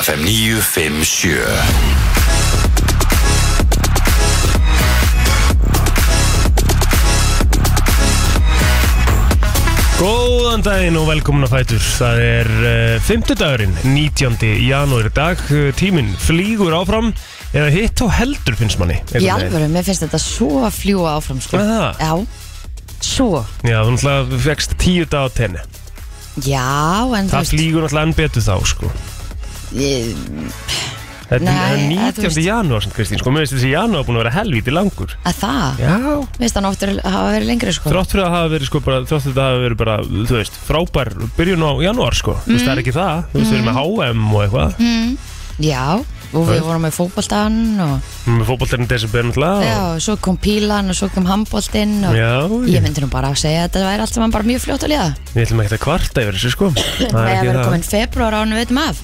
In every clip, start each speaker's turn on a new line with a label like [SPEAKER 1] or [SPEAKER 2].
[SPEAKER 1] FM 957
[SPEAKER 2] Góðan daginn og velkomin að fætur Það er uh, 5. dagurinn, 19. janúar í dag Eh, Tíminn flýgur áfram Eða hitt og heldur finnst manni einhvern
[SPEAKER 3] Í
[SPEAKER 2] veginn.
[SPEAKER 3] alvöru, mér finnst þetta svo að fljúa áfram sko.
[SPEAKER 2] Er það?
[SPEAKER 3] Já, svo
[SPEAKER 2] Já, þú náttúrulega fegst tíu dag á tenni
[SPEAKER 3] Já, en
[SPEAKER 2] Það
[SPEAKER 3] þú
[SPEAKER 2] flýgur náttúrulega enn betur þá, sko
[SPEAKER 3] veist
[SPEAKER 2] Þetta
[SPEAKER 3] Nei,
[SPEAKER 2] er
[SPEAKER 3] eða þú
[SPEAKER 2] 19.
[SPEAKER 3] veist-
[SPEAKER 2] janúar, samt, Kristín Sko, mér finnst þessi janúar búin að vera helvíti langur
[SPEAKER 3] Að það,
[SPEAKER 2] Já
[SPEAKER 3] mér finnst hann oftur hafa verið lengri sko.
[SPEAKER 2] Þrátt fyrir að hafa verið, sko, bara Þrátt fyrir að þetta hafa verið bara, þú veist Frábær byrjun á janúar, sko Þú veist, það
[SPEAKER 3] Mm.
[SPEAKER 2] er ekki það Þú veist, við erum með HM og eitthvað
[SPEAKER 3] Já, og við vorum með fótboltan og,
[SPEAKER 2] Við erum Með fótboltarinn desember, náttúrulega og-
[SPEAKER 3] Já, og svo kom pílan og svo kom handboltinn og
[SPEAKER 2] Já,
[SPEAKER 3] Ég myndi nú bara að segja að þetta væri allt saman bara mjög fljótt að liða
[SPEAKER 2] Við ætlum ekkert að kvarta yfir þessu sko
[SPEAKER 3] Það er að vera komin februar án við veitum af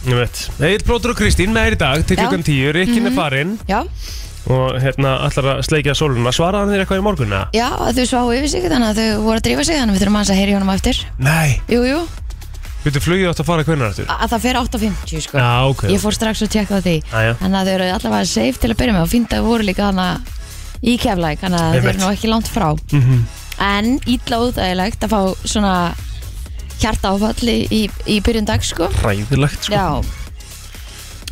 [SPEAKER 2] Egil Bróður og Kristín með þér í dag til
[SPEAKER 3] Já. Mhm.
[SPEAKER 2] klukkan 10 Rikkin er farinn
[SPEAKER 3] Já,
[SPEAKER 2] og hérna ætlar að sleikja sóluna Svaraði hann þér eitthvað í morgunna?
[SPEAKER 3] já þau svá yfir sig þannig að þau voru að drífa sig þannig að við þurfum aðeins að heyri honum á eftir
[SPEAKER 2] Nei
[SPEAKER 3] Jú, jú,
[SPEAKER 2] Býttu flugið átt að fara hvernig aftur?
[SPEAKER 3] að það fer 8.50 sko
[SPEAKER 2] Já, ok
[SPEAKER 3] Ég fór strax að tjekka á því
[SPEAKER 2] Jæja.
[SPEAKER 3] Þannig að þau eru allavega safe til að byrja með og fínt að þau voru líka hana í keflæk Þannig að þau
[SPEAKER 2] Einmitt.
[SPEAKER 3] eru nú ekki langt frá
[SPEAKER 2] Mhm.
[SPEAKER 3] En ítla óþægilegt að fá svona hjarta áfalli í, í byrjun dag sko
[SPEAKER 2] Ræðilegt sko
[SPEAKER 3] Já,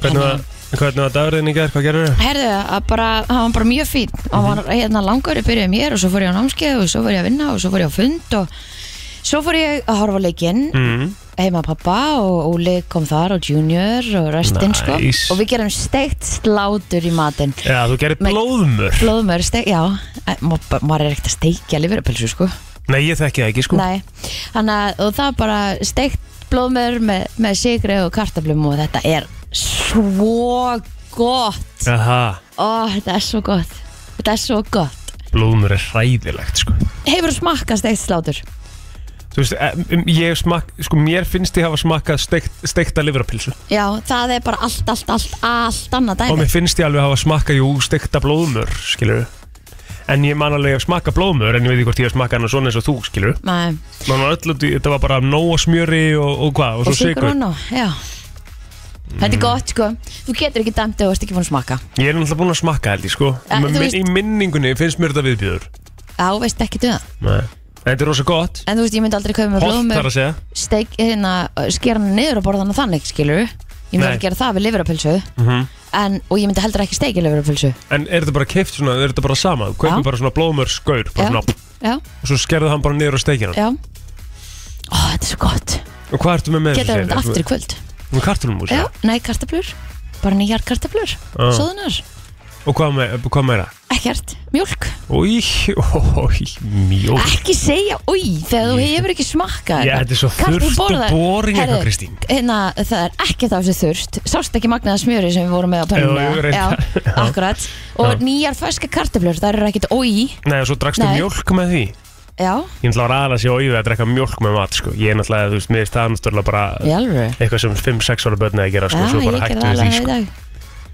[SPEAKER 2] Hvernig var, hvernig var dagurðin í gerð? Hvað gerir þau?
[SPEAKER 3] herðu að bara, hann var bara mjög fín og
[SPEAKER 2] Mhm.
[SPEAKER 3] hann var hérna langur í byrjuð mér og svo fór ég á námskeið og svo fór ég að vinna og svo fór ég á fund og svo fór ég að horfa á leikinn
[SPEAKER 2] Mm.
[SPEAKER 3] heima að pappa og Óli kom þar og Junior og restinn sko
[SPEAKER 2] Nice.
[SPEAKER 3] og við gerum steikt slátur í matinn
[SPEAKER 2] Já, þú gerir
[SPEAKER 3] Nei.
[SPEAKER 2] blóðmör
[SPEAKER 3] Blóðmör, steik, já Æ, ma- ba- Maður er ekkert að steikja liverapilsu sko
[SPEAKER 2] Nei, ég þekki það ekki sko
[SPEAKER 3] Nei, þannig að og það er bara steikt blóðmör með, með sigri og kartablum og þetta er svo gott
[SPEAKER 2] Aha,
[SPEAKER 3] Ó, þetta er svo gott Þetta er svo gott
[SPEAKER 2] blóðmör er ræðilegt sko
[SPEAKER 3] Hefur þú smakkað steikt slátur?
[SPEAKER 2] Þú veist, em, em, ég smak, sko, mér finnst ég hafa smakkað steikt, steikta livrapilsu
[SPEAKER 3] Já, það er bara allt, allt, allt, allt annað
[SPEAKER 2] Og
[SPEAKER 3] dæmi
[SPEAKER 2] mér finnst ég alveg hafa smakkað jú stekta blóðmör, skilur En ég man alveg að smakka blóðmör En ég veit ekki hvort ég hef smakkað hann svona eins og þú, skilur
[SPEAKER 3] Nei,
[SPEAKER 2] Man var öll, út í- þetta var bara nóa smjöri og, og hvað,
[SPEAKER 3] og
[SPEAKER 2] og svo
[SPEAKER 3] sigur
[SPEAKER 2] sigur
[SPEAKER 3] hann og, já Þetta er gott sko Þú getur ekki dæmt ef þú ert ekki búin að smakka
[SPEAKER 2] Ég er náttúrulega búin að smakka held ég, sko
[SPEAKER 3] Ja, Eh, þú
[SPEAKER 2] Men, minn,
[SPEAKER 3] veist-
[SPEAKER 2] Í minningunni finnst mér þetta viðbjöður
[SPEAKER 3] Já, þú veist ekki duða
[SPEAKER 2] Nei. En þetta er rosa gott
[SPEAKER 3] En þú veist, ég myndi aldrei kaupa með
[SPEAKER 2] Holt
[SPEAKER 3] blóðmör
[SPEAKER 2] þar að segja
[SPEAKER 3] steik, hérna, skera hann niður og borða hann þannig, skilur ég myndi
[SPEAKER 2] Nei. Mhm.
[SPEAKER 3] að gera það við liverapilsu en, og ég myndi heldur ekki steikja liverapilsu
[SPEAKER 2] En er þetta bara keift svona, er þetta bara sama Þú kaupir
[SPEAKER 3] Já.
[SPEAKER 2] bara svona blóðmör skaur
[SPEAKER 3] Já.
[SPEAKER 2] bara svona,
[SPEAKER 3] já,
[SPEAKER 2] Og svo skerðu hann bara niður og steikir hann
[SPEAKER 3] já Ó, þetta er svo gott,
[SPEAKER 2] Og hvað ertu með með
[SPEAKER 3] getur þetta aftur í kvöld
[SPEAKER 2] Með kartunum
[SPEAKER 3] já, nei, kartablur bara nýjar kartablur,
[SPEAKER 2] Ah.
[SPEAKER 3] sóðunar
[SPEAKER 2] Og hvað, með, hvað meira?
[SPEAKER 3] ekkert, mjólk,
[SPEAKER 2] Új, ój, mjók
[SPEAKER 3] ekki segja oi, þegar þú hefur ekki smakkað
[SPEAKER 2] Já,
[SPEAKER 3] þetta.
[SPEAKER 2] þetta er svo
[SPEAKER 3] Karl, þú
[SPEAKER 2] þurft og
[SPEAKER 3] borðar-
[SPEAKER 2] boring eitthvað,
[SPEAKER 3] Herðu,
[SPEAKER 2] Kristín.
[SPEAKER 3] hérna, það er ekkert af þessu þurft sást ekki magnaða smjöri sem við vorum með á
[SPEAKER 2] Jú, jú,
[SPEAKER 3] pönnum
[SPEAKER 2] reyndar.
[SPEAKER 3] akkurat, og nýjar ferska kartablur það eru ekkert oi
[SPEAKER 2] Nei, og svo drakkstu
[SPEAKER 3] Nei.
[SPEAKER 2] mjólk með því
[SPEAKER 3] Já,
[SPEAKER 2] Ég ætla að ræða sér óið að drekka mjólk með mat sko. Ég er náttúrulega, þú veist, mér er það náttúrulega bara
[SPEAKER 3] í alveg
[SPEAKER 2] eitthvað sem 5-6 ára börn er að gera sko,
[SPEAKER 3] Já,
[SPEAKER 2] svo
[SPEAKER 3] ég
[SPEAKER 2] bara
[SPEAKER 3] gerði
[SPEAKER 2] hættu
[SPEAKER 3] það
[SPEAKER 2] við því
[SPEAKER 3] alveg í
[SPEAKER 2] sko.
[SPEAKER 3] dag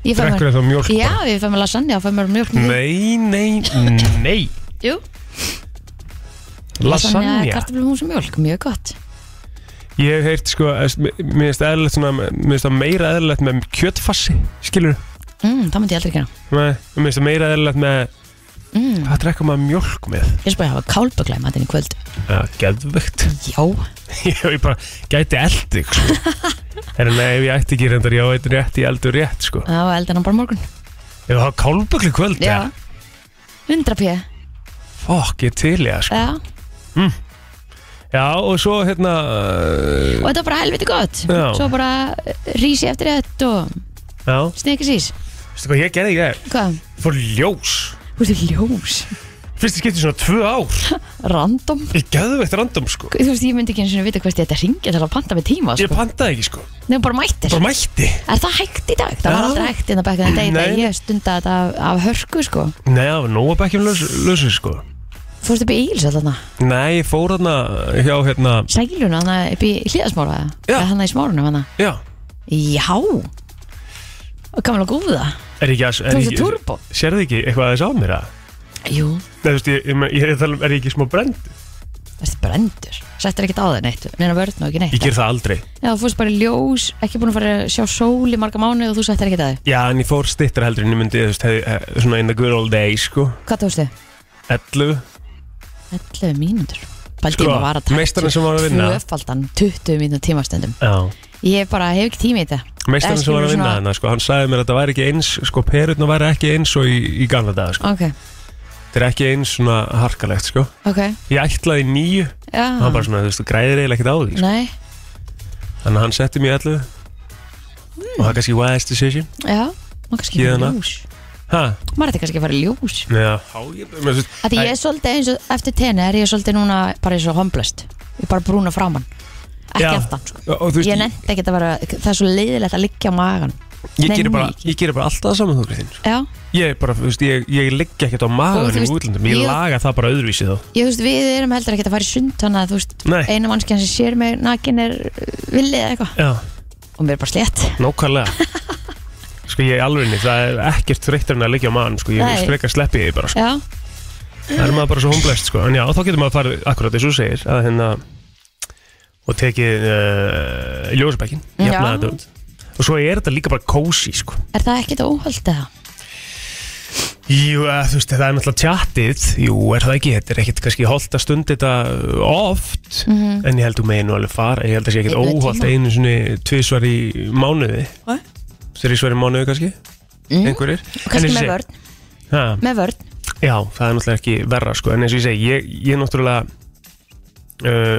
[SPEAKER 3] Ég fæ
[SPEAKER 2] Drekkur
[SPEAKER 3] mér
[SPEAKER 2] það mjólk
[SPEAKER 3] Já,
[SPEAKER 2] bara?
[SPEAKER 3] ég fæ mér lasagna, ég fæ mér mjölk með því.
[SPEAKER 2] Nei, nei, nei
[SPEAKER 3] Jú,
[SPEAKER 2] Lasagna
[SPEAKER 3] Kartaflumús og mjölk, mjög gott
[SPEAKER 2] Ég hef heyrt, sko, að- mér finnst eðlilegt svona, mér finnst það meira eðlilegt með kjötfassi skilur,
[SPEAKER 3] mm, Það myndi ég aldrei gera
[SPEAKER 2] mér finnst það meira eðlilegt með
[SPEAKER 3] mm,
[SPEAKER 2] hvað drekka maður mjólk með
[SPEAKER 3] Ég spyrir að hafa kálbögla í matinn í kvöld
[SPEAKER 2] ja, Geðvögt
[SPEAKER 3] Já,
[SPEAKER 2] Ég ég bara gæti eldi sko. En nei, ef ég ætti ekki reyndar, ég á eitt rétt, ég eldur rétt sko.
[SPEAKER 3] það var eldan á bara á morgun
[SPEAKER 2] Ef það hafa kálbögli kvöld
[SPEAKER 3] Já, 100 p
[SPEAKER 2] Fokk, ég er til ég sko.
[SPEAKER 3] Já,
[SPEAKER 2] Já, og svo hérna
[SPEAKER 3] og þetta var bara helviti gott
[SPEAKER 2] Já.
[SPEAKER 3] Svo bara rísi eftir þetta og
[SPEAKER 2] Já,
[SPEAKER 3] snikis ís
[SPEAKER 2] veistu hvað ég gerði í gær?
[SPEAKER 3] Hvað?
[SPEAKER 2] Fór í ljós
[SPEAKER 3] Þú veist, ljós
[SPEAKER 2] Fyrst ég skipti svona tvö ár
[SPEAKER 3] Random
[SPEAKER 2] Ég gæði veitt random sko
[SPEAKER 3] Þú veist, ég myndi ekki eins og vita hvert ég ætti að ringja til að panta með tíma
[SPEAKER 2] Ég
[SPEAKER 3] sko.
[SPEAKER 2] pantaði ekki sko
[SPEAKER 3] Nefnum bara mættir
[SPEAKER 2] Bara mætti
[SPEAKER 3] Er það hægt í dag? Það var
[SPEAKER 2] Já.
[SPEAKER 3] aldrei hægt innan back in the day
[SPEAKER 2] Nei.
[SPEAKER 3] þegar ég stunda þetta af, af hörku sko
[SPEAKER 2] Nei, það var nóg að bekkjum laus, lausu sko
[SPEAKER 3] Fórstu upp í Íls allana,
[SPEAKER 2] Nei, ég fór hérna hjá hérna
[SPEAKER 3] sæluna hana upp í hlíðasmára
[SPEAKER 2] Já.
[SPEAKER 3] eða hana í smárunum hana
[SPEAKER 2] Já,
[SPEAKER 3] Já Og gamla góða,
[SPEAKER 2] er ekki að
[SPEAKER 3] þú
[SPEAKER 2] er
[SPEAKER 3] veist
[SPEAKER 2] ekki-
[SPEAKER 3] að turbo
[SPEAKER 2] Sérðu ekki eitthvað aðeins á mér að
[SPEAKER 3] Jú,
[SPEAKER 2] Nei, þú veist, ég, ég, ég, ég, er að tala um- er ég ekki smá brend
[SPEAKER 3] Þetta er brendur Settir ekkert á það neitt Neina vörðn og ekki neitt
[SPEAKER 2] Ég ger það aldrei
[SPEAKER 3] Já, þú fórst bara í ljós Ekki búin að fara að sjá sól í marga mánu Og þú settir ekkert á þig
[SPEAKER 2] Já, en ég fór stittra heldur en ég myndi, þú veist, hef, hef, svona in the good old days, sko
[SPEAKER 3] Hvað tókstu?
[SPEAKER 2] 11
[SPEAKER 3] 11 mínútur Bældi
[SPEAKER 2] Sko,
[SPEAKER 3] ég maður var að taka
[SPEAKER 2] meistarinn sem var að vinna.
[SPEAKER 3] Tvöfaldan 20 mínútur tímastöndum
[SPEAKER 2] Já
[SPEAKER 3] Ég bara hef ekki tími í þetta
[SPEAKER 2] Meistarinn sem var að vinna
[SPEAKER 3] Svona-
[SPEAKER 2] þarna, sko, hann sagði mér að þetta væri ekki eins, sko, perutna væri ekki eins og í, í gamla daga, sko
[SPEAKER 3] Ok,
[SPEAKER 2] Þetta er ekki eins svona harkalegt, sko
[SPEAKER 3] ok
[SPEAKER 2] Ég ætlaði í níu,
[SPEAKER 3] Já
[SPEAKER 2] ah. hann bara svona, þú veist, þú græðir eiginlega ekkert á því,
[SPEAKER 3] Nei,
[SPEAKER 2] sko Þannig að hann setti mér í 11 Og það er kannski wise decision
[SPEAKER 3] já Má kannski fara
[SPEAKER 2] Héðan
[SPEAKER 3] í
[SPEAKER 2] af.
[SPEAKER 3] ljós
[SPEAKER 2] Ha,
[SPEAKER 3] Maður ætti kannski að fara í ljós
[SPEAKER 2] já, há, ég, menn, þú veist
[SPEAKER 3] Þetta ég
[SPEAKER 2] Æ.
[SPEAKER 3] er svolítið eins og eftir tenni er ég svolítið núna bara eins og homblast Ég er bara brúna framann Ekki
[SPEAKER 2] Já.
[SPEAKER 3] aftan sko.
[SPEAKER 2] og, og, þú
[SPEAKER 3] Ég
[SPEAKER 2] veist, ég,
[SPEAKER 3] nefndi ekki að vera Það er svo leiðilegt að liggja á magan
[SPEAKER 2] ég,
[SPEAKER 3] nenni
[SPEAKER 2] geri bara,
[SPEAKER 3] ekki.
[SPEAKER 2] ég geri bara alltaf það saman þú Kristín sko.
[SPEAKER 3] Já,
[SPEAKER 2] Ég bara, þú veist, ég, ég liggja ekkert á
[SPEAKER 3] Og
[SPEAKER 2] magan
[SPEAKER 3] þú
[SPEAKER 2] í
[SPEAKER 3] veist,
[SPEAKER 2] útlöndum Ég
[SPEAKER 3] ég-
[SPEAKER 2] laga það bara öðruvísi þá
[SPEAKER 3] ég þú veist við erum heldur ekki að fara í sund Þannig að þú veist
[SPEAKER 2] Nei.
[SPEAKER 3] eina mannskjan sem sér mig nakin er uh, villið eða eitthvað
[SPEAKER 2] Já,
[SPEAKER 3] Og mér er bara slétt
[SPEAKER 2] nákvæmlega Sko ég alveg niður, það er ekkert þreyttur en að liggja á magan Sko ég
[SPEAKER 3] Nei.
[SPEAKER 2] vil freka sleppi því bara sko.
[SPEAKER 3] Já,
[SPEAKER 2] Það er maður bara svo homblest sko En já, þá getur maður farið akkurat eins og þú segir að hérna og tekið uh, ljósbækin
[SPEAKER 3] Já.
[SPEAKER 2] jafna þetta út og svo er þetta líka bara kósi sko
[SPEAKER 3] er það ekkert óhald eða?
[SPEAKER 2] Jú, eh, þú veist, það er náttúrulega tjattið Jú, er það ekki, þetta er ekkert kannski holdt að stund þetta uh, oft
[SPEAKER 3] Mhm.
[SPEAKER 2] en ég held þú meginu alveg fara ég held að sé ekkert
[SPEAKER 3] Einhvern
[SPEAKER 2] óholt
[SPEAKER 3] tíma.
[SPEAKER 2] einu svona tvisvar í mánuði
[SPEAKER 3] Hva?
[SPEAKER 2] þrísvar í mánuði kannski,
[SPEAKER 3] Mm.
[SPEAKER 2] einhverjir
[SPEAKER 3] Og kannski með vörn,
[SPEAKER 2] ha,
[SPEAKER 3] með vörn
[SPEAKER 2] Já, það er náttúrulega ekki verra sko en eins og ég segi, ég, ég náttúrulega uh,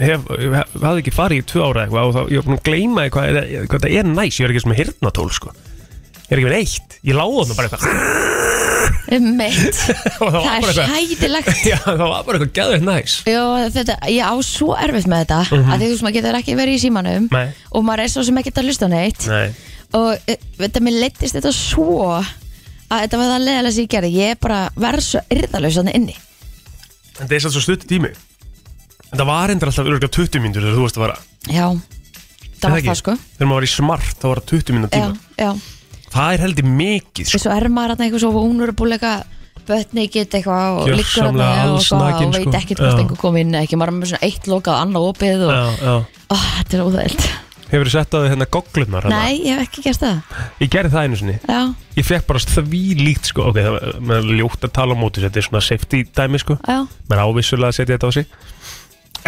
[SPEAKER 2] hef, hef hafði ekki farið í tvö ára eitthvað og þá, ég var búin að gleyma því hvað, er- hvað það er næs ég er ekki sem með hirtnatól sko ég er ekki með neitt, ég láði þarna bara eitthvað
[SPEAKER 3] Um meitt
[SPEAKER 2] og það var
[SPEAKER 3] Það
[SPEAKER 2] bara
[SPEAKER 3] er
[SPEAKER 2] eitthvað
[SPEAKER 3] hætilegt
[SPEAKER 2] Já, það var bara eitthvað gæðið næs
[SPEAKER 3] Jó, þetta, ég á svo erfitt með þetta mm -hmm. að því þú veist maður getur ekki verið í símanum
[SPEAKER 2] Mhm. Nei.
[SPEAKER 3] og maður er svo sem ekkert að hlusta á neitt
[SPEAKER 2] Nei,
[SPEAKER 3] og e, þetta mér leittist þetta svo að þetta var það leiðilega sem ég gerði ég er bara verð svo yrðalaus þannig inni
[SPEAKER 2] en það er satt svo stutt tími En það var endur alltaf örgulega 20 mínútur þegar þú varst að vara
[SPEAKER 3] Já, það var
[SPEAKER 2] ekki?
[SPEAKER 3] það sko
[SPEAKER 2] Þegar maður var í smart þá var það 20 mínútur
[SPEAKER 3] Já,
[SPEAKER 2] tíma
[SPEAKER 3] já
[SPEAKER 2] Það er heldur mikið
[SPEAKER 3] og
[SPEAKER 2] sko.
[SPEAKER 3] svo er maður þarna eitthvað svo unur að búið eitthvað bötni get eitthvað og liggur
[SPEAKER 2] Gjörsamlega
[SPEAKER 3] þarna og,
[SPEAKER 2] allsnakin,
[SPEAKER 3] eitthvað og veit
[SPEAKER 2] sko.
[SPEAKER 3] ekkert hvort
[SPEAKER 2] Já.
[SPEAKER 3] einhver kom inn eða ekki maður er með svona eitt lokað annað opið og
[SPEAKER 2] Já, já
[SPEAKER 3] ó, þetta er óþægild
[SPEAKER 2] Hefur þú sett á því hérna gogglunar
[SPEAKER 3] Nei, ég hef ekki gert það
[SPEAKER 2] Ég gerði það einu sinni
[SPEAKER 3] Já,
[SPEAKER 2] Ég fekk bara því líkt sko Ok, það var maður er ljótt að tala á móti þessu, Þetta er svona safety dæmi sko
[SPEAKER 3] já,
[SPEAKER 2] Maður ávissulega að setja þetta á sig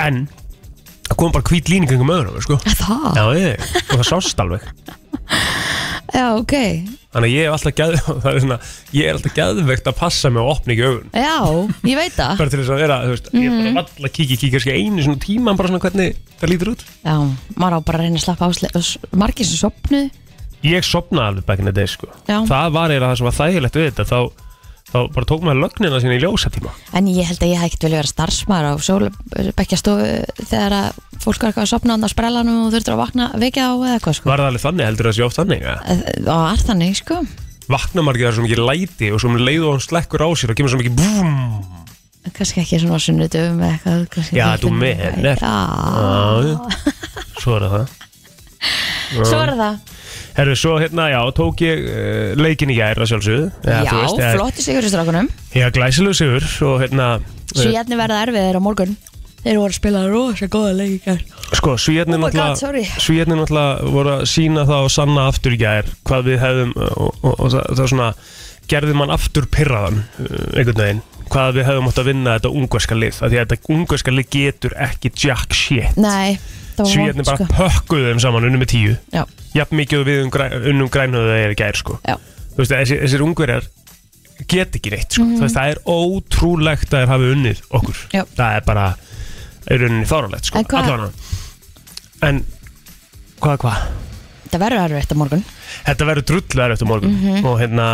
[SPEAKER 2] En Það kom bara hvít líning kringum öðrum sko
[SPEAKER 3] það
[SPEAKER 2] Já, ég Og það sást alveg
[SPEAKER 3] Já, ok,
[SPEAKER 2] Þannig að ég hef alltaf geð, það er svona, ég er alltaf geðveikt að passa mig og opna ekki augun.
[SPEAKER 3] já, ég veit það
[SPEAKER 2] Bara til þess að vera, þú veist, ég
[SPEAKER 3] Mhm.
[SPEAKER 2] er bara alltaf kíkja, kíkja kannski einu svona tíma, bara svona hvernig það lítur út.
[SPEAKER 3] Já, maður á bara að reyna að slappa áslega Margir sem sopnu
[SPEAKER 2] Ég sopnaði alveg back in the day, sko.
[SPEAKER 3] Já.
[SPEAKER 2] Það var eiginlega það sem var þægilegt við þetta, þá, þá bara tók maður lögnina sína í ljósa tíma.
[SPEAKER 3] En ég held að ég hef ekkert vilja vera starfsmæður á sólbekkjastofu þegar að fólk er eitthvað að sopna á sprellanum og þurftur að vakna vekja á eða eitthvað sko
[SPEAKER 2] Var það alveg þannig, heldur það sé oft þannig, eða?
[SPEAKER 3] Það er þannig sko
[SPEAKER 2] Vakna margir það er svo mikið læti og svo um leið og hann slekkur á sér og kemur svo mikið búm.
[SPEAKER 3] Kannski ekki svona á sunnudum eða eitthvað kannski
[SPEAKER 2] Já,
[SPEAKER 3] ekki
[SPEAKER 2] þú
[SPEAKER 3] alltaf-
[SPEAKER 2] meinar.
[SPEAKER 3] Já,
[SPEAKER 2] Já, svo er það.
[SPEAKER 3] svo er það
[SPEAKER 2] Herru, svo hérna, já, tók ég uh, leikin í gæra sjálfsögðu. Eða,
[SPEAKER 3] Já,
[SPEAKER 2] þú veist, eða-
[SPEAKER 3] flott í siguristrákunum
[SPEAKER 2] Já, glæsilegu sigur og hérna eh,
[SPEAKER 3] Svíjarnir verða erfiðir á morgun Þeir voru að spila rosa góða leikar
[SPEAKER 2] sko, Svíðarnir
[SPEAKER 3] Oh my God, sorry.
[SPEAKER 2] náttúrulega Svíðarnir náttúrulega voru að sína það og sanna aftur í gær hvað við hefðum eh, og, og, og það, það svona gerði mann aftur pyrraðan eh, einhvern veginn hvað við hefðum átt að vinna þetta ungverska lið af því að þetta ungverska lið getur ekki jack shit
[SPEAKER 3] Nei, það var
[SPEAKER 2] Svíðarnir
[SPEAKER 3] vont, sko.
[SPEAKER 2] bara pökkuðu þeim saman unnum með tíu
[SPEAKER 3] Já,
[SPEAKER 2] jafn mikið og við um græ- unnum grænhöðu það er í gær sko
[SPEAKER 3] já,
[SPEAKER 2] þú veist, þessir, þessir ungverjar get ekki neitt, sko. þú veist, það er ótrúlegt að þeir hafi unnið okkur
[SPEAKER 3] Mhm. Já.
[SPEAKER 2] það er bara, er unnið þáralegt sko.
[SPEAKER 3] En hvað-
[SPEAKER 2] Allavega. en hvað, hvað
[SPEAKER 3] það verður erfitt á morgun
[SPEAKER 2] þetta verður drullu erfitt um morgun
[SPEAKER 3] Mhm.
[SPEAKER 2] og hérna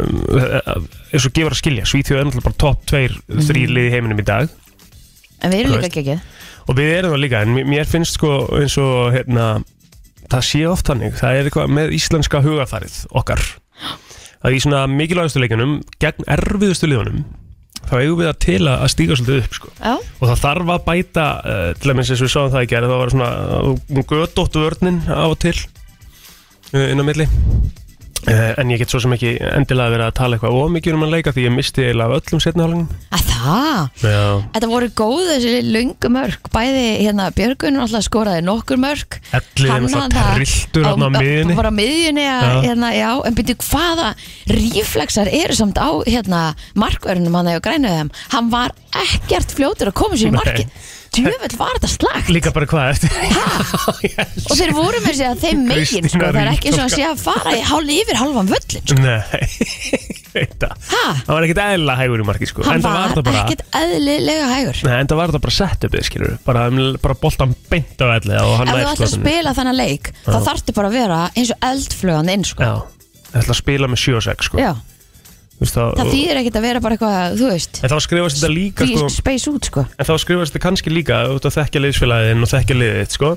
[SPEAKER 2] um, eins og gefur að skilja, Svíþjóð er náttúrulega bara topp 2,
[SPEAKER 3] Mhm.
[SPEAKER 2] 3 liði í heiminum í dag
[SPEAKER 3] En við erum
[SPEAKER 2] Þú
[SPEAKER 3] líka
[SPEAKER 2] veist.
[SPEAKER 3] geggið
[SPEAKER 2] og við erum það líka, en mér- mér finnst sko eins og hérna það sé oft þannig, það er eitthvað með íslenska hugafarið okkar að í svona mikilvægastu leikunum gegn erfiðustu liðunum þá eigum við að til að að stíga svolítið upp sko
[SPEAKER 3] Já,
[SPEAKER 2] og það þarf að bæta uh, til að minnst eins og við sáum það í gerð það var svona uh, gödóttu vörninn á og til uh, inn á eh, milli Eh, En ég get svo sem ekki endilega verið að tala eitthvað ómikið um að leika því ég misti eiginlega af öllum setna hálfingum.
[SPEAKER 3] Að það?
[SPEAKER 2] Já.
[SPEAKER 3] Þetta voru góð þessi löngu mörk Bæði hérna Björgun alltaf skoraði nokkur mörk
[SPEAKER 2] Ellið er náttúrulega trilltur þarna á miðjunni.
[SPEAKER 3] Bara á miðjunni að,
[SPEAKER 2] Já.
[SPEAKER 3] hérna, já, En byrju hvaða ríflexar eru samt á hérna, markverðunum hann eða grænuð þeim Hann var ekkert fljótur að koma sér í
[SPEAKER 2] Nei.
[SPEAKER 3] markið Djöfell var þetta slagt
[SPEAKER 2] Líka bara hvað eftir?
[SPEAKER 3] Og þeir voru með sér að segja þeim megin sko,
[SPEAKER 2] Kristína
[SPEAKER 3] Það er ekki eins og
[SPEAKER 2] Ríkharðs-
[SPEAKER 3] að sé að fara í hálf yfir halvan völlin sko.
[SPEAKER 2] Nei, þetta
[SPEAKER 3] Ha?
[SPEAKER 2] Það var ekkert eðla hægur í marki sko
[SPEAKER 3] Hann
[SPEAKER 2] Enda
[SPEAKER 3] var,
[SPEAKER 2] það bara,
[SPEAKER 3] ekkert eðlilega hægur
[SPEAKER 2] Nei, enda var þetta bara sett uppið skilur bara, um bara boltan beint á elli og
[SPEAKER 3] Ef þú
[SPEAKER 2] hann nær
[SPEAKER 3] ætlar að
[SPEAKER 2] skotinni.
[SPEAKER 3] spila þannig leik þá þarftu bara að vera eins og eldflögan inn sko.
[SPEAKER 2] Já, það ætla að spila með 7 og 6 sko
[SPEAKER 3] Já,
[SPEAKER 2] Vist, það,
[SPEAKER 3] það
[SPEAKER 2] og,
[SPEAKER 3] þýðir ekkert að vera bara eitthvað, þú veist
[SPEAKER 2] En þá skrifast þetta líka
[SPEAKER 3] Því
[SPEAKER 2] sko
[SPEAKER 3] space út sko
[SPEAKER 2] En þá skrifast þetta kannski líka út að þekkja leiðsfélagiðin og þekkja liðið þitt, sko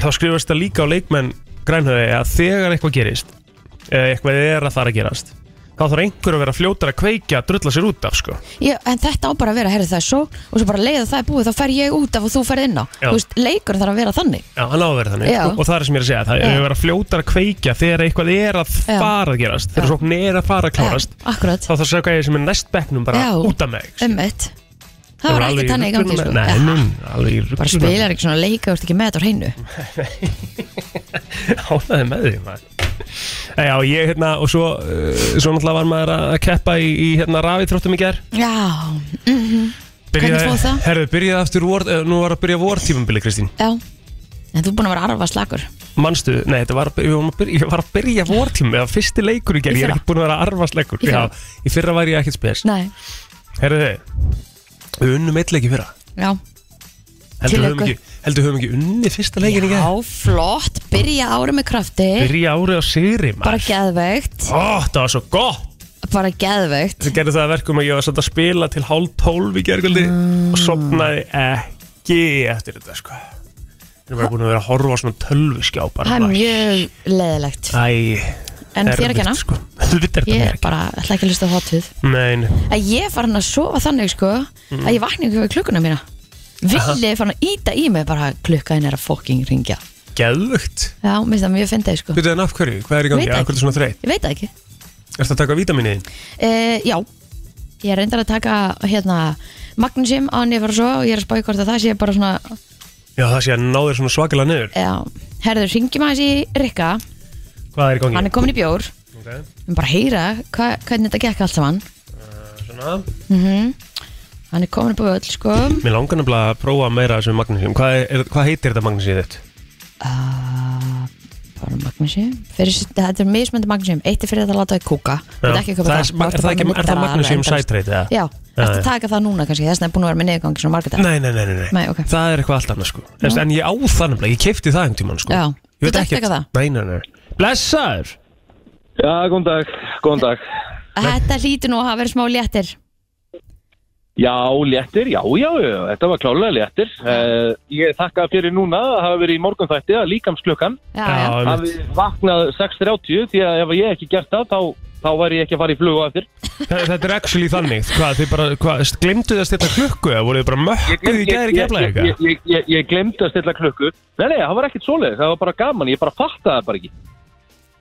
[SPEAKER 2] Þá skrifast þetta líka á leikmenn grænhöði að þegar eitthvað gerist eða eitthvað er að fara að gerast þá þarf einhver að vera fljótar að kveikja að drulla sér út af sko
[SPEAKER 3] Ég, en þetta á bara að vera, herri það er svo og svo bara leiða það er búið, þá fer ég út af og þú fer inn á
[SPEAKER 2] Já.
[SPEAKER 3] Þú veist, leikur þarf að vera þannig
[SPEAKER 2] Já, hann á að vera þannig
[SPEAKER 3] Já.
[SPEAKER 2] og, og það er sem ég er að segja Það er
[SPEAKER 3] Já.
[SPEAKER 2] að vera fljótar að kveikja þegar eitthvað er að
[SPEAKER 3] Já.
[SPEAKER 2] fara að gerast Þegar
[SPEAKER 3] Já.
[SPEAKER 2] sókn er að fara að klárast
[SPEAKER 3] Já, Akkurat,
[SPEAKER 2] Þá þarf að segja hvað ég sem er næst bekknum bara
[SPEAKER 3] Já.
[SPEAKER 2] út af sko. meg
[SPEAKER 3] ummitt Það var ekki þannig í gangi sko
[SPEAKER 2] Nei,
[SPEAKER 3] Já,
[SPEAKER 2] nún, alveg í
[SPEAKER 3] Bara spilar ekki svona leika, þú ert ekki með þetta á hreinu
[SPEAKER 2] Hánaði með því maður. Eh, Já, ég hérna og svo, uh, svo náttúrulega var maður að keppa í, í hérna rafitróttum í ger
[SPEAKER 3] Já, mhm, fór það?
[SPEAKER 2] Herðu, byrjaði aftur vor, uh, nú var að byrja vortífumbili Kristín
[SPEAKER 3] já En þú er búin að vera arfa slagur
[SPEAKER 2] Manstu, nei, þetta var, við vorum að byrja, ég var að byrja vortífum eða fyrsti leikur í ger,
[SPEAKER 3] Í
[SPEAKER 2] ég er
[SPEAKER 3] fyrra?
[SPEAKER 2] ekki búin að vera að arfa slegur
[SPEAKER 3] Í fyrra?
[SPEAKER 2] Já, í fyrra var ég ekkert spes
[SPEAKER 3] Nei,
[SPEAKER 2] Herðu þið, við unnum eitt leik í fyrra
[SPEAKER 3] já
[SPEAKER 2] Heldur
[SPEAKER 3] Til
[SPEAKER 2] við höfum
[SPEAKER 3] auku.
[SPEAKER 2] ekki, heldur við höfum ekki unnið fyrsta leikin í ger
[SPEAKER 3] Já, flott, byrja árið með krafti
[SPEAKER 2] Byrja árið á sigri,
[SPEAKER 3] Bara
[SPEAKER 2] maður
[SPEAKER 3] geðveikt,
[SPEAKER 2] Ó, það var svo gott
[SPEAKER 3] bara geðveikt
[SPEAKER 2] sem gerði það að verkum að ég var satt að spila til hálf tólf í gergöldi og
[SPEAKER 3] Ah.
[SPEAKER 2] sopnaði ekki eftir þetta sko Ég er bara búin að vera að horfa á svona tölvuskjá bara
[SPEAKER 3] Það er mjög leðilegt
[SPEAKER 2] Æ,
[SPEAKER 3] En þér ekki hana?
[SPEAKER 2] sko. Helvita er þetta
[SPEAKER 3] Ég
[SPEAKER 2] mér
[SPEAKER 3] er bara, ætla ekki að hlusta á hotuð
[SPEAKER 2] ekki Nein,
[SPEAKER 3] Að ég er farin að sofa þannig sko Að
[SPEAKER 2] Mm.
[SPEAKER 3] ég vakna ekki við klukkuna mína Villi er farin að íta í mig bara klukkaðin er að fokking ringja
[SPEAKER 2] geðvögt
[SPEAKER 3] Já, mér finnst það mjög fyndið sko
[SPEAKER 2] Veitu en af hverju, hvað er í
[SPEAKER 3] Veit
[SPEAKER 2] gangi,
[SPEAKER 3] ekki.
[SPEAKER 2] af hverju er svona þreytt?
[SPEAKER 3] Ég veit það ekki
[SPEAKER 2] Er þetta að taka vítaminniðin?
[SPEAKER 3] uh, Já, ég er reyndar að taka hérna Magnusum á hann ég fara svo og ég er að spáði hvort að það sé bara svona
[SPEAKER 2] Já, það sé að ná þér svona svakalega niður
[SPEAKER 3] Já, herður, ringjum aðeins í Rikka Eh,
[SPEAKER 2] Hvað er í gangi?
[SPEAKER 3] Hann er komin í bjór
[SPEAKER 2] okay.
[SPEAKER 3] Við bara heyra hva, hvernig þetta gekk allt saman
[SPEAKER 2] Svona
[SPEAKER 3] Hann er komin upp á öll sko
[SPEAKER 2] Mér langar nefnilega að prófa meira af þessu magnísíum Hvað, er, hvað heitir þetta magnísíum þitt?
[SPEAKER 1] Ah.
[SPEAKER 3] uh, Bara Magnusi fyrir, Þetta er mismöndi Magnusum Eitt er fyrir þetta að láta þau kúka Þú
[SPEAKER 2] Já.
[SPEAKER 3] veit ekki að kaupa
[SPEAKER 2] Það er-
[SPEAKER 3] Þá ertu
[SPEAKER 2] er það
[SPEAKER 3] bara
[SPEAKER 2] ekki-
[SPEAKER 3] með
[SPEAKER 2] er það
[SPEAKER 3] nuddara
[SPEAKER 2] Magnúsum
[SPEAKER 3] alveg endalaust.
[SPEAKER 2] sætreiti, eða?
[SPEAKER 3] Já,
[SPEAKER 2] Já,
[SPEAKER 3] þetta
[SPEAKER 2] já.
[SPEAKER 3] taka það núna kannski Þess vegna er búin að vera með niðurgangi svona margir dag
[SPEAKER 2] Nei, nei, nei, nei, nei.
[SPEAKER 3] Nei, ok.
[SPEAKER 2] Það er eitthvað allt annað sko en, en ég á það nefnilega, ég kefti það um tíman sko
[SPEAKER 3] Já.
[SPEAKER 2] Ég
[SPEAKER 3] Þú dætt ekki það?
[SPEAKER 2] Nei, nei, nei Blessaður
[SPEAKER 1] Já, góðan dag, góðan dag.
[SPEAKER 3] Þetta hlýtur nú að hafa verið smá léttir
[SPEAKER 1] Já, léttir, já, já, já, þetta var klálega léttir. Uh, ég þakka fyrir núna að hafa verið í morgunþætti að líkamsklukkan.
[SPEAKER 3] Já, já, já.
[SPEAKER 1] Hafi vaknað 6.30 því að ef ég ekki gert það, þá, þá væri ég ekki að fara í flugu eftir.
[SPEAKER 2] Þa- Þetta er actually þannig Hvað, þið bara, hvað, glemdu þið að stilla klukku eða voruð þið bara mökkuð í gæri gefla
[SPEAKER 1] ég, ég, ég, ég, ég glemdi að stilla klukku. Nei, nei, það var ekkert svoleið, það var bara gaman, ég bara fattaði það bara ekki.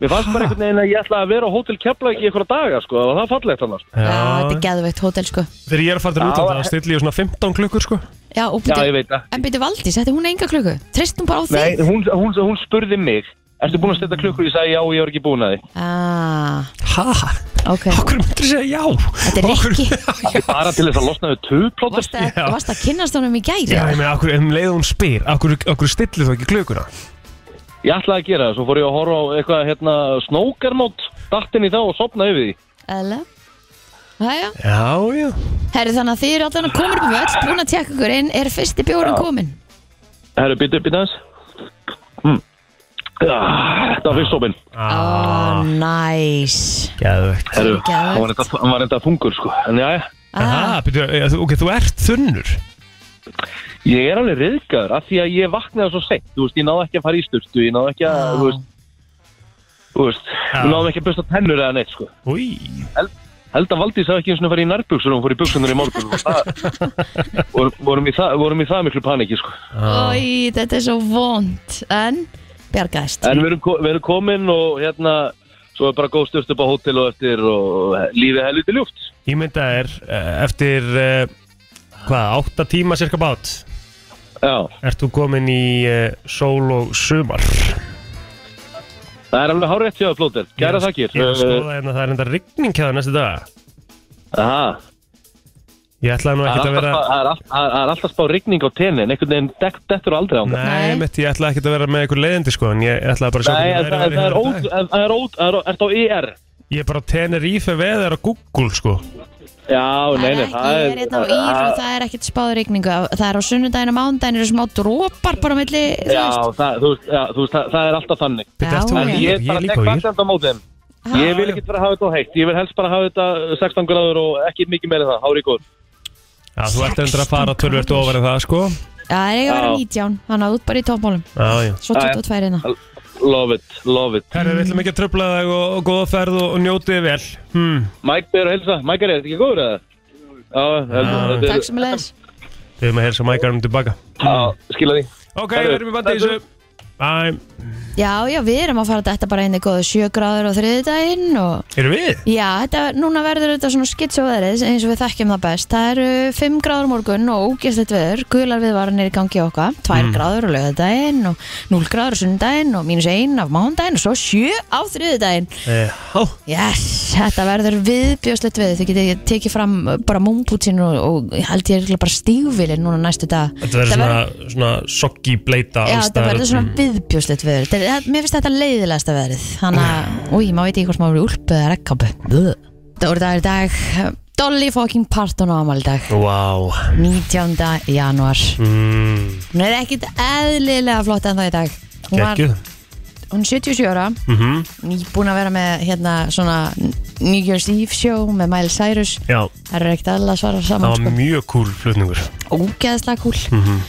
[SPEAKER 1] Mér fannst bara einhvern veginn að ég ætlaði að vera á hótel Keflavík í einhverja daga, sko, það var það fallegt annars.
[SPEAKER 3] þetta er geðveitt hótel sko
[SPEAKER 2] Þegar ég er að fara til
[SPEAKER 1] Já,
[SPEAKER 2] útlanda
[SPEAKER 1] eh.
[SPEAKER 2] þá stilli ég svona 15 klukkur sko
[SPEAKER 3] Já, og
[SPEAKER 1] Já, ég
[SPEAKER 3] byrju
[SPEAKER 1] veit það.
[SPEAKER 3] En byrju Valdís, þetta er hún enga klukku Tristum bara á
[SPEAKER 1] Nei,
[SPEAKER 3] þig
[SPEAKER 1] hún, hún, hún spurði mig Ertu búin að stilla klukkur? Ég sagði já, ég var ekki búin að því
[SPEAKER 3] Ah,
[SPEAKER 2] Hæ?
[SPEAKER 3] ok
[SPEAKER 2] Okkur myndir segja já
[SPEAKER 3] Þetta er
[SPEAKER 2] Okkur-
[SPEAKER 3] Rikki
[SPEAKER 1] Bara til þess að losna við töplóttur
[SPEAKER 3] Varst að,
[SPEAKER 2] Já.
[SPEAKER 3] varst að kynnast honum í gæri
[SPEAKER 2] Já, ég meina, okkur, um leið og hún spyr Okkur, okkur stillir þú ekki klukkuna
[SPEAKER 1] Ég ætlaði að gera það, svo fór ég að horfa á eitthvað hérna, snókarmót Dattin í þá og sopnaði yfir því
[SPEAKER 3] Eðla Jæja,
[SPEAKER 2] Já, já
[SPEAKER 3] herri þannig að þið eru allan að koma upp um öll Búin að tjekka ykkur inn, er fyrsti bjórun komin
[SPEAKER 1] Herru, býttu upp í næs mm. ah, Þetta var fyrst sopin
[SPEAKER 3] Ó, næs
[SPEAKER 2] Gæðvegt
[SPEAKER 1] Herru,
[SPEAKER 3] Geðvegt.
[SPEAKER 1] hann var enda- hann var enda þungur sko En já,
[SPEAKER 3] Ah,
[SPEAKER 2] eh, Ok, þú ert þunnur
[SPEAKER 1] ég er alveg riðgaður af því að ég vaknaði svo seint Þú veist, ég náði ekki að fara í sturtu Ég náði ekki að,
[SPEAKER 3] Já.
[SPEAKER 1] þú veist Þú veist,
[SPEAKER 2] Já.
[SPEAKER 1] við náðum ekki að busta tennur eða neitt sko
[SPEAKER 2] Új
[SPEAKER 1] held að Valdís hafði ekki eins og farið í nærbuksur og hún fór í buksunar í morgun og það, vorum, vorum, í það, vorum í það miklu paniki sko.
[SPEAKER 3] Í, þetta er svo vond En bjargaðist
[SPEAKER 1] en við erum, ko- við erum komin og hérna svo er bara góð styrst upp á hótel og eftir og lífið helviti ljúft
[SPEAKER 2] Ég mynda er eftir eh, hvað, átta tíma cirka bát
[SPEAKER 1] Já,
[SPEAKER 2] ert þú komin í eh, sól og sumar
[SPEAKER 1] það er alveg hárétt hjá það flóter Gæra þakkir
[SPEAKER 2] Ég er að
[SPEAKER 1] Uh,
[SPEAKER 2] skoða hérna, það er enda rigning hjá það næstu dag
[SPEAKER 1] Eh, aha.
[SPEAKER 2] Ég ætlaði nú
[SPEAKER 1] Það
[SPEAKER 2] ekkert
[SPEAKER 1] er
[SPEAKER 2] að vera
[SPEAKER 1] alltaf- það er all- það er alltaf spá rigning á tennin einhvern veginn dekt dettur aldrei á það
[SPEAKER 2] Nei,
[SPEAKER 3] Nei.
[SPEAKER 2] mitt, ég ætlaði ekkert að vera með einhver leiðindi sko en ég ætlaði bara að sjá
[SPEAKER 1] Nei, en
[SPEAKER 2] hvernig
[SPEAKER 1] það
[SPEAKER 2] veðrið verður
[SPEAKER 1] er- það er
[SPEAKER 2] í
[SPEAKER 1] ód
[SPEAKER 2] dag.
[SPEAKER 1] Það er ód, það er- ertu á E IR
[SPEAKER 2] Ég er bara á Tenerife veðar á Google sko
[SPEAKER 1] Já, nei, nei,
[SPEAKER 3] það er ekki, ég er hérna á ír og það er ekkert spáð rigningu það er á sunnudaginn og mánudaginn eru smá drópar bara á milli, þú
[SPEAKER 1] Já,
[SPEAKER 3] veist
[SPEAKER 1] það, þú veist, já, þú veist, það, það er alltaf þannig
[SPEAKER 2] Bíddu,
[SPEAKER 3] Já,
[SPEAKER 2] ert
[SPEAKER 3] já.
[SPEAKER 2] þú á
[SPEAKER 1] En
[SPEAKER 2] IR?
[SPEAKER 1] ég er
[SPEAKER 2] Ég er
[SPEAKER 1] bara að
[SPEAKER 2] líka
[SPEAKER 1] tekk
[SPEAKER 2] á E IR.
[SPEAKER 1] vaksand á mótin Ég vil ekkert vera að hafa þetta á heitt Ég vil helst bara hafa þetta 16 gráður og ekki mikið meira en það, hári góð
[SPEAKER 2] Já, þú ert endur að fara
[SPEAKER 3] 16
[SPEAKER 2] tölvert ofar en það sko
[SPEAKER 3] Já, það er ekki að vera
[SPEAKER 1] Já.
[SPEAKER 3] 19 þannig að út bara í toppmálum,
[SPEAKER 2] Já, já
[SPEAKER 3] svo
[SPEAKER 1] Já, já.
[SPEAKER 3] 22 hérna
[SPEAKER 1] Love it, love it
[SPEAKER 2] Herri, við ætlum ekki að tröfla þig og, og góða ferð og, og njótið vel hmm.
[SPEAKER 1] Mike ber að helsa, Mike er þetta ekki góður eða? Já, heldur,
[SPEAKER 2] Já.
[SPEAKER 1] þetta
[SPEAKER 3] takk
[SPEAKER 1] er,
[SPEAKER 3] sem leðis
[SPEAKER 2] Við höfum að helsa mækarum tilbaka
[SPEAKER 1] já, skila því
[SPEAKER 2] Ok,
[SPEAKER 1] Herri,
[SPEAKER 2] við erum í bandi í þessu Æ,
[SPEAKER 3] já, já, við erum að fara þetta bara inn í góðu 7 gráður á þriðdaginn og
[SPEAKER 2] erum við?
[SPEAKER 3] Já, þetta, núna verður þetta svona skitsuveðrið eins og við þekkjum það best. Það eru 5 gráður á morgun og ógeðslegt veður, gular viðvaranir í gangi okkar, 2 gráður á lögadaginn og 0 gráður á sundaginn og mínus 1 af mándaginn og svo 7 á þriðudaginn.
[SPEAKER 2] Já,
[SPEAKER 3] Yes, þetta verður viðbjóðslegt veður. Þið getið tekið fram uh, bara múmbútin og, og ég held ég örugglega bara stígvilin núna næstu dag.
[SPEAKER 2] þetta verður svona, svona soggi bleita
[SPEAKER 3] Já,
[SPEAKER 2] alls
[SPEAKER 3] þetta
[SPEAKER 2] staðar.
[SPEAKER 3] verður svona viðbjóðslegt veður. Þetta er- Mér finnst þetta leiðilegasta veðrið. Þannig að, úi, maður veit ekki hvort maður verið úlpu eða rekkabu. Það voru dagur í dag. Dolly fucking Parton á amal dag.
[SPEAKER 2] Vá wow.
[SPEAKER 3] 19. januar.
[SPEAKER 2] mm,
[SPEAKER 3] Hún er ekkit eðlilega flott en í dag. Hún var,
[SPEAKER 2] Gekkið
[SPEAKER 3] hún er 77 ára.
[SPEAKER 2] mm
[SPEAKER 3] Búin að vera með hérna svona New Year's Eve show með Miles Cyrus.
[SPEAKER 2] Já,
[SPEAKER 3] Það eru ekkit eðlilega svarar
[SPEAKER 2] það
[SPEAKER 3] saman.
[SPEAKER 2] var
[SPEAKER 3] Sko.
[SPEAKER 2] mjög kúl flutningur
[SPEAKER 3] Ógeðslega kúl.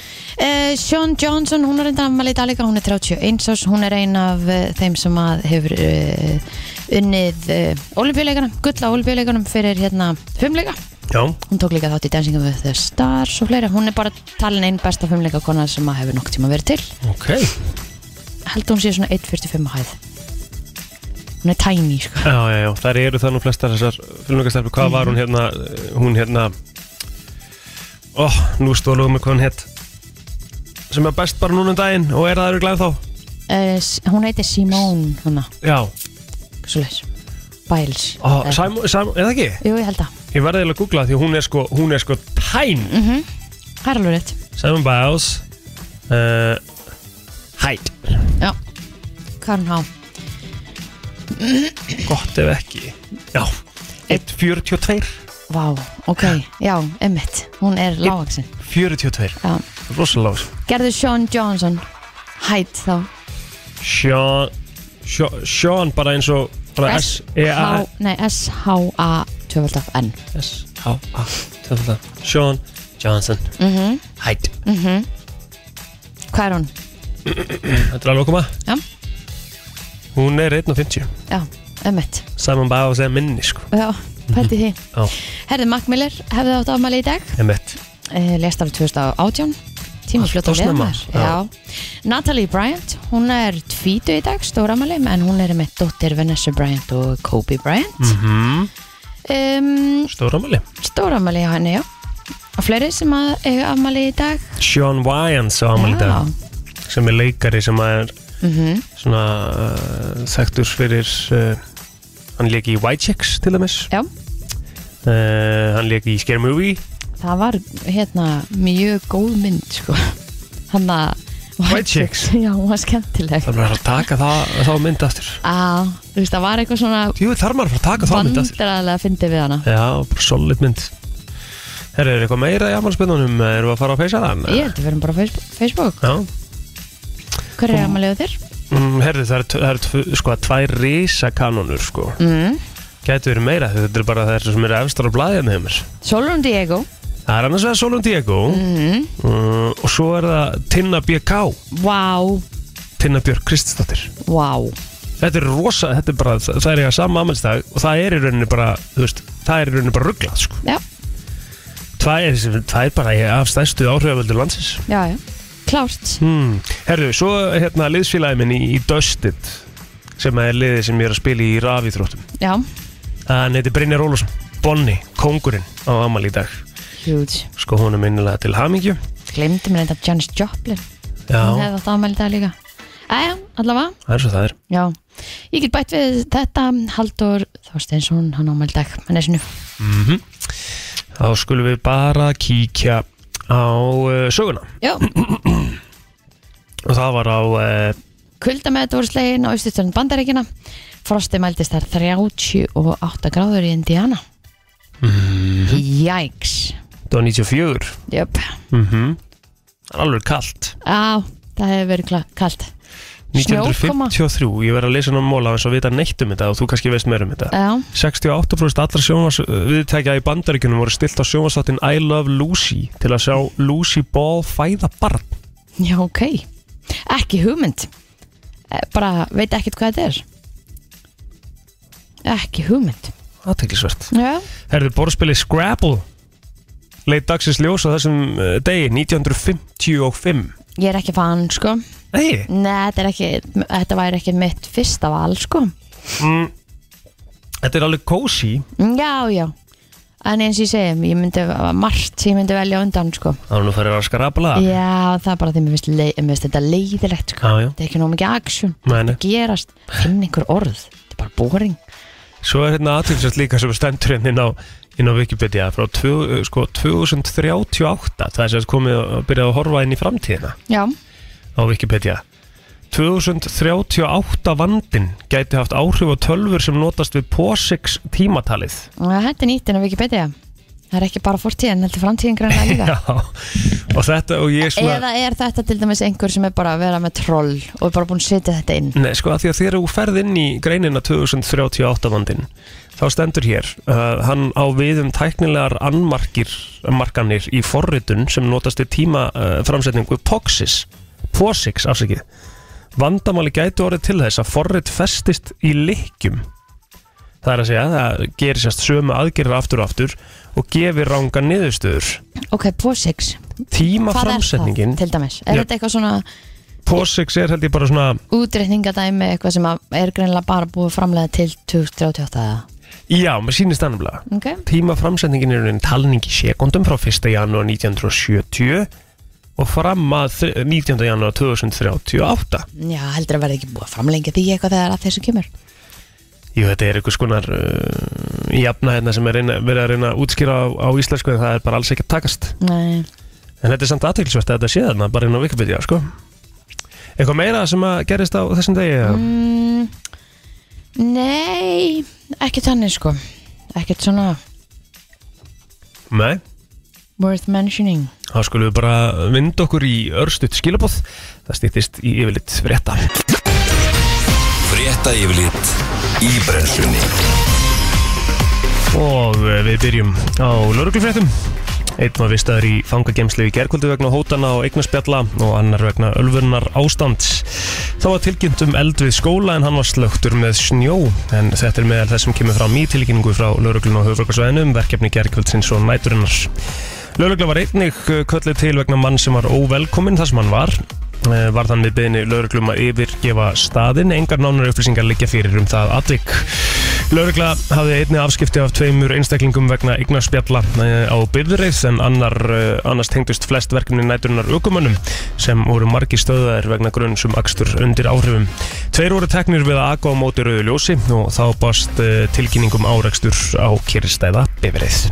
[SPEAKER 3] Uh, Sean Johnson, hún er reynda afmæli í dag líka, hún er 31 árs, hún er ein af uh, þeim sem að hefur uh, unnið uh, olimpíuleikunum, gull á olimpíuleikunum fyrir hérna fumleika.
[SPEAKER 2] Já,
[SPEAKER 3] Hún tók líka þátt í Dancing with the Stars og fleira, hún er bara talin einn besta fumleika konar sem að hefur nokk tíma verið til.
[SPEAKER 2] ok
[SPEAKER 3] Held hún sé svona 1.45 á hæð. Hún er tiny, sko.
[SPEAKER 2] Já, já, já, þar eru það nú flestar þessar flutningastarfi Hvað var hún hérna, eh, hún hérna Ó, nú stóluðum við hvað hún hétt Sem er best bara núna um daginn og er það eru glæð þá
[SPEAKER 3] Uh, hún heitir Simone, hana,
[SPEAKER 2] Já,
[SPEAKER 3] svo leis. Biles. Eh,
[SPEAKER 2] Ó, Simon, Simon, er það ekki?
[SPEAKER 3] Jú, ég held að.
[SPEAKER 2] Ég verði eiginlega að googla því að hún er sko, hún er sko tæn
[SPEAKER 3] Það er alveg rétt.
[SPEAKER 2] Simon Biles uh, Hætt
[SPEAKER 3] Já. Hvað er hún há?
[SPEAKER 2] Gott ef ekki Já, 1.42
[SPEAKER 3] Vá, ok, já, emmitt Hún er lágaksin
[SPEAKER 2] 42,
[SPEAKER 3] Já.
[SPEAKER 2] rosalega lágur.
[SPEAKER 3] Gerðu Sean Johnson Hætt þá
[SPEAKER 2] Sean Sean- Sean bara eins og bara S E A
[SPEAKER 3] S-H- Nei, S-H-A Tvöfaldaf N
[SPEAKER 2] S H A töfla. Sean Johnson
[SPEAKER 3] Mhm.
[SPEAKER 2] Hætt
[SPEAKER 3] Hvað er hún?
[SPEAKER 2] Þetta er alveg að koma
[SPEAKER 3] Já.
[SPEAKER 2] Hún er 1.50
[SPEAKER 3] Já, emmitt
[SPEAKER 2] Saman bara að segja minni sko
[SPEAKER 3] Já, pælti því
[SPEAKER 2] Já.
[SPEAKER 3] Herði Mac Miller hefði átt afmæli í dag
[SPEAKER 2] Emmett
[SPEAKER 3] eh, Lest árið 2018 Tími
[SPEAKER 2] Allt
[SPEAKER 3] fljóta
[SPEAKER 2] of snemma.
[SPEAKER 3] leðnar Já. Natalie Bryant, hún er tvítu í dag Stóramæli, en hún er með dóttir Vanessa Bryant og Kobe Bryant
[SPEAKER 2] mm.
[SPEAKER 3] um,
[SPEAKER 2] Stóramali
[SPEAKER 3] Stóramæli hjá henni, já Og fleiri sem að eiga afmæli í dag
[SPEAKER 2] Sean Wyans á amal í dag sem er leikari sem er
[SPEAKER 3] Mhm.
[SPEAKER 2] svona uh, þekktur fyrir uh, hann leik í White Chicks til dæmis
[SPEAKER 3] Já,
[SPEAKER 2] uh, hann leik í Scary Movie
[SPEAKER 3] það var hérna mjög góð mynd sko. hann að
[SPEAKER 2] White Chicks.
[SPEAKER 3] Já, hún var skemmtileg
[SPEAKER 2] það er bara að taka það, þá mynd aftur
[SPEAKER 3] Á, þú veist, það var eitthvað svona
[SPEAKER 2] Jú, þar maður að fara að taka þá mynd aftur
[SPEAKER 3] vandrarlega fyndið við hana
[SPEAKER 2] Já, bara solid mynd Herri, er eitthvað meira í afmælspennunum? Erum við að fara að feysa það?
[SPEAKER 3] Ég held að við erum bara á Face- Facebook
[SPEAKER 2] Já,
[SPEAKER 3] Hver er afmælið á þér?
[SPEAKER 2] mm, herri, það eru tv- það er tv- sko, tvær risakanonur sko.
[SPEAKER 3] Mm.
[SPEAKER 2] Gæti verið meira, þetta er bara þessar sem eru efstar á blæðinu heimur
[SPEAKER 3] Solon Diego
[SPEAKER 2] Það er annars vegar Solon Diego
[SPEAKER 3] mm.
[SPEAKER 2] uh, og svo er það Tinna BK
[SPEAKER 3] Vá,
[SPEAKER 2] Tinna Björk Kristisdóttir
[SPEAKER 3] vá
[SPEAKER 2] Þetta er rosa, þetta er bara, það það er ég að sama afmælstag og það er í rauninni bara, þú veist, það er í rauninni bara rugglað sko.
[SPEAKER 3] Já,
[SPEAKER 2] Það er, það er bara af stærstu áhrifavöldur landsins
[SPEAKER 3] já, já Klárt
[SPEAKER 2] Hmm. Herðu, svo hérna liðsfélagi minn í, í Dusted sem er liðið sem ég er að spila í rafíþróttum
[SPEAKER 3] já,
[SPEAKER 2] Hann heiti Brynjar Ólafsson, Bonni, kongurinn á Amal í dag
[SPEAKER 3] huge
[SPEAKER 2] Sko hún er minnilega til hamingju
[SPEAKER 3] Glemdi mér þetta Janis Joplin Hún
[SPEAKER 2] Já,
[SPEAKER 3] hefði átt afmæli í dag líka Æja, allavega,
[SPEAKER 2] það er svo það er
[SPEAKER 3] já Ég get bætt við þetta Haldur Þorsteinsson, hann ámæli í dag Hann er sinu,
[SPEAKER 2] Mhm. Þá skulum við bara kíkja á uh, söguna
[SPEAKER 3] já,
[SPEAKER 2] Og það var á uh,
[SPEAKER 3] kuldamet voru slegin á austurstjörn bandaríkina Frosti mældist þar 38 gráður í Indiana mm. Jæks
[SPEAKER 2] Dó 94
[SPEAKER 3] Jöp,
[SPEAKER 2] mm Það er alveg kalt
[SPEAKER 3] á, það hefur verið kla- kalt
[SPEAKER 2] 1953, ég verð að lesa hann á móla eins og vita neitt um þetta og þú kannski veist meira um þetta
[SPEAKER 3] Já,
[SPEAKER 2] 68% allra sjónvars uh, viðtækja í bandaríkunum voru stilt á sjónvarsáttin I Love Lucy til að sjá Lucy Ball fæða barn
[SPEAKER 3] já, ok Ekki hugmynd Eh, Bara veit ekkert hvað þetta er Ekki hugmynd
[SPEAKER 2] aðteklisvert
[SPEAKER 3] Já,
[SPEAKER 2] Herðu borðspilið Scrabble leit dagsins ljós á þessum uh, degi 1955
[SPEAKER 3] ég er ekki fan, sko
[SPEAKER 2] Nei,
[SPEAKER 3] Nei, þetta, er ekki, þetta væri ekki mitt fyrsta val, sko
[SPEAKER 2] þetta er alveg cozy
[SPEAKER 3] Mm, Já, já En eins og ég segi, ég myndi, margt sem ég myndi velja á undan, sko
[SPEAKER 2] Það er nú færir að skrabla
[SPEAKER 3] Já, það er bara því mér finnst, leið, mér finnst þetta leiðilegt, sko
[SPEAKER 2] Já, já.
[SPEAKER 3] Þetta er ekki nóg mikið action
[SPEAKER 2] Nei, nei.
[SPEAKER 3] Gerast, finn einhver orð Þetta er bara boring
[SPEAKER 2] Svo er hérna aðteklisvert líka sem stendur hérna inn á, inn á Wikipedia frá tvo, sko, 2038 það er sem sagt komið að byrja að horfa inn í framtíðina
[SPEAKER 3] Já,
[SPEAKER 2] á Wikipedia 2038 vandin gæti haft áhrif á tölfur sem notast við POSIX tímatalið
[SPEAKER 3] þetta er nýtt en að Wikipedia Það er ekki bara fortíðin, heldur framtíðin grænlega líka
[SPEAKER 2] Já, og þetta og ég svona
[SPEAKER 3] Eða er þetta til dæmis einhver sem er bara að vera með troll og er bara búin að setja þetta inn
[SPEAKER 2] Nei, sko, að því að þegar þú ferð inn í greinina 2038 vandin þá stendur hér uh, hann á við um tæknilegar annmarkir markanir í forritun sem notast við tímaframsetningu uh, POXIS POSIX, afsakið Vandamáli gæti orðið til þess að forrit festist í lykkjum Það er að segja, það gerir sérst sömu aðgerðar aftur og aftur og gefir ranga niðurstöður
[SPEAKER 3] Ok, POSIX, hvað er það
[SPEAKER 2] Tímaframsetningin,
[SPEAKER 3] til dæmis? Er
[SPEAKER 2] Já.
[SPEAKER 3] þetta eitthvað svona
[SPEAKER 2] POSIX er held ég bara svona
[SPEAKER 3] útreikningadæmi eitthvað sem að er greinlega bara búið að framlega til 2038 eða?
[SPEAKER 2] Já, maður sýnist annaflega
[SPEAKER 3] Ok,
[SPEAKER 2] tímaframsendingin er einn talning í sekundum frá 1. janúar 1970 og fram að þri- 19. janúar 2038
[SPEAKER 3] já, heldur að verði ekki búið að framlengja því eitthvað þegar að þessu kemur
[SPEAKER 2] Jú, þetta er einhvers konar uh, jafna hérna sem er reyna, verið að reyna að útskýra á, á íslensku en það er bara alls ekki að takast
[SPEAKER 3] Nei,
[SPEAKER 2] en þetta er samt aðtækilsvært að þetta sé þarna bara inn á Wikipedia, sko Eitthvað meira sem að gerist á þessum degi? Mm.
[SPEAKER 3] mm, nei ekkert þannig sko ekkert svona
[SPEAKER 2] Nei
[SPEAKER 3] worth mentioning
[SPEAKER 2] Þá skulum við bara vinda okkur í örstuðt skilabóð Það stýttist í yfirleitt frétta
[SPEAKER 4] Frétta yfirlit í brennslunni
[SPEAKER 2] Og eh, við byrjum á lauruglufréttum. Einn var vistaður í fangagemslu í gerkvöldu vegna hótana og eignaspjalla og annar vegna ölfurnar ástands. Þá var tilkynnt um eld við skóla en hann var slögtur með snjó. En þetta er meðal þess sem kemur fram í tilkynningu frá lauruglun og höfvörgarsvæðinu um verkefni gerkvöldsins og næturinnar. Laurugla var einnig eh, kölluð til vegna mann sem var óvelkominn þar sem hann var. Eh, Var þann við beðinni lauruglum að yfirgefa staðinn. Engar nánar upplýsingar liggja fyrir um það atvik. Laurugla hafði einnig afskipti af tveimur einstaklingum vegna eignarspjalla eh, á byrðreið en annar, eh, annars tengdust flest verkefni næturinnar aukumönnum sem voru margi stöðaðir vegna grunn sem akstur undir áhrifum. Tveir voru teknir við að aga á móti rauðu ljósi og þá bast tilkynningum árakstur á kyrrstæða bifreið.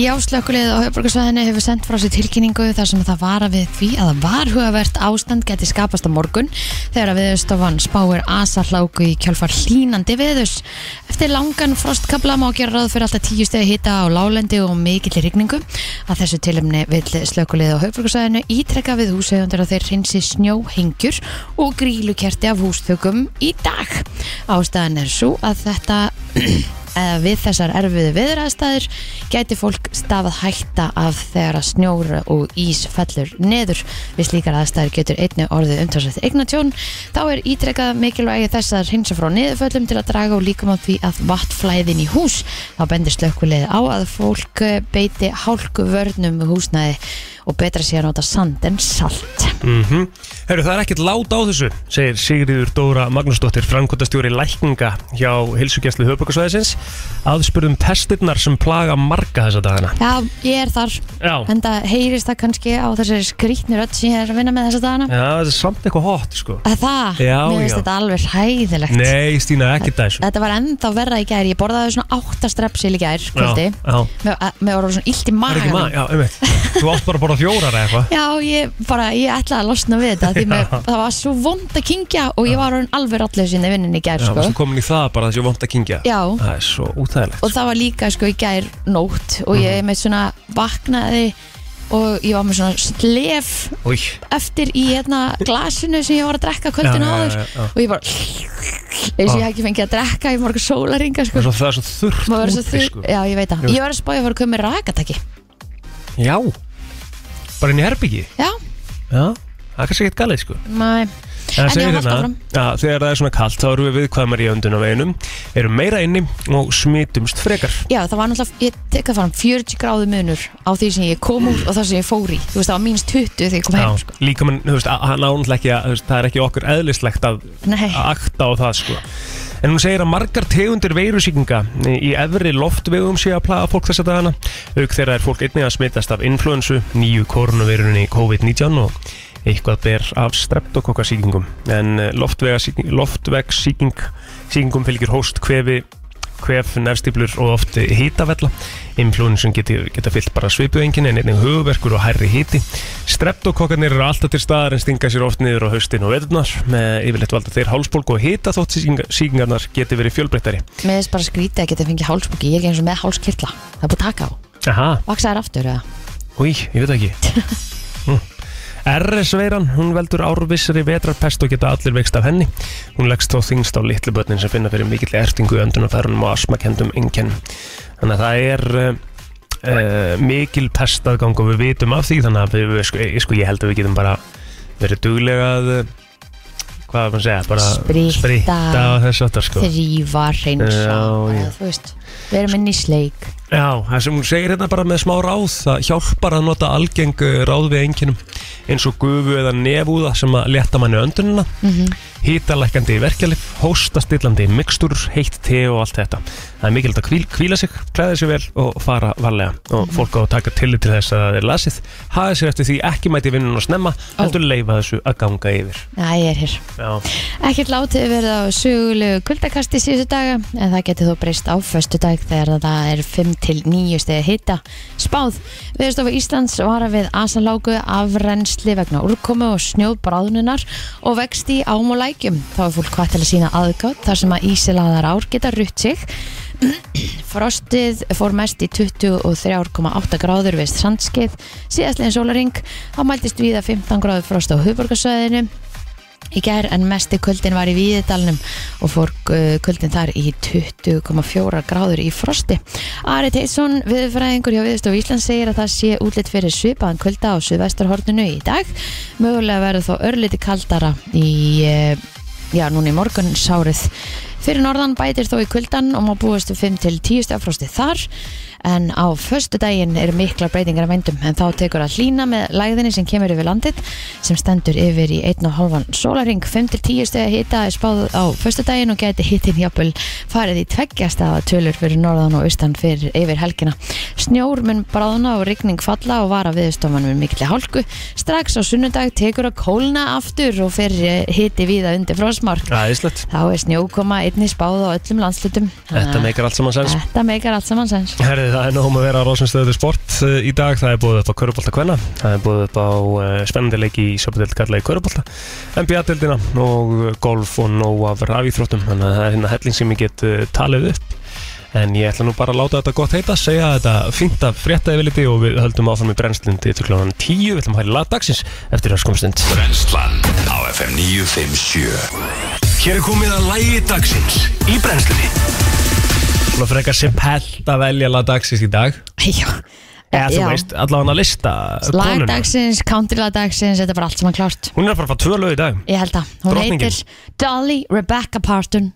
[SPEAKER 3] Já, slökkulið á höfbrukarsvæðinu hefur sendt frá sér tilkynningu þar sem það vara við því að það varhugavert ástand geti skapast á morgun þegar að viðustofan spáir asahláku í kjálfar hlínandi viðus. Eftir langan frostkabla má gera ráð fyrir alltaf tíu stegi hita á lálendi og mikill rigningu. Að þessu tilumni vil slökkulið á höfbrukarsvæðinu ítrekka við húsauðundur að þeir hreinsi snjóhengjur og grílukerti af hústökum í dag. Ástæðan er svo að þetta eða Eh, við þessar erfiðu viðræðstæðir gæti fólk stafað hætta af þegar að snjóra og ís fellur neður. Við slíkar aðstæðir getur einni orðið umtalsett eignatjón þá er ítrekkað mikilvægi þessar hinsa frá niðurföllum til að draga og líkum á því að vatnflæðin í hús þá bendir slökkulegið á að fólk eh, beiti hálku vörnum húsnæði og betra sé að nota sand en salt.
[SPEAKER 2] Mm Herru, það er ekkert lát á þessu, segir Sigriður Dóra Magnúsdóttir, framkvæmdastjóri lækninga hjá Hilsugjæslu höfbökkarsvæðisins, aðspurðum testirnar sem plaga marga þessa dagana.
[SPEAKER 3] Já, ég er þar
[SPEAKER 2] Já,
[SPEAKER 3] En það heyrist það kannski á þessari skrýtni rödd sem ég er að vinna með þessa dagana
[SPEAKER 2] Já, þetta er samt eitthvað hot, sko.
[SPEAKER 3] Að það,
[SPEAKER 2] Já,
[SPEAKER 3] mér finnst
[SPEAKER 2] já.
[SPEAKER 3] þetta alveg hæðilegt
[SPEAKER 2] Nei, Stína, ekki þessu.
[SPEAKER 3] Þetta var ennþá verra í gær Ég borðaði svona átta strepsil í gær kvöldi
[SPEAKER 2] Já, já.
[SPEAKER 3] Mér mér var svona illt í
[SPEAKER 2] Það
[SPEAKER 3] magan
[SPEAKER 2] er ekki maður, já, einmitt. Þú átt bara að borða fjórar eða eitthvað.
[SPEAKER 3] Já, ég bara, ég ætlaði að losna við þetta Því mér,
[SPEAKER 2] Já.
[SPEAKER 3] það var svo vond að kingja Og ég var orðin alveg rallir sinni vinnin í gær
[SPEAKER 2] Já,
[SPEAKER 3] sko.
[SPEAKER 2] varstu komin í það bara þessi vond að kingja?
[SPEAKER 3] Já.
[SPEAKER 2] Það er svo útæðilegt.
[SPEAKER 3] Og það var líka sko í gær nótt Og
[SPEAKER 2] Mhm.
[SPEAKER 3] ég með svona vaknaði Og ég var með svona slef
[SPEAKER 2] Új.
[SPEAKER 3] eftir í hérna glasinu sem ég var að drekka kvöldinu
[SPEAKER 2] Já, já,
[SPEAKER 3] áður
[SPEAKER 2] já, já.
[SPEAKER 3] og ég bara eins og ég hef ekki fengið að drekka í morgun sólaringa sko.
[SPEAKER 2] Það er svo, það er svo þurrt
[SPEAKER 3] Maður verður svo
[SPEAKER 2] úti,
[SPEAKER 3] þurr-
[SPEAKER 2] sko.
[SPEAKER 3] Já, ég veit það
[SPEAKER 2] Jú.
[SPEAKER 3] Ég var að spá ég var að koma með rakataki
[SPEAKER 2] Já. Bara inn í herbyggi.
[SPEAKER 3] Já,
[SPEAKER 2] Já. Það er kannski ekkert galið, sko.
[SPEAKER 3] mæ
[SPEAKER 2] En
[SPEAKER 3] En
[SPEAKER 2] segir
[SPEAKER 3] ég held
[SPEAKER 2] hérna,
[SPEAKER 3] áfram.
[SPEAKER 2] já, þegar það er svona kalt þá erum við viðkvæmar í öndunarveginum, erum meira inni og smitumst frekar.
[SPEAKER 3] Já, það var náttúrulega, ég tek það fram 40 gráðu munur á því sem ég kom úr og það sem ég fór í Þú veist, það var mínst 20 þegar ég kom heim sko.
[SPEAKER 2] líka mann, þú veist, að- hann ánlega ekki að, þú veist, það er ekki okkur eðlislegt að,
[SPEAKER 3] Nei.
[SPEAKER 2] að akta á það, sko. En hún segir að margar tegundir veirusíkinga í efri loftvegum sé að plaga fólk þessa dagana. Auk þeirra er fólk einnig að smitast af influensu, nýju koronavirunni COVID-19 og eitthvað ber af streptokokkasíkingum. En eh, loftvegsíking, síkingum fylgir hóst, kvefi, kvef, nefstiblur og oft hýtavella. Influensun geti- geta fyllt bara svipuengin en einnig hugverkur og hærri hýti. Streptokokkarnir eru alltaf til staðar en stinga sér oft niður á haustin og veturnar. Með yfirleitt valda þeir hálsbólgu og hýta þótt sýkinga- sýkingarnar geti verið fjölbreyttari.
[SPEAKER 3] Mér þess bara skrítið að geta fengið hálsbúki Ég er ekki eins og með hálskirla Það er búið að taka á
[SPEAKER 2] Aha,
[SPEAKER 3] Vaksaðar aftur, eða?
[SPEAKER 2] úi, ég veit það ekki. Mm. RS-veiran, hún veldur árvissari vetrarpest og geta allir veikst af henni. Hún leggst þó þingst á litlu börnin sem finna fyrir mikill ertingu, öndunarfærunum og asmakendum einkennum. Þannig að það er uh, uh, mikil pestaðgang og við vitum af því, þannig að við, við, sko, ég, sko, ég held að við getum bara verið duglega að, uh, hvað er maður að segja, bara
[SPEAKER 3] Spritta.
[SPEAKER 2] spritta og þess aftar sko.
[SPEAKER 3] Þrýfa, reynsa
[SPEAKER 2] Já, já.
[SPEAKER 3] Þú veist, við erum inn í sleik
[SPEAKER 2] Já, það sem hún segir hérna bara með smá ráð það hjálpar að nota algeng uh, ráð við enginum eins og gufu eða nefúða sem að leta manni öndunina hítalækandi verkjalið, hóstastillandi mikstur, heitt te og allt þetta það er mikilvægt að hvíl, hvíla sig, klæða sig vel og fara varlega og fólk á að taka tillit til þess að það er lasið hafa sér eftir því ekki mæti vinnun og snemma heldur leifa þessu að ganga yfir
[SPEAKER 3] Já, ég er hér
[SPEAKER 2] Já,
[SPEAKER 3] Ekkert látið verið á sögulegu kuldakasti síðustu daga en það getur þó breyst á föstu dag þegar það er 5 til 9 stegi hita spáð. Viðstofa Íslands vara við asanlágu afrennsli vegna úrkomu og snjóðbráðnunar og vext í ám og lækjum. Þá er fólk hvað til að sína aðgátt þar sem að ísilaðar ár geta rutt sig Frostið fór mest í 23,8 gráður við sandskeið síðastlegin sólaring þá mæltist við að 15 gráður frost á hugbörgarsvæðinu í gær en mesti kuldin var í Víðidalnum og fór uh, kuldin þar í 20,4 gráður í frosti. Ari Teitsson viðfræðingur hjá Viðstof Íslands segir að það sé útlitt fyrir svipaðan kulda á suðvestarhorninu í dag. Mögulega verður þó örliti kaldara í uh, já, núna í morgun sárið fyrir norðan bætir þó í kuldan og má búast við 5 til 10 stafrosti þar en á föstu daginn eru miklar breytingar að vendum en þá tekur að hlína með læðinni sem kemur yfir landið sem stendur yfir í 1,5 sólaring 5 til 10 stegi hita er spáð á föstu daginn og geti hitin jafnvel farið í tveggjast aða tölur fyrir norðan og austan fyrir yfir helgina snjór mun bráðna og rigning falla og vara viðstofan með mikli hálku strax á sunnudag tekur að kólna aftur og fyrir hiti víða undir frosmark
[SPEAKER 2] aðeinslegt,
[SPEAKER 3] Þá er snjókoma einni spáð á öllum landslutum
[SPEAKER 2] þetta
[SPEAKER 3] Ah.
[SPEAKER 2] meikar allt saman sens
[SPEAKER 3] Þetta meikar allt saman sens
[SPEAKER 2] Herði, það er nógum að vera á Rósinstöðu sport uh, í dag, það er búið upp á Körubolta Kvenna það er búið upp á uh, spennandi leiki í Sjöpudeld Karla í Körubolta NBA-deldina og uh, golf og nóg af rafíþróttum, þannig að það er hérna helling sem ég get uh, talið upp en ég ætla nú bara að láta þetta gott heita segja þetta fínt af frétta yfirliti og við höldum áfram í brennslundi til klokkan 10 við ætlum að hægja lagdagsins eftir öskumstund
[SPEAKER 4] Brennslan á FM 957
[SPEAKER 2] Hér er komið að lægi dagsins í brennslunni Svona frekar sem pelt að velja lag dagsins í dag
[SPEAKER 3] Já,
[SPEAKER 2] Eða þú
[SPEAKER 3] Já.
[SPEAKER 2] veist, allavega að lista konuna.
[SPEAKER 3] Lagdagsins, countrylagdagsins Þetta er bara allt saman klárt
[SPEAKER 2] Hún er að fara að fá tvö lög í dag
[SPEAKER 3] Ég held að hún
[SPEAKER 2] Drottningin. Mhm.
[SPEAKER 3] heitir Dolly Rebecca Parton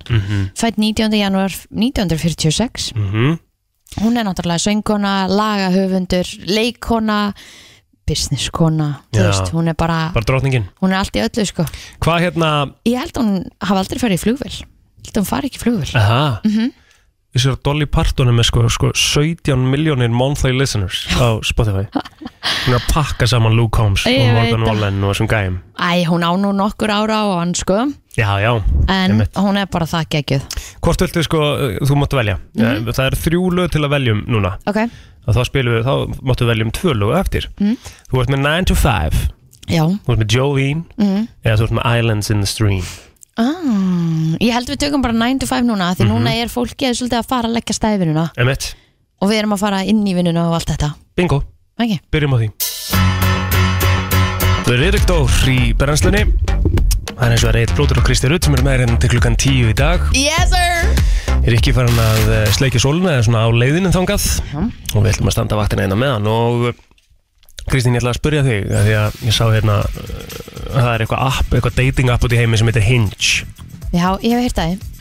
[SPEAKER 3] Fætt 19. januar 1946
[SPEAKER 2] mm -hmm.
[SPEAKER 3] Hún er náttúrulega söngkona, lagahöfundur, leikkona business kona
[SPEAKER 2] Já.
[SPEAKER 3] veist, hún er bara,
[SPEAKER 2] bara drotningin
[SPEAKER 3] hún er allt í öllu sko.
[SPEAKER 2] Hvað hérna,
[SPEAKER 3] ég held að hún hafa aldrei farið í flugvél ég held að hún fari ekki í flugvél
[SPEAKER 2] aha
[SPEAKER 3] Mhm.
[SPEAKER 2] Þessi er Dolly Parton er með sko, sko 17 miljónir monthly listeners á Spotify Hún er að pakka saman Luke Combs
[SPEAKER 3] Ég
[SPEAKER 2] og
[SPEAKER 3] veit
[SPEAKER 2] Morgan
[SPEAKER 3] það.
[SPEAKER 2] Wallen og þessum gæm
[SPEAKER 3] Æ, hún á nú nokkur ára á hann sko
[SPEAKER 2] Já, já,
[SPEAKER 3] en
[SPEAKER 2] einmitt.
[SPEAKER 3] hún er bara það geggjöð
[SPEAKER 2] Hvort viltu sko, uh, þú mátt velja
[SPEAKER 3] Mhm.
[SPEAKER 2] Eh, Það er þrjú lög til að veljum núna
[SPEAKER 3] ok,
[SPEAKER 2] að þá spilum við, þá máttu veljum tvö lög eftir
[SPEAKER 3] Mhm.
[SPEAKER 2] Þú ert með 9 to 5
[SPEAKER 3] já
[SPEAKER 2] Þú ert með Jolene
[SPEAKER 3] Mhm.
[SPEAKER 2] eða þú ert með Islands in the Stream
[SPEAKER 3] ah, ég held við tökum bara 9 to 5 núna
[SPEAKER 2] Mhm.
[SPEAKER 3] því núna er fólkið svolítið að fara að leggja stæðvinuna
[SPEAKER 2] Emmett,
[SPEAKER 3] og við erum að fara inn í vinnuna og allt þetta
[SPEAKER 2] bingo,
[SPEAKER 3] ok,
[SPEAKER 2] byrjum á því Þau eru Erik Dór í brennslunni Það er eins og að reyð blótur og Kristi Rutt sem eru með hérna til klukkan 10 í dag
[SPEAKER 3] yes sir
[SPEAKER 2] er ekki farin að eh, sleikja sóluna eða svona á leiðinu þangað og við ætlum að standa vaktina eina meðan og eh, Kristín, ég ætla að spyrja þig af því að ég sá hérna eh, að það er eitthvað app, eitthvað dating app út í heimi sem heitir Hinge
[SPEAKER 3] já, ég hef heyrt það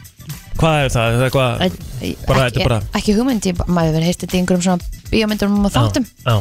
[SPEAKER 2] Hvað er það? Er það eitthvað
[SPEAKER 3] Æ-
[SPEAKER 2] Bara,
[SPEAKER 3] ekki,
[SPEAKER 2] þetta er bara-
[SPEAKER 3] ekki hugmynd, ég, maður hefur heyrst þetta í einhverjum svona bíómyndum og þáttum
[SPEAKER 2] Já, já.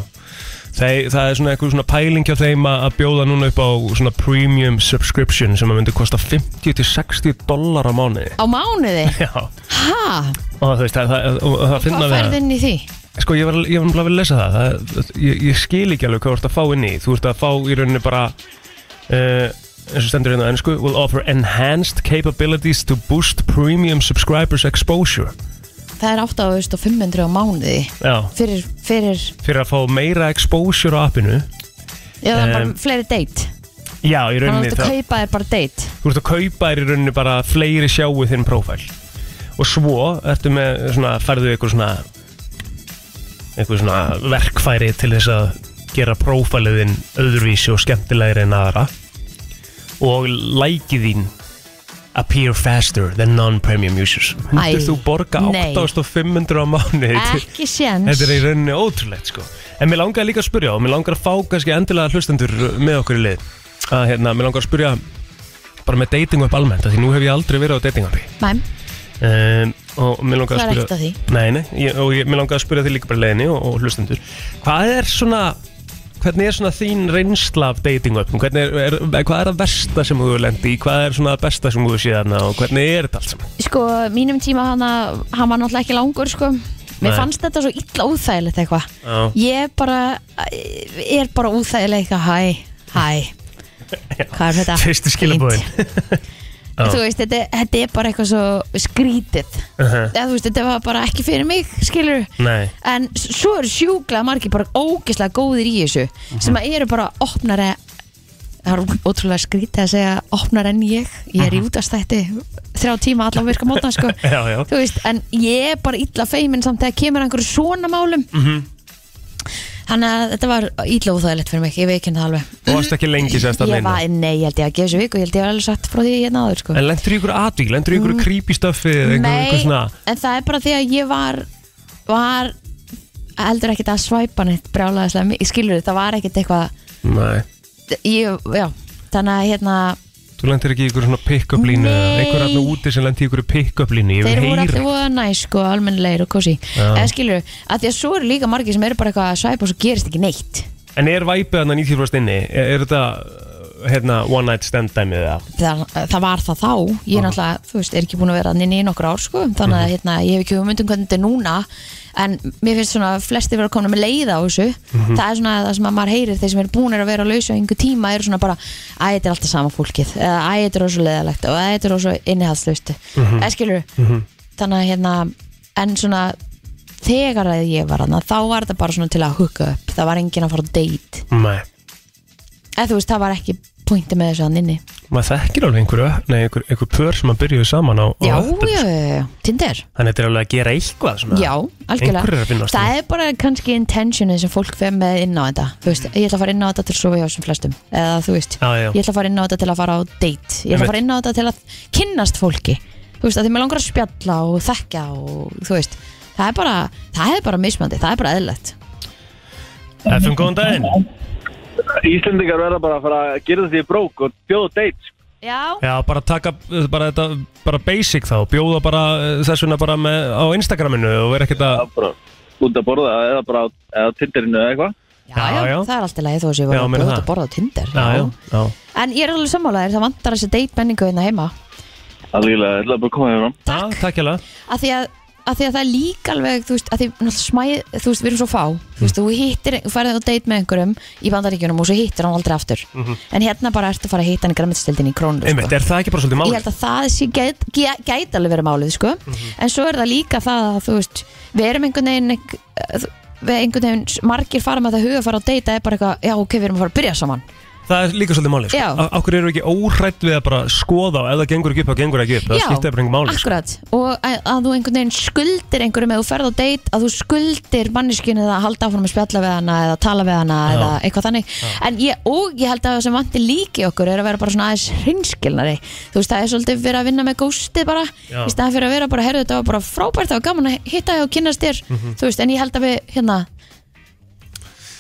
[SPEAKER 2] Þeir, það er svona eitthvað svona pæling hjá þeim að að bjóða núna upp á svona premium subscription sem að myndi kosta 50-60 dólar á mánuði
[SPEAKER 3] á mánuði,
[SPEAKER 2] Já,
[SPEAKER 3] ha,
[SPEAKER 2] og þú veist, það, það, og það finna
[SPEAKER 3] hvað
[SPEAKER 2] við
[SPEAKER 3] færð
[SPEAKER 2] það
[SPEAKER 3] inn í því
[SPEAKER 2] Sko, ég var, ég var bara að lesa það, það ég, ég skil ekki alveg hvað þú ert að fá inn í Þú ert að fá í rauninni bara uh, eins og stendur hérna á ennsku will offer enhanced capabilities to boost premium subscribers exposure
[SPEAKER 3] það er 8500 á mánuði
[SPEAKER 2] Já,
[SPEAKER 3] fyrir, fyrir,
[SPEAKER 2] fyrir að fá meira exposure á appinu
[SPEAKER 3] já, um, bara
[SPEAKER 2] Em,
[SPEAKER 3] fleiri date
[SPEAKER 2] Já, í
[SPEAKER 3] þannig
[SPEAKER 2] rauninni
[SPEAKER 3] að þú kaupa þér bara date
[SPEAKER 2] þú ert að kaupa þér í rauninu bara fleiri sjáu þinn prófæl og svo ertu með svona, færðu ykkur svona ykkur svona verkfæri til þess að gera prófælið þinn öðruvísi og skemmtilegri en aðra og lækið þín appear faster than non-premium users
[SPEAKER 3] Æ,
[SPEAKER 2] myndir þú borga
[SPEAKER 3] nei.
[SPEAKER 2] 8500 á mánu
[SPEAKER 3] ekki séns
[SPEAKER 2] þetta er í rauninni ótrúlegt sko en mér langar líka að spyrja og mér langar að fá kannski endilega hlustendur með okkur í lið að hérna, mér langar að spyrja bara með dating upp almennt, af því nú hef ég aldrei verið á dating uppi
[SPEAKER 3] Mæm,
[SPEAKER 2] um, og mér langar
[SPEAKER 3] það er
[SPEAKER 2] að spyrja
[SPEAKER 3] ekkert að því
[SPEAKER 2] Nei, nei, ég, og ég, mér langar að spyrja þig líka bara í leiðinni og, og hlustendur hvað er svona hvernig er svona þín reynsla af dating uppum hvernig er, er, hvað er að versta sem þú hefur lendi í hvað er svona að besta sem þú hefur séð hana og hvernig er þetta allt saman
[SPEAKER 3] sko, mínum tíma hana, hann var náttúrulega ekki langur sko. mér
[SPEAKER 2] Nei.
[SPEAKER 3] fannst þetta svo illa óþægilegt eitthvað
[SPEAKER 2] Já.
[SPEAKER 3] ég bara er bara óþægileg eitthvað hæ, hæ hvað er þetta?
[SPEAKER 2] fyrstu skilabóðin
[SPEAKER 3] Fínt. þú veist, þetta, þetta er bara eitthvað svo skrítið Eða, þú veist, þetta var bara ekki fyrir mig skilur
[SPEAKER 2] Uh-huh. nei,
[SPEAKER 3] en s- svo eru sjúklega margir bara ógeðslega góðir í þessu
[SPEAKER 2] Mhm.
[SPEAKER 3] sem að eru bara opnari það er ó- ótrúlega skrítið að segja opnar en ég, ég er í útastætti þrjá tíma allan virka mótna sko.
[SPEAKER 2] já, já,
[SPEAKER 3] þú veist, en ég er bara illa feimin samt þegar kemur að einhverju svona málum
[SPEAKER 2] Mhm.
[SPEAKER 3] þannig að þetta var illa óþægilegt fyrir mig, ég veikinn það alveg
[SPEAKER 2] þú varst ekki lengi sérst að
[SPEAKER 3] ég
[SPEAKER 2] leina
[SPEAKER 3] var, nei, ég held ég að gefa þessu viku, ég held ég var alveg satt frá því hérna áður sko.
[SPEAKER 2] En lendur í ykkur atvík, lendur í ykkur creepy stöffi eða einhver,
[SPEAKER 3] Mm. Nei,
[SPEAKER 2] einhver svona
[SPEAKER 3] en það er bara því að ég var var heldur ekkert að svæpa neitt brjálæðislega mikið, skilur það var ekkert eitthvað
[SPEAKER 2] Nei,
[SPEAKER 3] ég, já, þannig að hérna
[SPEAKER 2] þú lendur ekki í ykkur svona pick-up línu eða
[SPEAKER 3] Nei.
[SPEAKER 2] einhver aðna úti sem lendur í ykkur pick-up línu Ég
[SPEAKER 3] þeir
[SPEAKER 2] vil
[SPEAKER 3] voru alltaf
[SPEAKER 2] heyra
[SPEAKER 3] voða næ sko, almennilegir og kosi
[SPEAKER 2] Já.
[SPEAKER 3] en skilur, að því að svo eru líka margir sem eru bara eitthvað að svæpa og svo gerist ekki neitt
[SPEAKER 2] En er væpið hann að 90% inni? Er, er þetta hérna one night stand dæmið eða?
[SPEAKER 3] það, eh, það var það þá, ég er náttúrulega þú veist, er ekki búin að vera þannig í nokkur ár sko þannig að hérna, ég hef ekki hugmynd um hvernig þetta er núna en mér finnst svona flesti vera komin með leiða á þessu, það er svona það sem að maður heyrir, þeir sem eru búin að vera á lausu einhver tíma eru svona bara, æ, þetta er alltaf sama fólkið eða æ, þetta er ósvo leiðalegt og æ, þetta er ósvo innihaldslaustu, mm -hmm. skilur þannig að hérna, en svona þegar að ég var hana þá var þetta bara svona til að hugga upp það var engin að fara á date,
[SPEAKER 2] Nei,
[SPEAKER 3] eða þú veist, það var ekki pointi með þessu hann inni
[SPEAKER 2] maður þekkir alveg einhverju, nei, einhver, einhver pör sem að byrjuðu saman á, á
[SPEAKER 3] Já,
[SPEAKER 2] öppum,
[SPEAKER 3] já,
[SPEAKER 2] sko.
[SPEAKER 3] já, já, Tinder
[SPEAKER 2] Þannig þetta er alveg að gera eitthvað svona
[SPEAKER 3] Já,
[SPEAKER 2] Hérna, Einhverjir er að
[SPEAKER 3] algjörlega
[SPEAKER 2] finnast hérna.
[SPEAKER 3] Það er bara kannski intentionið sem fólk fer með inn á þetta Þú veist, ég ætla að fara inn á þetta til að sofa hjá sem flestum Eða þú veist,
[SPEAKER 2] Já, já.
[SPEAKER 3] ég ætla að fara inn á þetta til að fara á date Ég ætla
[SPEAKER 2] Einmitt.
[SPEAKER 3] að fara inn á þetta til að kynnast fólki Þú veist, að því mér langar að spjalla og þekka og þú veist Það er bara, það er bara mismandi, það er bara eðlilegt
[SPEAKER 2] FM, góðan daginn
[SPEAKER 1] Íslendingar verða bara að fara að gera því brók og bjóða date sko,
[SPEAKER 3] Já,
[SPEAKER 2] Já, bara taka, bara þetta, bara basic þá Bjóða bara eh, þess vegna bara með, á Instagraminu og vera ekkert að
[SPEAKER 1] bara út að borða eða bara á- eða á Tinderinu eða eitthvað
[SPEAKER 3] Já, já,
[SPEAKER 2] já.
[SPEAKER 3] það er alltaf leið þó að ég
[SPEAKER 2] Já,
[SPEAKER 3] var að
[SPEAKER 2] meina
[SPEAKER 3] bjóða út
[SPEAKER 2] það.
[SPEAKER 3] að borða á Tinder
[SPEAKER 2] já, já, já.
[SPEAKER 3] En ég er alveg sammálaðir, það vantar þessi date menningu hérna heima
[SPEAKER 1] Algjörlega, ég ætla bara að koma þér fram
[SPEAKER 2] Takk. Já, takk hérlega.
[SPEAKER 3] að því að að því að það er líka alveg, þú veist, að því náttúrulega smæð, þú veist, við erum svo fá þú veist, þú hittir, þú færði á date með einhverjum í bandaríkjunum og svo hittir hann aldrei aftur en hérna bara ertu að fara að hitta hann í græmitstildin í krónu
[SPEAKER 2] Mhm. Einmitt, er það ekki bara svolítið
[SPEAKER 3] ég
[SPEAKER 2] málið?
[SPEAKER 3] held að það sé gæt, gæ- gæti alveg verið málið sko.
[SPEAKER 2] Mhm.
[SPEAKER 3] en svo er það líka það að þú veist við erum einhvern veginn ekk- eh, þú- við einhvern veginn margir fara með það huga að fara á date það er bara eitthvað, já ok, við erum að fara að byrja saman
[SPEAKER 2] Það er líka svolítið málið,
[SPEAKER 3] Já.
[SPEAKER 2] sko. Okkur eru ekki órætt við að bara skoða og ef það gengur ekki upp, þá gengur ekki upp. Það
[SPEAKER 3] Já,
[SPEAKER 2] skiptir bara einhver máli, sko.
[SPEAKER 3] akkurat og að, að þú einhvern veginn skuldir einhverjum eða þú ferð á date að þú skuldir manneskinu eða halda áfram að spjalla við hana eða tala við hana eða eitthvað þannig en ég, og ég held að það sem vanti líki okkur er að vera bara svona aðeins hreinskilnari þú veist það er svolítið verið að vinna með gósti bara
[SPEAKER 2] Já.
[SPEAKER 3] í staðan fyrir að vera bara herðu þetta var bara frábært það var gaman að hitta þig og kynast þér
[SPEAKER 2] Mhm.
[SPEAKER 3] þú veist en ég held að við hérna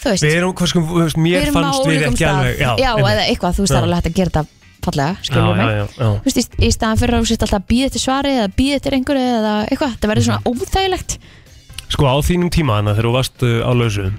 [SPEAKER 3] þú veist
[SPEAKER 2] Við erum, hvað sko, þú veist,
[SPEAKER 3] við
[SPEAKER 2] mér
[SPEAKER 3] erum á
[SPEAKER 2] fannst við
[SPEAKER 3] ólíkum
[SPEAKER 2] ekki
[SPEAKER 3] stað
[SPEAKER 2] alveg.
[SPEAKER 3] já
[SPEAKER 2] einmitt.
[SPEAKER 3] eða eitthvað þú veist það er
[SPEAKER 2] Já.
[SPEAKER 3] alveg hægt að gera þetta fallega skilur
[SPEAKER 2] já,
[SPEAKER 3] mig
[SPEAKER 2] já, já, já.
[SPEAKER 3] Þú veist, í, í staðan fyrir að þú setja alltaf að býða eftir svari eða býða eftir einhverju eða eitthvað, það verður svona óþægilegt
[SPEAKER 2] Sko á þínum tíma hana þegar þú varst uh, á lausu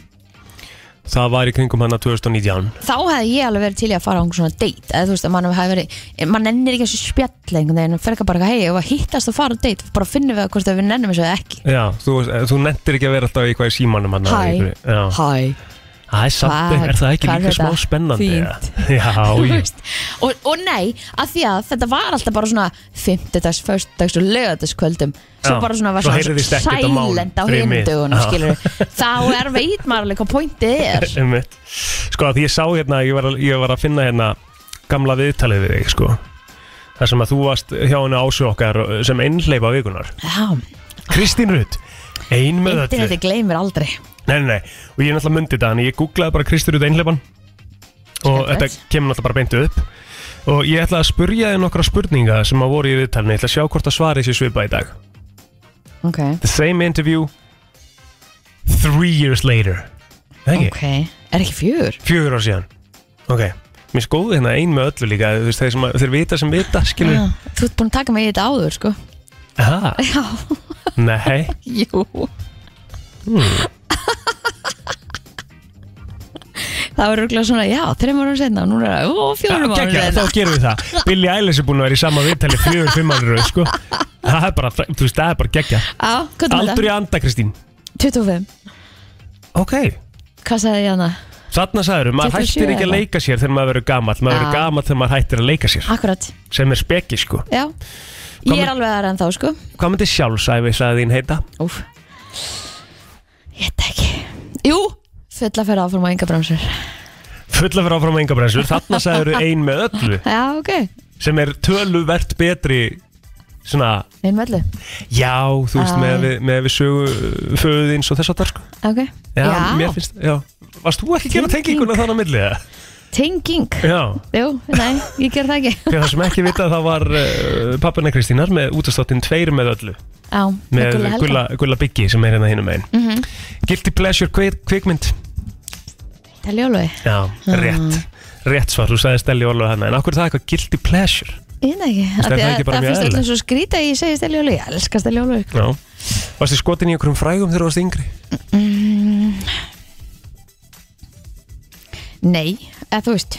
[SPEAKER 2] Það var í kringum hana 2019
[SPEAKER 3] þá hefði ég alveg verið til í að fara á einhver svona date eða þú veist að mann hefði verið, mann ennir ekki þessu spjall einhvern veginn, fer ekki bara eitthvað hei, ef að hittast og fara á date, bara finnum við að hvort að við nennum þessu eða ekki
[SPEAKER 2] Já, þú, veist, eh, þú nettir ekki að vera alltaf í eitthvað í símanum hana
[SPEAKER 3] Hæ.
[SPEAKER 2] Það
[SPEAKER 3] Hæ,
[SPEAKER 2] er samt,
[SPEAKER 3] Hvað-
[SPEAKER 2] er það ekki
[SPEAKER 3] hvað er
[SPEAKER 2] líka smá
[SPEAKER 3] þetta?
[SPEAKER 2] spennandi?
[SPEAKER 3] Fínt.
[SPEAKER 2] Já,
[SPEAKER 3] þú
[SPEAKER 2] já,
[SPEAKER 3] veist og, og nei, að því að þetta var alltaf bara svona fimmtudags, föstudags og lögadagskvöldum svo
[SPEAKER 2] Já,
[SPEAKER 3] bara svona var
[SPEAKER 2] svo
[SPEAKER 3] svona
[SPEAKER 2] heyrðist ekkert á málum
[SPEAKER 3] silent á
[SPEAKER 2] fyrir
[SPEAKER 3] hinum
[SPEAKER 2] mig.
[SPEAKER 3] dögunum,
[SPEAKER 2] Já.
[SPEAKER 3] skilurðu. þá er veit maður alveg hvað pointið er
[SPEAKER 2] einmitt Sko að því ég sá hérna, ég var, að- ég var að finna hérna gamla viðtalið við þig sko Það sem að þú varst hjá henni ásjó okkar eh, sem einhleipa vikunar
[SPEAKER 3] Já,
[SPEAKER 2] Kristín Rutt, ein með öllu
[SPEAKER 3] interneti gleymir aldrei
[SPEAKER 2] Nei, nei, nei, og ég er náttúrulega myndið þetta Þannig ég googlaði bara Kristur út einhleipan Og
[SPEAKER 3] Skemmtilegt.
[SPEAKER 2] þetta kemur náttúrulega bara beintu upp Og ég ætla að spurja þið nokkra spurninga Sem að voru í viðtalinu, ég ætla að sjá hvort að svari sér svipa í dag
[SPEAKER 3] Ok,
[SPEAKER 2] The same interview Three years later Ekki, okay.
[SPEAKER 3] er ekki fjör?
[SPEAKER 2] fjögur ár síðan Ok, mér er góð hérna ein með öllu líka þú veist, Þeir, sem, að- þeir vita sem vita, skilur
[SPEAKER 3] Já, Ah, Þú ert búin að taka mig í þetta áður sko
[SPEAKER 2] Aha,
[SPEAKER 3] Já,
[SPEAKER 2] nei
[SPEAKER 3] jú
[SPEAKER 2] Hmm.
[SPEAKER 3] Það var rúglega svona, já, þreim árum senna og núna er það, ó, fjórum árum
[SPEAKER 2] Kekja, þá
[SPEAKER 3] senna
[SPEAKER 2] gerum við það Billy Eilish er búin að vera í sama viðtali fjögur, fimm árið sko. Það er bara, þú veist, það er bara gekkja
[SPEAKER 3] Já, hvað er
[SPEAKER 2] Aldur í anda, Kristín
[SPEAKER 3] 25,
[SPEAKER 2] Ok,
[SPEAKER 3] hvað sagði ég hérna? hana?
[SPEAKER 2] þarna sagður, maður
[SPEAKER 3] 27
[SPEAKER 2] hættir ekki að
[SPEAKER 3] eða?
[SPEAKER 2] leika sér þegar maður verður gamall Maður verður
[SPEAKER 3] Já.
[SPEAKER 2] gamall þegar maður hættir að leika sér
[SPEAKER 3] Akkurat,
[SPEAKER 2] Sem er speki, sko
[SPEAKER 3] já Ég
[SPEAKER 2] með-
[SPEAKER 3] er alveg aðra en þá, sko
[SPEAKER 2] Hvað myndi sjálfsæfi, sagði þín heita?
[SPEAKER 3] Úf Ég veit það ekki Jú, fulla fyrir áfram á enga bremsur
[SPEAKER 2] Fulla fyrir áfram engabrensur Þarna sagður ein með öllu
[SPEAKER 3] Já, ok,
[SPEAKER 2] Sem er töluvert betri Svona,
[SPEAKER 3] einn mellu
[SPEAKER 2] já, þú veist,
[SPEAKER 3] Æ.
[SPEAKER 2] með, við, með við sögu Föðins og þess að það, sko
[SPEAKER 3] Ok,
[SPEAKER 2] Já, mér finnst, já Varst þú ekki að gera
[SPEAKER 3] Tenging.
[SPEAKER 2] tenginguna þannig að milli það?
[SPEAKER 3] Tenging
[SPEAKER 2] Já,
[SPEAKER 3] Jú, nei, ég ger það ekki
[SPEAKER 2] fyrir það sem ekki vita það var uh, pappina Kristínar með útastáttinn tveir með öllu
[SPEAKER 3] Já,
[SPEAKER 2] með
[SPEAKER 3] Helga.
[SPEAKER 2] Gulla, Gulla Biggi sem er hérna hinum einn mm Guilty Pleasure kvik, kvikmynd
[SPEAKER 3] Telja alveg,
[SPEAKER 2] Já, rétt Rétt svar, þú sagði Stelli Orlu hana En af hverju er það eitthvað Guilty Pleasure?
[SPEAKER 3] ég veit það ekki
[SPEAKER 2] er
[SPEAKER 3] Af því
[SPEAKER 2] það
[SPEAKER 3] að
[SPEAKER 2] ekki bara
[SPEAKER 3] Það
[SPEAKER 2] mjög
[SPEAKER 3] finnst
[SPEAKER 2] eðlilegt?
[SPEAKER 3] öllum svo skrýta að ég segi Telja alveg Ég elska Telja alveg
[SPEAKER 2] Já Varstu skotin í einhverjum frægum þegar þú varst yngri?
[SPEAKER 3] Nei, eða þú veist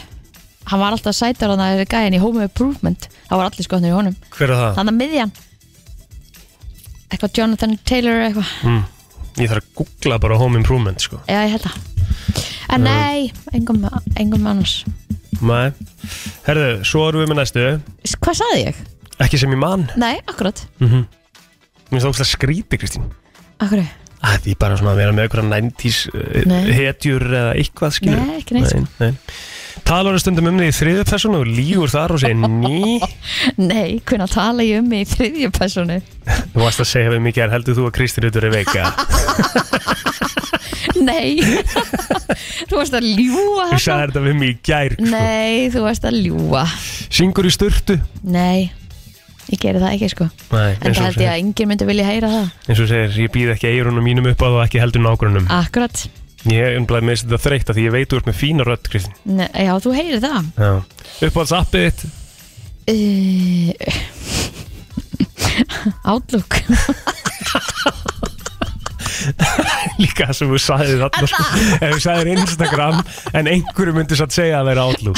[SPEAKER 3] Hann var alltaf sætur hann að gæðin í Home Improvement Það var allir skotnir í honum
[SPEAKER 2] Hver er það?
[SPEAKER 3] Þannig að miðjan Eitthvað Jonathan Taylor eitthvað
[SPEAKER 2] Ég þarf að googla bara Home Improvement sko
[SPEAKER 3] Já, ég held það En nei, engum, engum annars
[SPEAKER 2] Nei Herðu, svo erum við með næstu
[SPEAKER 3] S- Hvað saði ég?
[SPEAKER 2] Ekki sem ég man
[SPEAKER 3] Nei, akkurat
[SPEAKER 2] Mhm. Mér finnst það óslega skríti Kristín
[SPEAKER 3] Akkurat
[SPEAKER 2] Að því bara svona að vera með einhverja 90s uh,
[SPEAKER 3] Nei.
[SPEAKER 2] hetjur eða eitthvað skilur
[SPEAKER 3] Nei, ekki neitt, sko.
[SPEAKER 2] nei, nei. Talar stundum um því þriðu personu og lígur þar og segir ný
[SPEAKER 3] Nei, hvernig tala ég um mig í þriðju personu?
[SPEAKER 2] Þú varst að segja við mikið er heldur þú að Kristín Rutur er veika
[SPEAKER 3] Nei Þú varst að ljúa
[SPEAKER 2] Þú sagði þetta við mig í gær sko.
[SPEAKER 3] Nei, þú varst að ljúa
[SPEAKER 2] Syngur í sturtu
[SPEAKER 3] Nei, ég geri það ekki sko
[SPEAKER 2] Nei,
[SPEAKER 3] En það
[SPEAKER 2] eins
[SPEAKER 3] held
[SPEAKER 2] og
[SPEAKER 3] ég
[SPEAKER 2] segir,
[SPEAKER 3] að enginn myndi vilja heyra það
[SPEAKER 2] eins og segir, ég býð ekki eirunum mínum upp á það og ekki heldur
[SPEAKER 3] Ah.
[SPEAKER 2] nágrunum
[SPEAKER 3] Akkurat
[SPEAKER 2] Ég umblæði með þetta þreytt að því ég veit þú ert með fína rödd Kristín
[SPEAKER 3] Nei, Já, þú heyrir það
[SPEAKER 2] Já. Uppáhalds appið þitt
[SPEAKER 3] uh, Outlook
[SPEAKER 2] líka það sem þú sagði þarna sko. ef þú sagðir Instagram en einhverju myndi satt segja að það er átlúk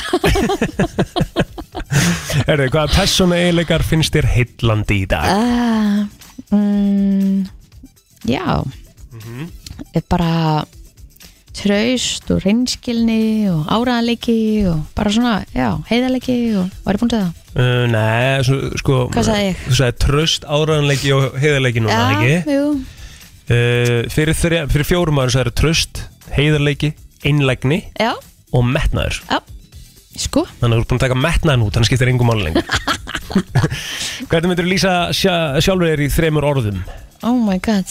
[SPEAKER 2] Herðu, hvaða persóna eiginleikar finnst þér heillandi í dag?
[SPEAKER 3] uh, mm, Já Mhm. Ég bara traust og reynskilni og áraðanleiki og bara svona, já, heiðarleiki og var ég búin til það?
[SPEAKER 2] Uh, nei, svo, sko
[SPEAKER 3] Hvað sagði ég?
[SPEAKER 2] Þú sagði tröst, áraðanleiki og heiðarleiki núna,
[SPEAKER 3] já,
[SPEAKER 2] ekki?
[SPEAKER 3] jú,
[SPEAKER 2] Uh, fyrir, þrjá, fyrir fjórum ára sagði tröst, heiðarleiki, einlægni
[SPEAKER 3] já,
[SPEAKER 2] og metnaður
[SPEAKER 3] já Sko,
[SPEAKER 2] Þannig að þú ert búin að taka metnaðan út, þannig skiptir engum máli lengur Hvernig myndir þú lýsa sjá, sjálfur þér í þremur orðum?
[SPEAKER 3] oh my god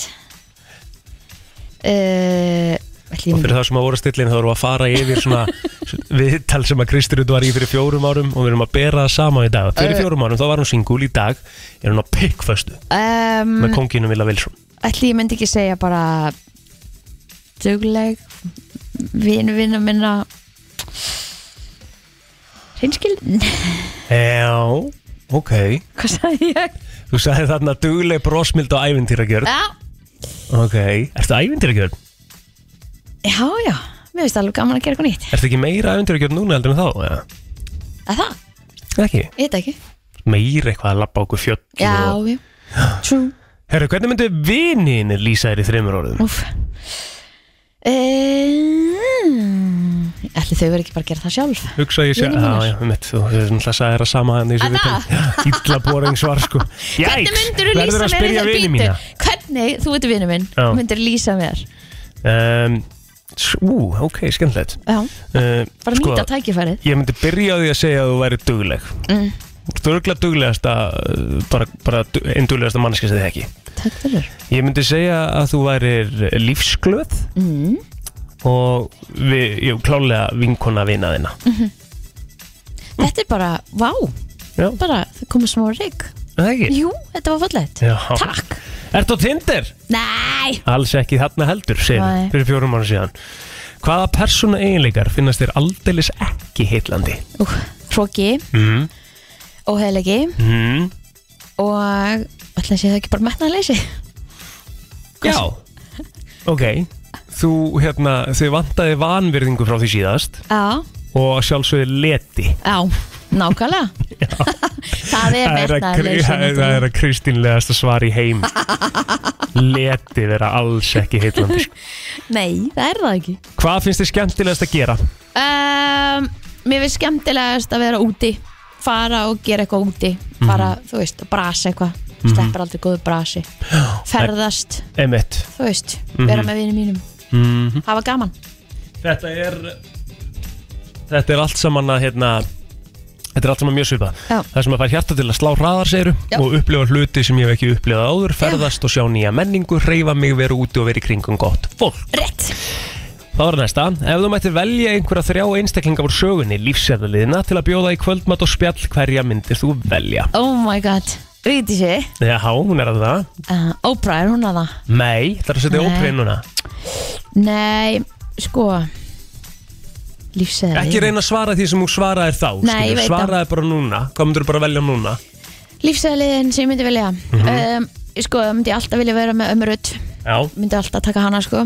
[SPEAKER 3] uh, ætli ég
[SPEAKER 2] Og
[SPEAKER 3] myndi-
[SPEAKER 2] fyrir það sem að voru stillin þá erum við að fara yfir svona viðtal sem að Kristurud var í fyrir fjórum árum og við erum að bera það sama í dag Fyrir fjórum árum þá var hún singul í dag er hún á pikkföstu
[SPEAKER 3] um,
[SPEAKER 2] með konginum Vila Vilsson
[SPEAKER 3] ætli ég myndi ekki segja bara dugleg vinu vinu minna reynskilni
[SPEAKER 2] Já, ok
[SPEAKER 3] hvað sagði ég?
[SPEAKER 2] Þú sagði þarna dugleg brosmild og ævintýragjörn
[SPEAKER 3] Já,
[SPEAKER 2] Ok, ertu ævintýragjörn?
[SPEAKER 3] já, já mér finnst alveg gaman að gera eitthvað nýtt
[SPEAKER 2] Ertu ekki meira ævintýragjörn núna heldur en þá? Ja.
[SPEAKER 3] að það,
[SPEAKER 2] Ekki,
[SPEAKER 3] ég veit það ekki
[SPEAKER 2] meira eitthvað að labba okkur fjöll
[SPEAKER 3] já,
[SPEAKER 2] og...
[SPEAKER 3] já, true
[SPEAKER 2] Herru, hvernig myndu vinin lýsa þér í þremur orðum?
[SPEAKER 3] Úf. Um, Eh, ætli þau verið ekki bara að gera það sjálf
[SPEAKER 2] Hugsa ég sér,
[SPEAKER 3] Vinir mínir.
[SPEAKER 2] já, já, mitt, þú hefur náttúrulega sagði þér að sama hann í þessu
[SPEAKER 3] Að
[SPEAKER 2] viðtali Ítla boring svar, sko
[SPEAKER 3] Hvernig myndirðu
[SPEAKER 2] verður að
[SPEAKER 3] lýsa mér í
[SPEAKER 2] spyrja
[SPEAKER 3] þessari
[SPEAKER 2] vini mína
[SPEAKER 3] bítu? Hvernig, þú veitur vini minn,
[SPEAKER 2] Já.
[SPEAKER 3] myndir lýsa mér
[SPEAKER 2] um, s- Ú, ok, skemmtilegt
[SPEAKER 3] Já,
[SPEAKER 2] uh,
[SPEAKER 3] bara sko, nýta tækifærið
[SPEAKER 2] Ég myndi byrja á því að segja að þú væri dugleg
[SPEAKER 3] Mm.
[SPEAKER 2] Duglega duglegasta, uh, bara, bara du- einn duglegasta mannskja sem þið ekki
[SPEAKER 3] Takk fyrir
[SPEAKER 2] Ég myndi segja að þú værir lífsglöð
[SPEAKER 3] mm.
[SPEAKER 2] og við, ég klálega vinkona vina þina
[SPEAKER 3] Þetta er bara, vá,
[SPEAKER 2] Já,
[SPEAKER 3] bara það komið smá rigg
[SPEAKER 2] er það ekki?
[SPEAKER 3] Jú, þetta var fallegt
[SPEAKER 2] Já.
[SPEAKER 3] Takk
[SPEAKER 2] Ertu á Tinder?
[SPEAKER 3] Nei,
[SPEAKER 2] Alls ekki þarna heldur, segir
[SPEAKER 3] Nei.
[SPEAKER 2] við fyrir fjórum ára síðan. Hvaða persóna eiginleikar finnast þér aldeilis ekki heitlandi?
[SPEAKER 3] Ú, hróki,
[SPEAKER 2] Mm.
[SPEAKER 3] óheilegi
[SPEAKER 2] Mm.
[SPEAKER 3] og ætla að sé það ekki bara metnaðleysi
[SPEAKER 2] Já. Ok, þú hérna, þau vantaði vanvirðingu frá því síðast
[SPEAKER 3] Já,
[SPEAKER 2] og sjálfsögði leti.
[SPEAKER 3] já, nákvæmlega Það er
[SPEAKER 2] að kri-
[SPEAKER 3] metnaðleysi
[SPEAKER 2] það er- það er að kristínlegasta svar í heim. leti vera alls ekki heitlandi. sko.
[SPEAKER 3] Nei, það er það ekki
[SPEAKER 2] Hvað finnst þér skemmtilegast að gera?
[SPEAKER 3] um, Mér finnst skemmtilegast að vera úti fara og gera eitthvað úti fara, þú veist, að brasa eitthvað sleppar aldrei góðu brasi ferðast,
[SPEAKER 2] Emmett.
[SPEAKER 3] þú veist, vera með vinum mínum
[SPEAKER 2] Mm
[SPEAKER 3] hafa gaman
[SPEAKER 2] þetta er þetta er allt saman að hérna Þetta er allt saman mjög svipað.
[SPEAKER 3] Já.
[SPEAKER 2] Það sem að fær hjarta til að slá hraðar, segiru,
[SPEAKER 3] Já.
[SPEAKER 2] og upplifa hluti sem ég hef ekki upplifað áður, ferðast og sjá nýja menningu, reyfa mig, vera úti og vera í kringum gott fólk.
[SPEAKER 3] Rétt,
[SPEAKER 2] Það var næsta. Ef þú mættir velja einhverja þrjá einstaklinga úr sögunni, lífsefðaliðina, til að bjóða í kvöldmat og spjall, hverja myndir þú velja?
[SPEAKER 3] oh my god Viti sé,
[SPEAKER 2] Já, hún er að það.
[SPEAKER 3] uh, Oprah er hún að það
[SPEAKER 2] Nei, það er að setja
[SPEAKER 3] Nei.
[SPEAKER 2] óprinn núna.
[SPEAKER 3] Nei, sko lífseðli
[SPEAKER 2] Ekki reyna að svara því sem hún svaraði þá.
[SPEAKER 3] Nei, ég
[SPEAKER 2] skilur.
[SPEAKER 3] veit það.
[SPEAKER 2] Svaraði bara núna. Hvað myndir bara velja núna?
[SPEAKER 3] lífseðliðin sem ég myndi velja um, sko, það myndi ég alltaf vilja vera með ömurut
[SPEAKER 2] Já.
[SPEAKER 3] myndi alltaf taka hana sko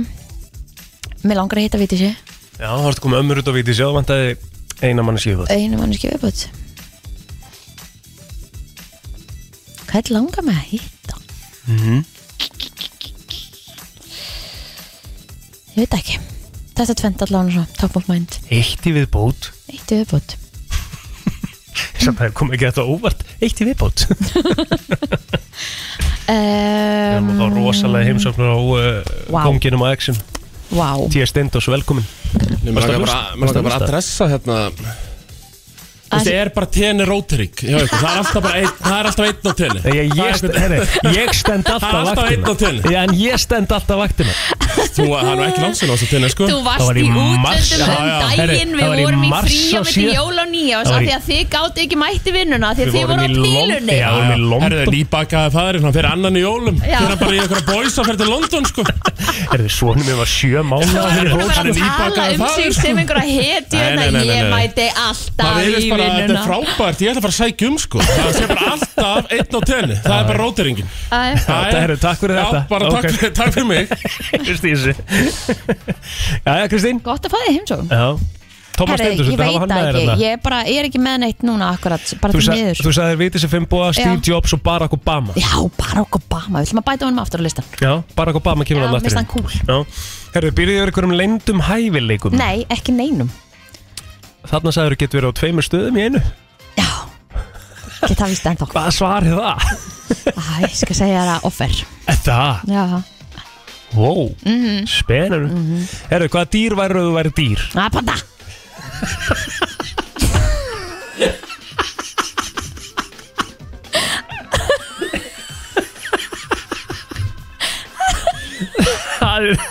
[SPEAKER 3] mér langar að hitta Viti sé
[SPEAKER 2] Já, það varst að koma ömmur út á víti sjá, það vantaði eina mann síðan.
[SPEAKER 3] einu mannski viðbútt Hvað langar mig að hitta?
[SPEAKER 2] Mhm.
[SPEAKER 3] Ég veit ekki Þetta tvend allavega svona top of mind
[SPEAKER 2] Eitt í viðbót.
[SPEAKER 3] Eitt viðbútt
[SPEAKER 2] Samt að það kom ekki þetta óvart. Eitt í viðbót. Við erum
[SPEAKER 3] um,
[SPEAKER 2] að fá rosalega heimsóknur á uh,
[SPEAKER 3] Vá.
[SPEAKER 2] konginum og exum.
[SPEAKER 3] Vá
[SPEAKER 2] T.S. Stendos, velkomin.
[SPEAKER 5] Mér
[SPEAKER 2] Varstu að
[SPEAKER 5] langar
[SPEAKER 2] hlusta?
[SPEAKER 5] bara, mér
[SPEAKER 2] Varstu að
[SPEAKER 5] langar bara
[SPEAKER 2] hlusta?
[SPEAKER 5] að adressa hérna
[SPEAKER 3] Aðeins-
[SPEAKER 5] Þetta er bara tenni rótirík hjá ykkur. Það er alltaf bara einn, það er alltaf einn á tenni
[SPEAKER 2] Ég, ég,
[SPEAKER 5] Það er
[SPEAKER 2] st- herri, ég stend alltaf
[SPEAKER 5] Það er alltaf
[SPEAKER 2] vaktina.
[SPEAKER 5] einn á tenni.
[SPEAKER 2] Já, en ég stend alltaf vaktina.
[SPEAKER 5] Þú, það er nú ekki lansinn á þessu tenni, sko
[SPEAKER 3] Þú varst
[SPEAKER 2] var
[SPEAKER 3] í
[SPEAKER 2] í mars.
[SPEAKER 3] útlöndum
[SPEAKER 5] Já, já.
[SPEAKER 3] um
[SPEAKER 2] Herri,
[SPEAKER 3] daginn,
[SPEAKER 2] það
[SPEAKER 3] við
[SPEAKER 2] var í
[SPEAKER 3] vorum í
[SPEAKER 2] mars
[SPEAKER 3] frí
[SPEAKER 2] á
[SPEAKER 3] og milli
[SPEAKER 2] sjö-
[SPEAKER 3] jól og nýjás
[SPEAKER 2] Það
[SPEAKER 3] af
[SPEAKER 2] var í-
[SPEAKER 3] því að þið gáti ekki mætti vinnuna af því að
[SPEAKER 2] Við
[SPEAKER 3] þið voru á
[SPEAKER 2] vorum í London.
[SPEAKER 3] pílunni
[SPEAKER 2] Já, við vorum í London.
[SPEAKER 5] Herðu, nýbakaði fæðurinn, hann fyrir annan í jólum
[SPEAKER 3] Já.
[SPEAKER 5] Fyrir bara í einhverja boys og fyrir til London, sko
[SPEAKER 2] Er þið svonum við var sjö mánuða
[SPEAKER 3] Hann er að
[SPEAKER 2] fyrir fólk?
[SPEAKER 3] vera
[SPEAKER 5] hann er
[SPEAKER 3] að tala
[SPEAKER 5] nýbakaður
[SPEAKER 3] um
[SPEAKER 5] faðir,
[SPEAKER 3] sig
[SPEAKER 5] sko.
[SPEAKER 3] sem einhverja hetju
[SPEAKER 5] Nei, nei,
[SPEAKER 3] en
[SPEAKER 5] nei, nei,
[SPEAKER 3] ég
[SPEAKER 5] nei.
[SPEAKER 3] mæti
[SPEAKER 5] Það
[SPEAKER 3] alltaf
[SPEAKER 5] verðist
[SPEAKER 3] í
[SPEAKER 5] bara að þetta er
[SPEAKER 3] vinnuna
[SPEAKER 5] frábært, ég ætla að fara að sækja um, sko Það sé bara alltaf einn á tenni, það er bara rótiringin
[SPEAKER 3] Æ.
[SPEAKER 2] Þetta eru, takk fyrir
[SPEAKER 5] Já,
[SPEAKER 2] þetta.
[SPEAKER 5] bara takk,
[SPEAKER 2] Ok.
[SPEAKER 5] fyrir, takk fyrir mig
[SPEAKER 2] Kristísi Jæja, Kristín
[SPEAKER 3] Gott að fá þig heimsókn
[SPEAKER 2] Já Tómas
[SPEAKER 3] Herri,
[SPEAKER 2] Stendur,
[SPEAKER 3] ég
[SPEAKER 2] þetta
[SPEAKER 3] veit
[SPEAKER 2] hann
[SPEAKER 3] það
[SPEAKER 2] er
[SPEAKER 3] ekki,
[SPEAKER 2] þarna
[SPEAKER 3] ég er, bara, ég er ekki með neitt núna akkurat, bara
[SPEAKER 2] Þú
[SPEAKER 3] því
[SPEAKER 2] sa-
[SPEAKER 3] miður
[SPEAKER 2] þú sagðir Vítið sem fimm búa, Steve
[SPEAKER 3] Já.
[SPEAKER 2] Jobs og Barack Obama
[SPEAKER 3] Já, Barack Obama, við ætlum að bæta honum aftur á listan
[SPEAKER 2] Já, Barack Obama kemur
[SPEAKER 3] Já,
[SPEAKER 2] hann
[SPEAKER 3] mér
[SPEAKER 2] aftur
[SPEAKER 3] finnst
[SPEAKER 2] inn.
[SPEAKER 3] hann kúl.
[SPEAKER 2] Já, herru, byrjuðu yfir einhverjum leyndum hæfileikum
[SPEAKER 3] Nei, ekki neinum
[SPEAKER 2] Þarna sagður getur verið á tveimur stöðum í einu
[SPEAKER 3] Já, get það víst ennþá
[SPEAKER 2] Hvað svar er það?
[SPEAKER 3] Æ, ég skal segja það offer
[SPEAKER 2] Er Það,
[SPEAKER 3] Já,
[SPEAKER 2] wow, mm
[SPEAKER 3] Mhm.
[SPEAKER 2] -hmm. spennan Herru, hvaða dýr værið þú væri dýr?
[SPEAKER 3] að panda
[SPEAKER 2] Það er,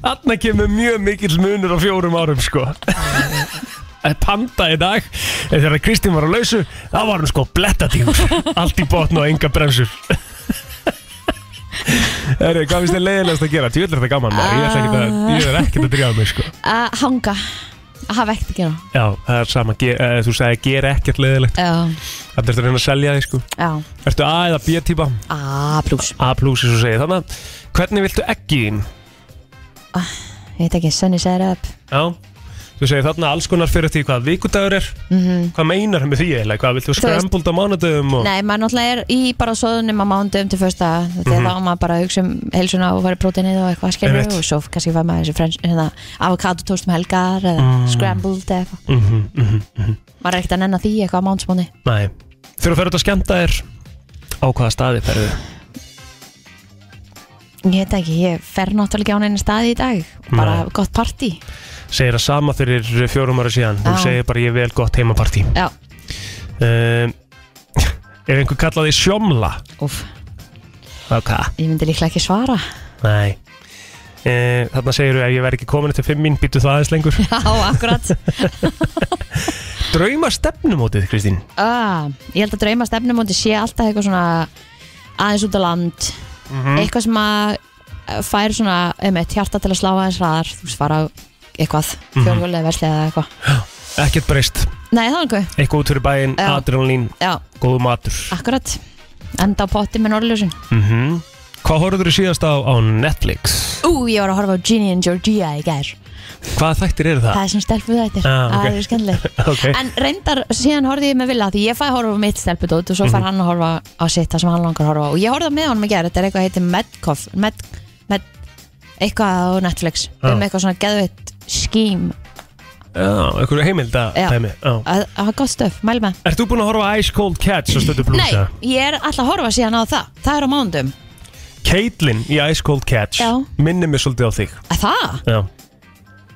[SPEAKER 2] Þarna kemur mjög mikill munur á fjórum árum sko En Panda í dag en Þegar Kristín var á lausu Það var hann sko blettadýr Allt í botn og enga bremsur Herri, hvað finnst þið leiðilegast að gera? Tjóðlega þetta gaman maður Ég ætla ekkert að, ég er ekkert að drífa mig sko
[SPEAKER 3] Að hanga, að hafa ekkert að gera
[SPEAKER 2] Já, það er sama, ge, uh, þú sagði gera ekkert leiðilegt
[SPEAKER 3] Já,
[SPEAKER 2] Það er að reyna að selja þig sko
[SPEAKER 3] já,
[SPEAKER 2] Ertu A eða B típa?
[SPEAKER 3] að pluss
[SPEAKER 2] A plus eins og segið Þannig að hvernig viltu ekki þín?
[SPEAKER 3] Ég veit ekki, sunny set up
[SPEAKER 2] Já, þú segir þarna alls konar fyrir því hvað vikudagur er Hvað meinar með því eiginlega? Hvað
[SPEAKER 3] Mhm.
[SPEAKER 2] viltu
[SPEAKER 3] veist-
[SPEAKER 2] skrambult á mánudögum og...
[SPEAKER 3] Nei, maður náttúrulega er í bara svoðunum á mándum til fyrsta Þetta er þá maður bara að hugsa um helsuna og fara í próteinið og eitthvað skilur
[SPEAKER 2] Mhm. Einmitt.
[SPEAKER 3] og svo kannski fær maður þessi frens, hérna, avokadotóst um helgar eða scrambled eða eitthvað
[SPEAKER 2] Mm -hmm, mm -hmm.
[SPEAKER 3] Maður er ekkert að nenna því eitthvað á mándsmóni
[SPEAKER 2] Nei, fyrir að ferðu út að skemmta þér á hvaða staði ferðu?
[SPEAKER 3] Ég veit ekki, ég fer náttúrulega ekki á neina staði í dag Bara
[SPEAKER 2] Nei.
[SPEAKER 3] gott partí
[SPEAKER 2] Segir það sama fyrir fjórum ára síðan Þú
[SPEAKER 3] Já.
[SPEAKER 2] segir bara ég er vel gott heimapartí
[SPEAKER 3] Já,
[SPEAKER 2] um, Ef einhver kallaði sjómla
[SPEAKER 3] úf,
[SPEAKER 2] Ok,
[SPEAKER 3] ég myndi líklega ekki svara
[SPEAKER 2] nei Uh, þarna segir ef ég verð ekki komin eftir fimm mín býtu það aðeins lengur
[SPEAKER 3] Já, akkurat
[SPEAKER 2] Drauma stefnumótið, Kristín
[SPEAKER 3] ah, Ég held að drauma stefnumóti sé alltaf eitthvað svona aðeins út á land eitthvað sem að eh, fær svona, einmitt, hjarta til að slá aðeins hraðar þú veist, fara á eitthvað fjórvöldið verslið eða eitthvað
[SPEAKER 2] Ekkert breyst,
[SPEAKER 3] Nei, það er einhver,
[SPEAKER 2] eitthvað út fyrir bæinn
[SPEAKER 3] Já.
[SPEAKER 2] adrenalín,
[SPEAKER 3] já,
[SPEAKER 2] góðu matur
[SPEAKER 3] akkurat enda á potti með norðljósin
[SPEAKER 2] Mm Hvað horfður þú síðast á, á Netflix?
[SPEAKER 3] Ú, ég var að horfa á Ginny and Georgia í gær
[SPEAKER 2] Hvaða þættir eru það?
[SPEAKER 3] það er sem stelpu þetta
[SPEAKER 2] Ah, ok.
[SPEAKER 3] það er skemmtileg
[SPEAKER 2] Ok.
[SPEAKER 3] en reyndar, síðan horfði ég með vilja því ég fæ að horfa á mitt stelpudót og svo
[SPEAKER 2] Mhm.
[SPEAKER 3] fær hann að horfa á sitt það sem hann langar að horfa á og ég horfði með honum í gær, þetta er eitthvað heitir Medcoff Med, Med, eitthvað á Netflix
[SPEAKER 2] Já.
[SPEAKER 3] um eitthvað svona geðveitt skím
[SPEAKER 2] Já, einhverju heimilda
[SPEAKER 3] Já.
[SPEAKER 2] dæmi Já.
[SPEAKER 3] að að hafa gott stöf, mælu með
[SPEAKER 2] Ert þú búin að horfa á Ice Cold Cats á stöðu
[SPEAKER 3] Nei,
[SPEAKER 2] blúsa?
[SPEAKER 3] ég er alltaf að horfa síðan á það Það er á mándum
[SPEAKER 2] Caitlyn í Ice Cold Cats
[SPEAKER 3] Já.
[SPEAKER 2] minnir mig svolítið á þig
[SPEAKER 3] Það?
[SPEAKER 2] Já.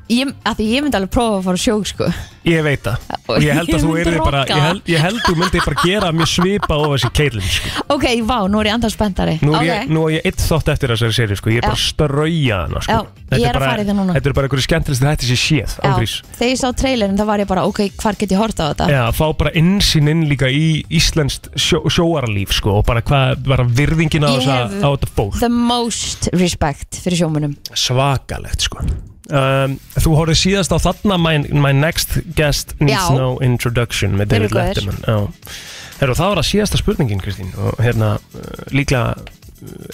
[SPEAKER 3] Ég, að því ég myndi alveg prófa að fara á sjó sko.
[SPEAKER 2] Ég veit það og ég held að
[SPEAKER 3] Ég
[SPEAKER 2] þú
[SPEAKER 3] myndi
[SPEAKER 2] yrði bara
[SPEAKER 3] rokka
[SPEAKER 2] ég held, ég held þú myndi bara gera mjög svipa ofað sér Caitlyn sko.
[SPEAKER 3] Ok, vá, nú er ég andars spenntari
[SPEAKER 2] Nú er
[SPEAKER 3] Ok.
[SPEAKER 2] ég, nú er ég eitt þátt eftir þessari séri sko. Ég er bara
[SPEAKER 3] Já.
[SPEAKER 2] að strauja hana sko.
[SPEAKER 3] Já,
[SPEAKER 2] Þetta
[SPEAKER 3] ég er að
[SPEAKER 2] bara-
[SPEAKER 3] fara í það núna.
[SPEAKER 2] Þetta er bara einhverju skemmtilegst þetta sé séð
[SPEAKER 3] Já,
[SPEAKER 2] ángrís
[SPEAKER 3] Þegar ég sá trailerin þá var ég bara Ok, hvar get ég horta á þetta?
[SPEAKER 2] Já, að fá bara innsýn inn líka í Íslandst sjó, sjóaralíf sko, og bara hvað bara virðingin á,
[SPEAKER 3] Ég
[SPEAKER 2] þessa,
[SPEAKER 3] hef-
[SPEAKER 2] á þetta fólk
[SPEAKER 3] The most respect fyrir sjómunum
[SPEAKER 2] svakalegt sko um, Þú horfið síðast á þarna my, my next guest needs
[SPEAKER 3] Já.
[SPEAKER 2] no introduction með
[SPEAKER 3] Þeir eru
[SPEAKER 2] David
[SPEAKER 3] góðir.
[SPEAKER 2] Letterman Já. Heru, Það var að síðasta spurningin Kristín og hérna uh, líklega uh,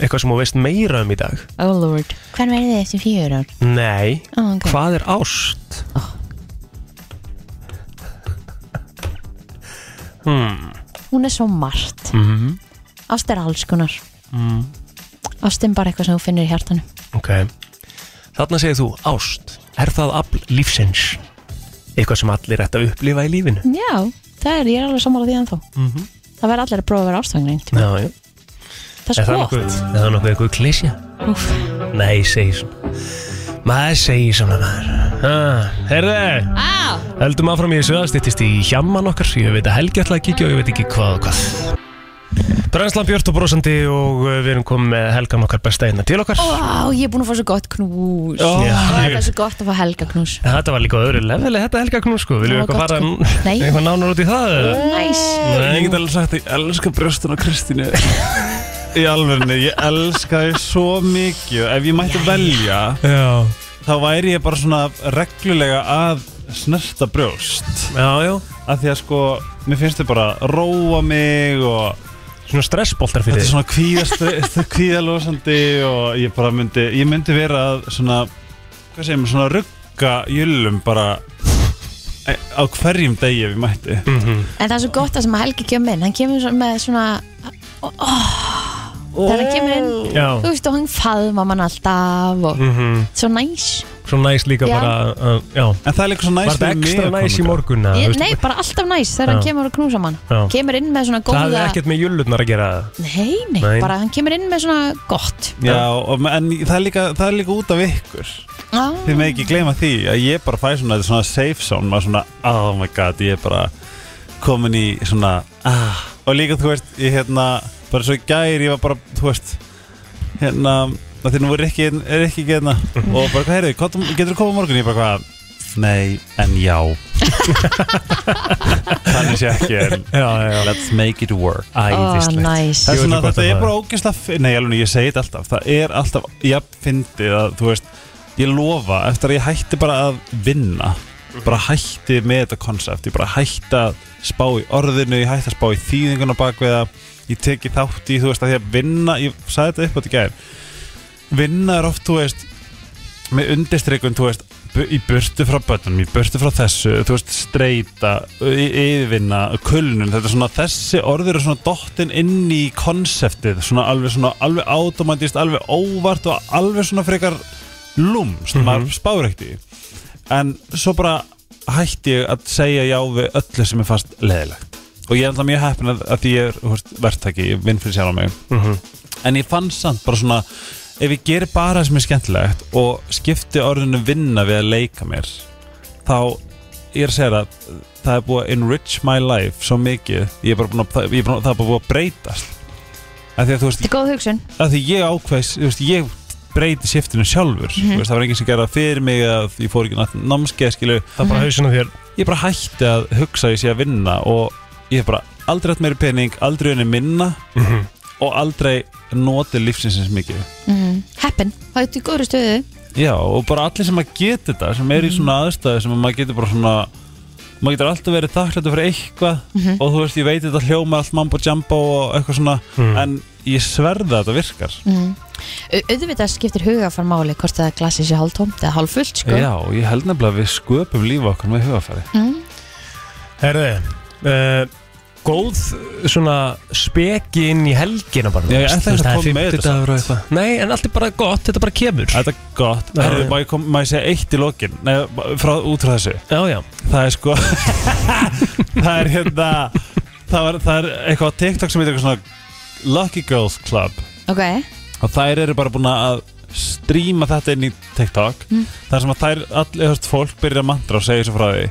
[SPEAKER 2] eitthvað sem þú veist meira um í dag
[SPEAKER 3] Oh lord Hvern verði þið eftir fjör ár?
[SPEAKER 2] Nei,
[SPEAKER 3] Oh, ok.
[SPEAKER 2] hvað er ást?
[SPEAKER 3] Hún er svo margt mm -hmm. Ást er alls konar mm. Ást er bara eitthvað sem þú finnur í hjartanum
[SPEAKER 2] Ok Þarna segir þú ást Er það afl lífsins? Eitthvað sem allir ætti að upplifa í lífinu
[SPEAKER 3] Já, það er, ég er alveg sammála því ennþá -hmm. Það verður allir að prófa að vera ástfangin
[SPEAKER 2] Já, já
[SPEAKER 3] Sko? Það
[SPEAKER 2] Er
[SPEAKER 3] er
[SPEAKER 2] það
[SPEAKER 3] skott
[SPEAKER 2] nokkuð, er það nokkuð eitthvað klísja?
[SPEAKER 3] Úff.
[SPEAKER 2] Nei, segir svona Maður segir svona maður ah, Herðu,
[SPEAKER 3] Á,
[SPEAKER 2] heldum áfram í þessu að styttist í hjamman okkar Ég veit að Helgi ætlaði að kíkja og ég veit ekki hvað og hvað Brænslan Björn og brosandi og uh, við erum komið með helgan okkar besta einna til okkar
[SPEAKER 3] Ó, ég er búin að fá svo gott knús
[SPEAKER 2] Ó,
[SPEAKER 3] Já. Það
[SPEAKER 2] ég-
[SPEAKER 3] er svo gott að fá helga knús
[SPEAKER 2] En Þetta var líka á öðru leveli, þetta helga knú sko Viljum við
[SPEAKER 3] Það var
[SPEAKER 2] eitthvað fara
[SPEAKER 3] gott knús. Nei.
[SPEAKER 2] eitthvað nánar út í það? eða?
[SPEAKER 3] Næs
[SPEAKER 2] Nei,
[SPEAKER 6] Ég get alveg sagt, ég elska brjóstun á Kristínu Í alvörinu, ég elska þau svo mikið Ef ég mætti velja
[SPEAKER 2] Já,
[SPEAKER 6] Þá væri ég bara svona reglulega að snerta brjóst
[SPEAKER 2] já, já
[SPEAKER 6] Af því að sko, mér finnst þau bara róa mig og
[SPEAKER 2] Svona stressboltar fyrir
[SPEAKER 6] Þetta er
[SPEAKER 2] þig
[SPEAKER 6] svona kvíðast, kvíðalósandi og ég bara myndi, ég myndi vera að svona, hvað segir maður, svona rugga jölum bara e- á hverjum degi ef ég mætti.
[SPEAKER 2] Mm.
[SPEAKER 3] En það er svo gott að sem að helgi kemur inn Hann kemur svo- með svona oh, Þegar hann kemur inn
[SPEAKER 2] Já,
[SPEAKER 3] Þú veist og hann faðma mann alltaf og
[SPEAKER 2] mm
[SPEAKER 3] svo næs
[SPEAKER 2] svo næs líka
[SPEAKER 3] Já.
[SPEAKER 2] bara uh, Já,
[SPEAKER 6] En það er líka svo
[SPEAKER 2] var
[SPEAKER 6] næst
[SPEAKER 2] þetta ekstra næs í morgun eða,
[SPEAKER 3] ég,
[SPEAKER 2] veistu?
[SPEAKER 3] Nei, bara alltaf næs þegar hann
[SPEAKER 2] Já.
[SPEAKER 3] kemur og knúsa mann
[SPEAKER 2] Já.
[SPEAKER 3] Kemur inn með svona
[SPEAKER 2] Það
[SPEAKER 3] góða
[SPEAKER 2] hefði ekkert með jullurnar að gera
[SPEAKER 3] Nei, nei,
[SPEAKER 2] Nei.
[SPEAKER 3] bara hann kemur inn með svona gott
[SPEAKER 6] Já, og, en það er, líka, það er líka út af ykkur.
[SPEAKER 3] ah,
[SPEAKER 6] Þið með ekki gleyma því að ég bara fæ svona, þetta er svona safe zone, maður svona, oh my god, ég er bara komin í svona, ah. Og líka, þú veist, ég hérna, bara svo í gær, ég var bara, þú veist, hérna, að því nú er ekki, er ekki ekki hérna,
[SPEAKER 2] Mhm.
[SPEAKER 6] og bara, hvað heyrðu, hvað, getur þú komið á morgun? Ég bara, hvað, nei, en já. Þannig sé ekki, en
[SPEAKER 2] Já, já, já
[SPEAKER 6] let's make it work.
[SPEAKER 2] Æðislegt
[SPEAKER 3] næs.
[SPEAKER 6] Það er svona,
[SPEAKER 2] Djöfull gott
[SPEAKER 6] þetta
[SPEAKER 2] að
[SPEAKER 6] er
[SPEAKER 2] það-
[SPEAKER 6] bara ógeðslega f- Nei, alveg, ég segi þetta alltaf Það er alltaf, ég fyndi að, þú veist Ég lofa, eftir að ég hætti bara að vinna Bara hætti með þetta konsept Ég bara hætti að spá í orðinu Ég hætti að spá í þýðinguna bak við það Ég teki þátt í, þú veist, að því að vinna Ég sagði þetta upp á þetta gær Vinna er oft, þú veist Með undirstrykun, þú veist bu- Í burtu frá börnum, í burtu frá þessu Þú veist, streyta, y- yfirvinna Kulnun, þetta er svona Þessi orður er svona dottin inn í konseptið Svona alveg svona, alveg automatist Alveg óvart og alveg svona frekar Lúmst, maður spáur ekkert í því. En svo bara hætti ég að segja já við öllu sem er fast leðilegt Og ég er alltaf mjög heppin að, að því ég er þú veist, verktaki, ég vinn fyrir sjálf á mig En ég fann samt bara svona Ef ég gerir bara það sem er skemmtilegt Og skipti orðinu vinna við að leika mér Þá ég er að segja það Það er búið að enrich my life svo mikið Ég er bara búin að, það, ég er búin að, það er bara búið að breytast Af því að þú veist,
[SPEAKER 3] Þetta er góð hugsun
[SPEAKER 6] að því ég ákveðs þú veist, ég breyti shiftinu sjálfur
[SPEAKER 3] Mhm.
[SPEAKER 6] mm veist, það var enginn sem gerði það fyrir mig að ég fór ekki nátt- námskeið skilu
[SPEAKER 2] Það er bara hausinn á þér
[SPEAKER 6] ég bara hætti að hugsa að ég sé að vinna og ég hef bara aldrei hatt meiri pening aldrei unni minna
[SPEAKER 2] Mhm.
[SPEAKER 6] og aldrei notið lífsins eins mikið
[SPEAKER 3] mm. Heppin, það er þetta í góðri stöðu
[SPEAKER 6] já og bara allir sem að geta þetta sem
[SPEAKER 2] Mhm.
[SPEAKER 6] er í svona aðstæðu sem að maður getur bara svona maður getur alltaf verið þakklættur fyrir eitthvað
[SPEAKER 2] Mhm.
[SPEAKER 6] og þú veist ég veit þetta hljóma allt mambo jumbo og eitthvað svona
[SPEAKER 2] Mhm.
[SPEAKER 6] en ég sverða að þetta virkar
[SPEAKER 3] Au- Auðvitað skiptir hugafar máli hvort það glasi sé hálftómt eða hálffullt sko.
[SPEAKER 6] Já, ég held nefnilega að við sköpum lífa okkur með hugafæri
[SPEAKER 2] Herði, uh, góð uh, svona speki inn í helgina bara
[SPEAKER 6] Já, ég
[SPEAKER 2] þú veist,
[SPEAKER 6] ætla ekki
[SPEAKER 2] það
[SPEAKER 6] að
[SPEAKER 2] er
[SPEAKER 6] koma með þetta
[SPEAKER 2] fimmtudagur og eitthvað Nei, en allt er bara gott, þetta bara kemur
[SPEAKER 6] Þetta er gott
[SPEAKER 2] Já,
[SPEAKER 6] Herðu,
[SPEAKER 2] já.
[SPEAKER 6] má ég, kom, má ég segja eitt í lokin Nei, frá, út frá þessu
[SPEAKER 2] Já, já,
[SPEAKER 6] Það er sko Það er hérna það, var, það er eitthvað á TikTok sem heitir eitthvað svona Lucky Girls Club
[SPEAKER 3] Ok,
[SPEAKER 6] og þær eru bara búin að stríma þetta inn í TikTok þar sem að þær, allir þess fólk byrja að mantra og segja þessu frá því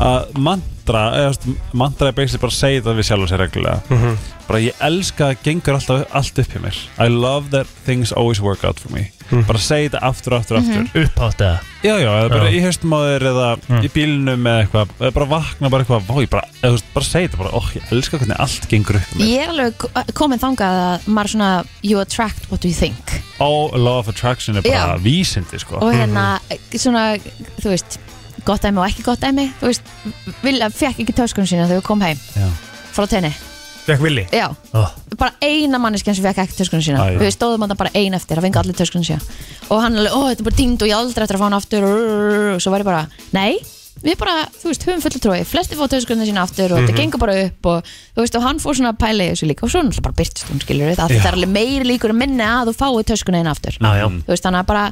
[SPEAKER 6] að mantra, eða þú veist, mantra er basically bara að segja það við sjálf sér reglulega bara ég elska að gengur alltaf allt upp hjá mér I love that things always work out for me bara segja þetta aftur og aftur og aftur
[SPEAKER 2] upphátt eða
[SPEAKER 6] já já, eða bara
[SPEAKER 2] Já.
[SPEAKER 6] í haustum á þér eða í bílnum eða eitthvað, eða bara vakna bara eitthvað, vá ég bara, eða þú veist, bara segja þetta bara, óh, ég elska hvernig allt gengur upp hjá mér
[SPEAKER 3] ég er alveg ko- eh, komin þangað að maður svona You attract what you think
[SPEAKER 6] all law of attraction er bara
[SPEAKER 3] Já.
[SPEAKER 6] vísindi sko
[SPEAKER 3] Og
[SPEAKER 2] Mhm.
[SPEAKER 3] hérna, svona, þú veist Gott dæmi og ekki gott dæmi Þú veist, Vilja fekk ekki töskunum sína þegar við kom heim
[SPEAKER 6] Já.
[SPEAKER 3] Frá tenni,
[SPEAKER 2] Fekk villi
[SPEAKER 3] já
[SPEAKER 2] oh.
[SPEAKER 3] Bara eina manneskjan sem fekk ekki töskunum sína
[SPEAKER 6] Æ, já.
[SPEAKER 3] Við stóðum að það bara ein eftir, það fengi allir töskunum sína Og hann alveg, ó, þetta er bara dýnd og ég á aldrei eftir að fá hann aftur Og svo var ég bara, nei Við bara, þú veist, höfum fullu trói Flesti fá töskunum sína aftur og
[SPEAKER 6] Mhm.
[SPEAKER 3] þetta gengur bara upp Og þú veist, og hann fór svona að pæla í þessu líka Og svo náttúrulega bara byrtist hún, skilur við Það er alveg meiri líkur að minna að þú fái töskuna einn aftur
[SPEAKER 2] Já, já,
[SPEAKER 3] þú veist, þannig að bara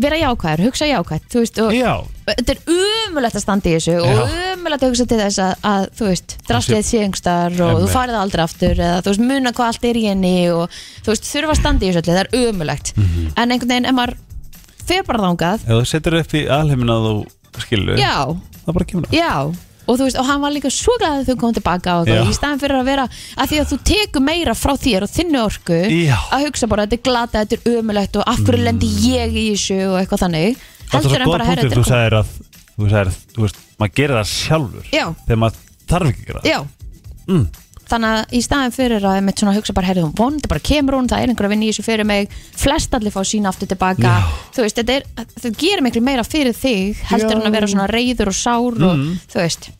[SPEAKER 3] vera jákvæður, hugsa jákvæð þú veist, og
[SPEAKER 6] Já,
[SPEAKER 3] þetta er umulegt að standa í þessu og umulegt að hugsa til þess að, að þú veist, drastlið sé yngstar og þú farið það aldrei aftur eða þú veist, muna hvað allt er í henni og þú veist, þurfa að standa í þessu öllu, það er umulegt
[SPEAKER 6] Mhm.
[SPEAKER 3] en einhvern veginn, ef maður fer bara þangað
[SPEAKER 6] ef þú setur upp í alheimin að þú skilu
[SPEAKER 3] já,
[SPEAKER 6] það bara kemur það
[SPEAKER 3] já, og þú veist, og hann var líka svo glæð að þau kom tilbaka og
[SPEAKER 6] Já.
[SPEAKER 3] eitthvað, í staðan fyrir að vera að því að þú tekur meira frá þér og þinni orku
[SPEAKER 6] Já.
[SPEAKER 3] að hugsa bara, þetta er glata, þetta er ömulegt og af hverju lendi ég í þessu og eitthvað þannig
[SPEAKER 6] Þetta
[SPEAKER 3] heldur
[SPEAKER 6] er svo
[SPEAKER 3] en
[SPEAKER 6] góð
[SPEAKER 3] bara herra þetta
[SPEAKER 6] punktur, þú
[SPEAKER 3] er kom-
[SPEAKER 6] sagðir að þú sagðir, þú veist, maður gerir það sjálfur
[SPEAKER 3] Já.
[SPEAKER 6] þegar maður þarf ekki að gera það
[SPEAKER 3] Já
[SPEAKER 6] Mm.
[SPEAKER 3] Þannig að í staðin fyrir að mitt svona hugsa bara herrið hún vond, það bara kemur hún, það er einhver að vinna í þessu fyrir mig flest allir fá sína aftur tilbaka
[SPEAKER 6] Já.
[SPEAKER 3] þú veist, þetta er, þau gerir miklu meira fyrir þig heldur en að vera svona reyður og sár
[SPEAKER 6] Mm.
[SPEAKER 3] og þú veist,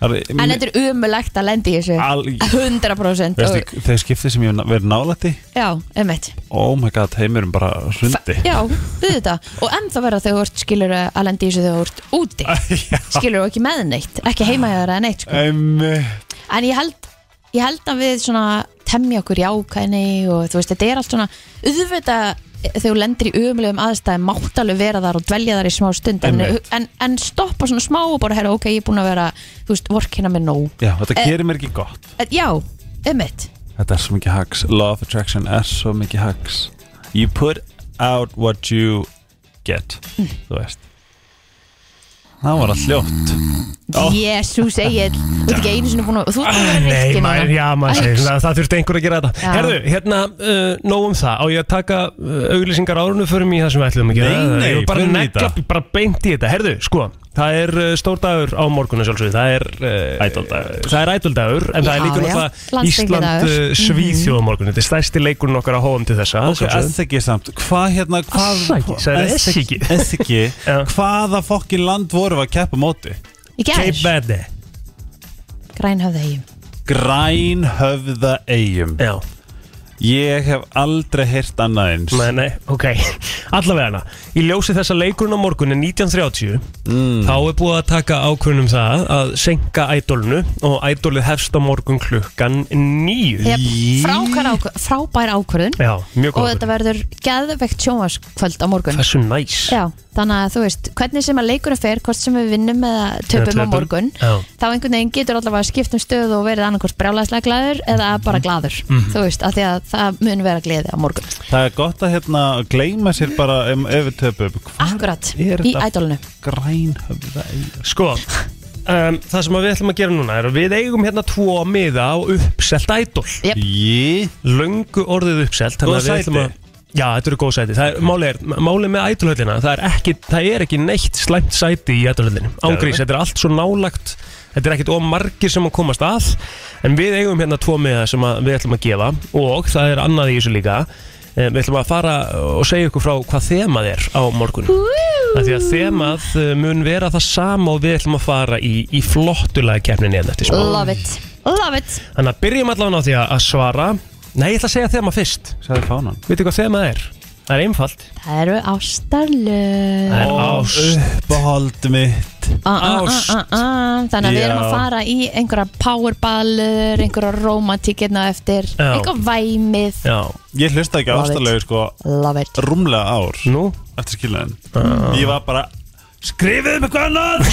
[SPEAKER 6] Það er-
[SPEAKER 3] en þetta er umulegt að lendi í þessu
[SPEAKER 6] Al-
[SPEAKER 3] 100%
[SPEAKER 6] Veistu,
[SPEAKER 3] og,
[SPEAKER 6] þegar skiptið sem ég hef verið nálætti
[SPEAKER 3] já, emitt
[SPEAKER 6] oh my god, heimurum bara hrundi
[SPEAKER 3] já, auðvitað, og ennþá vera þegar þú ert skilur að lendi í þessu þegar þú ert úti
[SPEAKER 6] Já.
[SPEAKER 3] skilur þú ekki með neitt, ekki heima hjá þér eða neitt, sko.
[SPEAKER 6] Einmitt.
[SPEAKER 3] En ég held, ég held að við svona temja okkur jákæni og þú veist, þetta er allt svona auðvitað eh, þegar þú lendir í umlegum aðstæðum mátt alveg vera þar og dvelja þar í smá stund en,
[SPEAKER 6] Einmitt.
[SPEAKER 3] en, en stoppa svona smá og bara herra, ok, ég er búin að vera, þú veist, vorkina með nóg
[SPEAKER 6] Já, þetta
[SPEAKER 3] Eh.
[SPEAKER 6] gerir mér ekki gott
[SPEAKER 3] en, Já, ummitt
[SPEAKER 6] Þetta er svo mikið hugs Law of attraction er svo mikið hugs You put out what you get Þú veist Það var allt ljótt
[SPEAKER 2] Mm.
[SPEAKER 6] Ó.
[SPEAKER 3] Jésús Egil, þú ert ekki einu sinni búin að þú ert búin að vera
[SPEAKER 2] Nei,
[SPEAKER 3] reykinn
[SPEAKER 2] maður, já, maður segir svona, það þurfti einhver að gera þetta
[SPEAKER 3] Já.
[SPEAKER 2] Herðu, hérna, uh, nóg um það Á ég að taka uh, auglýsingar árunum Förum í það sem við ætlum að gera
[SPEAKER 6] Nei, nei,
[SPEAKER 2] Ég vil bara,
[SPEAKER 6] förum í
[SPEAKER 2] negla,
[SPEAKER 6] þetta.
[SPEAKER 2] bara beint í þetta Herðu, sko, það er uh, stór dagur á morgunu sjálfsögðu Það er uh,
[SPEAKER 6] Ædoldagur.
[SPEAKER 2] Það er ædoldagur En það
[SPEAKER 3] Já,
[SPEAKER 2] er líka
[SPEAKER 3] já.
[SPEAKER 2] náttúrulega
[SPEAKER 3] Landsleikjadagur.
[SPEAKER 2] Ísland uh, Svíþjóð á morgunu Þetta er stærsti leikurinn okkar að hóðum til þessa
[SPEAKER 6] Ok,
[SPEAKER 2] sjálfsögðu.
[SPEAKER 6] Essegi samt Hvað hérna hvað,
[SPEAKER 2] Assaki, sagði Esseki.
[SPEAKER 6] Essegi
[SPEAKER 2] Já.
[SPEAKER 6] Hvaða fokkin land vorum við að keppa á móti?
[SPEAKER 3] Í
[SPEAKER 2] Cape
[SPEAKER 3] gæðis,
[SPEAKER 2] Verde
[SPEAKER 3] grænhöfða Egil
[SPEAKER 6] Græn höfða eigum
[SPEAKER 2] Já,
[SPEAKER 6] Ég hef aldrei heyrt annað eins
[SPEAKER 2] nei, nei, ok Allavega hana, í ljósi þessa leikurinn á morgun er 1930 Þá er búið að taka ákvörnum það að senka ædólinu og ædólið hefst á morgun klukkan nýju
[SPEAKER 3] Yep, frábær, ákvör, frábær ákvörðun
[SPEAKER 2] Já, mjög
[SPEAKER 3] og þetta
[SPEAKER 2] góð
[SPEAKER 3] verður geðvegt sjónvarskvöld á morgun
[SPEAKER 2] Þessu næs
[SPEAKER 3] Já, þannig að þú veist, hvernig sem að leikurinn fer, hvort sem við vinnum eða töpum á
[SPEAKER 2] töpum.
[SPEAKER 3] morgun,
[SPEAKER 2] Já.
[SPEAKER 3] þá einhvern veginn getur allavega skipt um stöð og verið annarkvort brjálæslega glæður eða
[SPEAKER 2] Mhm.
[SPEAKER 3] bara glæður, þú veist, af því að það mun vera gleði á morgun.
[SPEAKER 6] Það er gott að hérna gleyma sér bara um öfutöpum
[SPEAKER 3] Akkurat,
[SPEAKER 6] er
[SPEAKER 3] í
[SPEAKER 6] þetta?
[SPEAKER 3] ædolinu.
[SPEAKER 6] Græn höfða eigum
[SPEAKER 2] Sko, um, það sem að við ætlum að gera núna er að við eigum hérna tvo miða á uppselt ædól
[SPEAKER 3] Yep.
[SPEAKER 6] Jé
[SPEAKER 2] Löngu orðið uppselt þannig
[SPEAKER 6] Góð
[SPEAKER 2] að við
[SPEAKER 6] sæti.
[SPEAKER 2] ætlum að- Já, þetta eru góð sæti Það er, máli, er, máli með ædólhöllina það er, ekki, það er ekki neitt slæmt sæti í ædólhöllinu Ángrís, þetta er allt svo nálagt Þetta er ekkit ómargir sem að komast að En við eigum hérna tvo miða sem að við ætlum að gefa Og það er annað í þessu líka Eh, Við ætlum að fara og segja ykkur frá hvað þemað er á morgun Af Því að þemað eh, mun vera það sama og við ætlum að fara í, í flottulega keppninni hérna eftir smá.
[SPEAKER 3] Love it, love it.
[SPEAKER 2] Þannig að byrjum allavega á því að að svara Nei, ég ætla að segja þema fyrst
[SPEAKER 6] Sæði fánan
[SPEAKER 2] Vitið hvað þema er? Það er einfalt
[SPEAKER 3] Það eru ástarlöf.
[SPEAKER 2] Það er ást
[SPEAKER 6] Uppáhald mitt
[SPEAKER 3] Ah, ah,
[SPEAKER 2] ást.
[SPEAKER 3] ah, ah, ah. Þannig að við erum að
[SPEAKER 6] Já.
[SPEAKER 3] fara í einhverja powerballur, einhverja romantíkirna eftir,
[SPEAKER 2] Já.
[SPEAKER 3] einhverja væmið.
[SPEAKER 2] Já,
[SPEAKER 6] Ég hlusta ekki
[SPEAKER 3] Love it.
[SPEAKER 6] ástalegu sko
[SPEAKER 3] Love it.
[SPEAKER 6] rúmlega ár
[SPEAKER 2] nú Ah.
[SPEAKER 6] eftir skilnaðin Ég var bara Skrifið mig hvað annað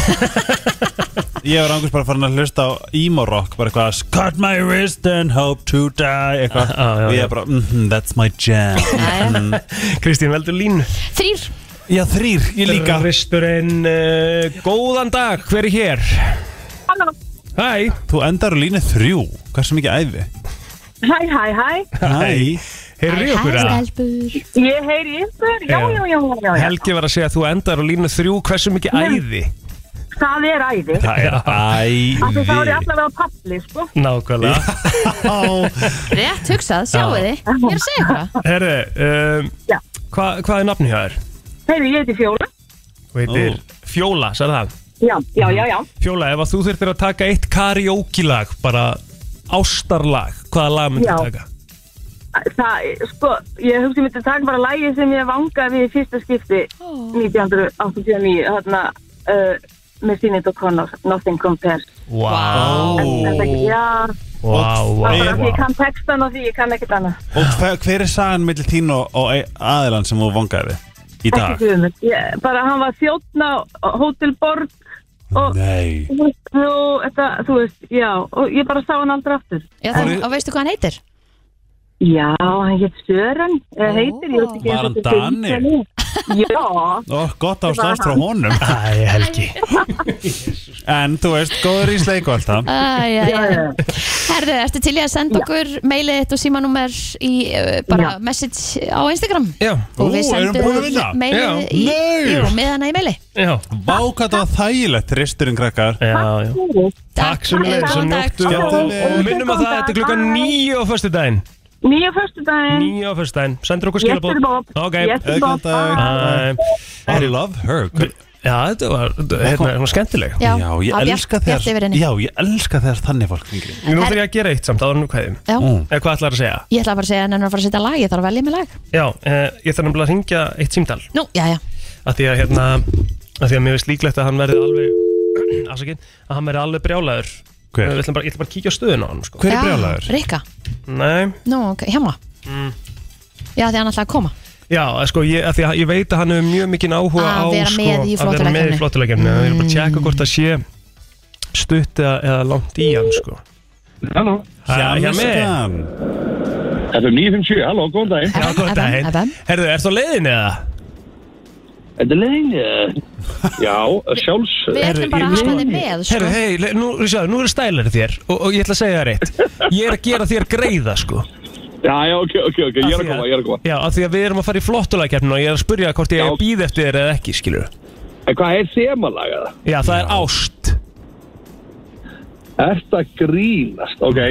[SPEAKER 6] Ég var angust bara farin að hlusta á emo rock bara eitthvað Cut my wrist and hope to die eitthvað
[SPEAKER 2] Já, Ah, já,
[SPEAKER 6] og ég
[SPEAKER 2] já.
[SPEAKER 6] er bara mm -hmm, That's my jam
[SPEAKER 3] Jæja.
[SPEAKER 2] Kristín veldur línu
[SPEAKER 3] Þrýr.
[SPEAKER 6] Já þrýr, ég líka
[SPEAKER 2] Risturinn, uh, góðan dag, hver er hér?
[SPEAKER 7] Halló,
[SPEAKER 2] Hæ
[SPEAKER 6] Þú endar á línu þrjú Hversu mikið æfi?
[SPEAKER 7] hæ, hæ, hæ,
[SPEAKER 6] Hæ
[SPEAKER 2] Heyrðu í okkur
[SPEAKER 3] Hæ,
[SPEAKER 2] að?
[SPEAKER 3] stelpur.
[SPEAKER 7] ég heyri ykkur, já,
[SPEAKER 2] Já.
[SPEAKER 7] já, já, já, já,
[SPEAKER 2] Helgi var að segja að þú endar á línu þrjú Hversu mikið æði?
[SPEAKER 7] það er æði.
[SPEAKER 6] Það er
[SPEAKER 7] Af því Það er
[SPEAKER 6] æfi
[SPEAKER 7] allavega palli, sko.
[SPEAKER 2] Nákvæmlega
[SPEAKER 3] Rétt hugsað, sjáu
[SPEAKER 2] Já.
[SPEAKER 3] þið Ég er að segja eitthvað
[SPEAKER 2] Herru, um,
[SPEAKER 7] Já.
[SPEAKER 2] hva, hvað er nafni hjá þér?
[SPEAKER 7] Heyri, ég heiti Fjóla.
[SPEAKER 2] Þú heitir Fjóla, sagði það
[SPEAKER 7] Já, já, já, já.
[SPEAKER 2] Fjóla, ef að þú þurftir að taka eitt karaoke-lag, bara ástarlag, hvaða lag myndir
[SPEAKER 7] Já.
[SPEAKER 2] þú taka?
[SPEAKER 7] Það, sko, ég hugsi myndi taka bara lægi sem ég vangaði í fyrsta skipti 1989, þarna, uh, með sínit og konar, Nothing Compares.
[SPEAKER 2] Vá,
[SPEAKER 7] En, en það, já,
[SPEAKER 2] vá, vá,
[SPEAKER 7] það er bara því
[SPEAKER 2] vá.
[SPEAKER 7] ég kann textan og því ég kann ekkert annað.
[SPEAKER 6] Og hver, hver er sagan millir þín og, og e- aðilan sem þú vangaði í dag?
[SPEAKER 7] Ekki hugmynd. Ég- Bara hann var þjóttna, hótelborg og...
[SPEAKER 6] Nei
[SPEAKER 7] Þú veist, þú, þetta, þú veist, já, og ég bara sá hann aldrei aftur.
[SPEAKER 3] Já, það, Og veistu hvað hann heitir?
[SPEAKER 7] Já, hann hétt Sören, eða heitir, ég veit ekki
[SPEAKER 6] Var
[SPEAKER 7] eins og
[SPEAKER 6] hann
[SPEAKER 7] þetta er
[SPEAKER 6] Dani?
[SPEAKER 7] ítalíu. Já,
[SPEAKER 6] Ó, gott ástast frá honum
[SPEAKER 2] Æ, Helgi
[SPEAKER 6] En þú veist, góður í sleiku alltaf
[SPEAKER 3] Æ, æ, æ. Herðu, ertu til ég að senda okkur mailið þitt og símanúmer í uh, bara
[SPEAKER 7] Já.
[SPEAKER 3] message á Instagram
[SPEAKER 2] Já,
[SPEAKER 3] og
[SPEAKER 6] Ú,
[SPEAKER 3] við
[SPEAKER 6] erum
[SPEAKER 3] sendum
[SPEAKER 6] búin að vinna?
[SPEAKER 3] mailið
[SPEAKER 2] Já.
[SPEAKER 3] í,
[SPEAKER 6] Nei.
[SPEAKER 3] jú, miðana í maili
[SPEAKER 2] já,
[SPEAKER 6] Vá, hvað það var þægilegt, risturinn krakkar
[SPEAKER 2] já, já. Takk sem leiðis og
[SPEAKER 3] eh, Góðan dag.
[SPEAKER 2] njóttu
[SPEAKER 7] Já.
[SPEAKER 2] og, og minnum að það, þetta er klukkan níu á föstu daginn
[SPEAKER 7] nýja förstu daginn,
[SPEAKER 2] Níu á föstu daginn, sendur okkur
[SPEAKER 7] yes to the
[SPEAKER 2] skilabóð
[SPEAKER 7] bob,
[SPEAKER 2] Ok,
[SPEAKER 7] yes to the bob,
[SPEAKER 6] Góðan dag.
[SPEAKER 2] Æ,
[SPEAKER 3] Ah,
[SPEAKER 6] I love her Hver-
[SPEAKER 2] Já, þetta var, þetta hérna, hún var skemmtileg
[SPEAKER 3] Já,
[SPEAKER 6] Já, ég
[SPEAKER 3] á Bjart-
[SPEAKER 6] elska
[SPEAKER 3] Bjart yfir
[SPEAKER 6] þegar
[SPEAKER 3] henni.
[SPEAKER 6] Já, ég elska þegar þannig fólk hringir í.
[SPEAKER 2] Nú þarf ég að gera eitt samt áður nú kveðum
[SPEAKER 3] Já.
[SPEAKER 6] Mm.
[SPEAKER 2] Eða Eh, hvað ætlar að segja?
[SPEAKER 3] Ég ætla bara að segja að hann er að fara að setja lag, ég þarf að velja mig lag
[SPEAKER 2] Já, eh, ég þarf nefnilega að ringja eitt símtal
[SPEAKER 3] Nú, já, já,
[SPEAKER 2] að því að hérna að því að mér veist líklegt að hann verði alveg afsakið, að hann verði alveg brjálæður
[SPEAKER 6] Hver?
[SPEAKER 2] Ég ætla bara, ég ætla bara að kíkja á stöðun á hann sko.
[SPEAKER 6] Hver
[SPEAKER 3] Já,
[SPEAKER 6] er brjálæður?
[SPEAKER 3] Rikka,
[SPEAKER 2] Nei,
[SPEAKER 3] nú, ok, hjá maður Já, því hann ætla að koma
[SPEAKER 2] já, að sko, ég, að því að ég veit að hann hefur mjög mikið áhuga
[SPEAKER 3] Að
[SPEAKER 2] á
[SPEAKER 3] vera
[SPEAKER 2] sko,
[SPEAKER 3] með í
[SPEAKER 2] að vera með
[SPEAKER 3] flottuleikjunni.
[SPEAKER 2] í flottuleikjumni mm. ég vil bara tjekka hvort það sé stutt eða, eða langt í hann sko.
[SPEAKER 1] Halló,
[SPEAKER 2] Hæ, hjá mig.
[SPEAKER 6] Hjamskan
[SPEAKER 1] þetta er 957, halló, góðan daginn
[SPEAKER 2] Já,
[SPEAKER 3] FM,
[SPEAKER 2] góðan
[SPEAKER 3] FM, FM.
[SPEAKER 2] daginn Herðu, ertu á leiðin eða?
[SPEAKER 1] Þetta er leiðin, já, sjálfs
[SPEAKER 3] Við ætlum bara að hafa þið með,
[SPEAKER 2] Herðu,
[SPEAKER 3] sko
[SPEAKER 2] hei, le- nú, sjáðu, nú er stælar þér og, og ég ætla að segja þér eitt Ég er að gera þér greiða sko
[SPEAKER 1] Já, já, ok, ok, ok, ég er að koma, ég er að koma
[SPEAKER 2] Já, af því að við erum að fara í flottuleikjumni og ég er að spurja hvort ég
[SPEAKER 1] Já.
[SPEAKER 2] býð eftir þér eða ekki, skilur
[SPEAKER 1] En hvað er semalaga það?
[SPEAKER 2] Já, það er ást
[SPEAKER 1] Er það grínast? Ok,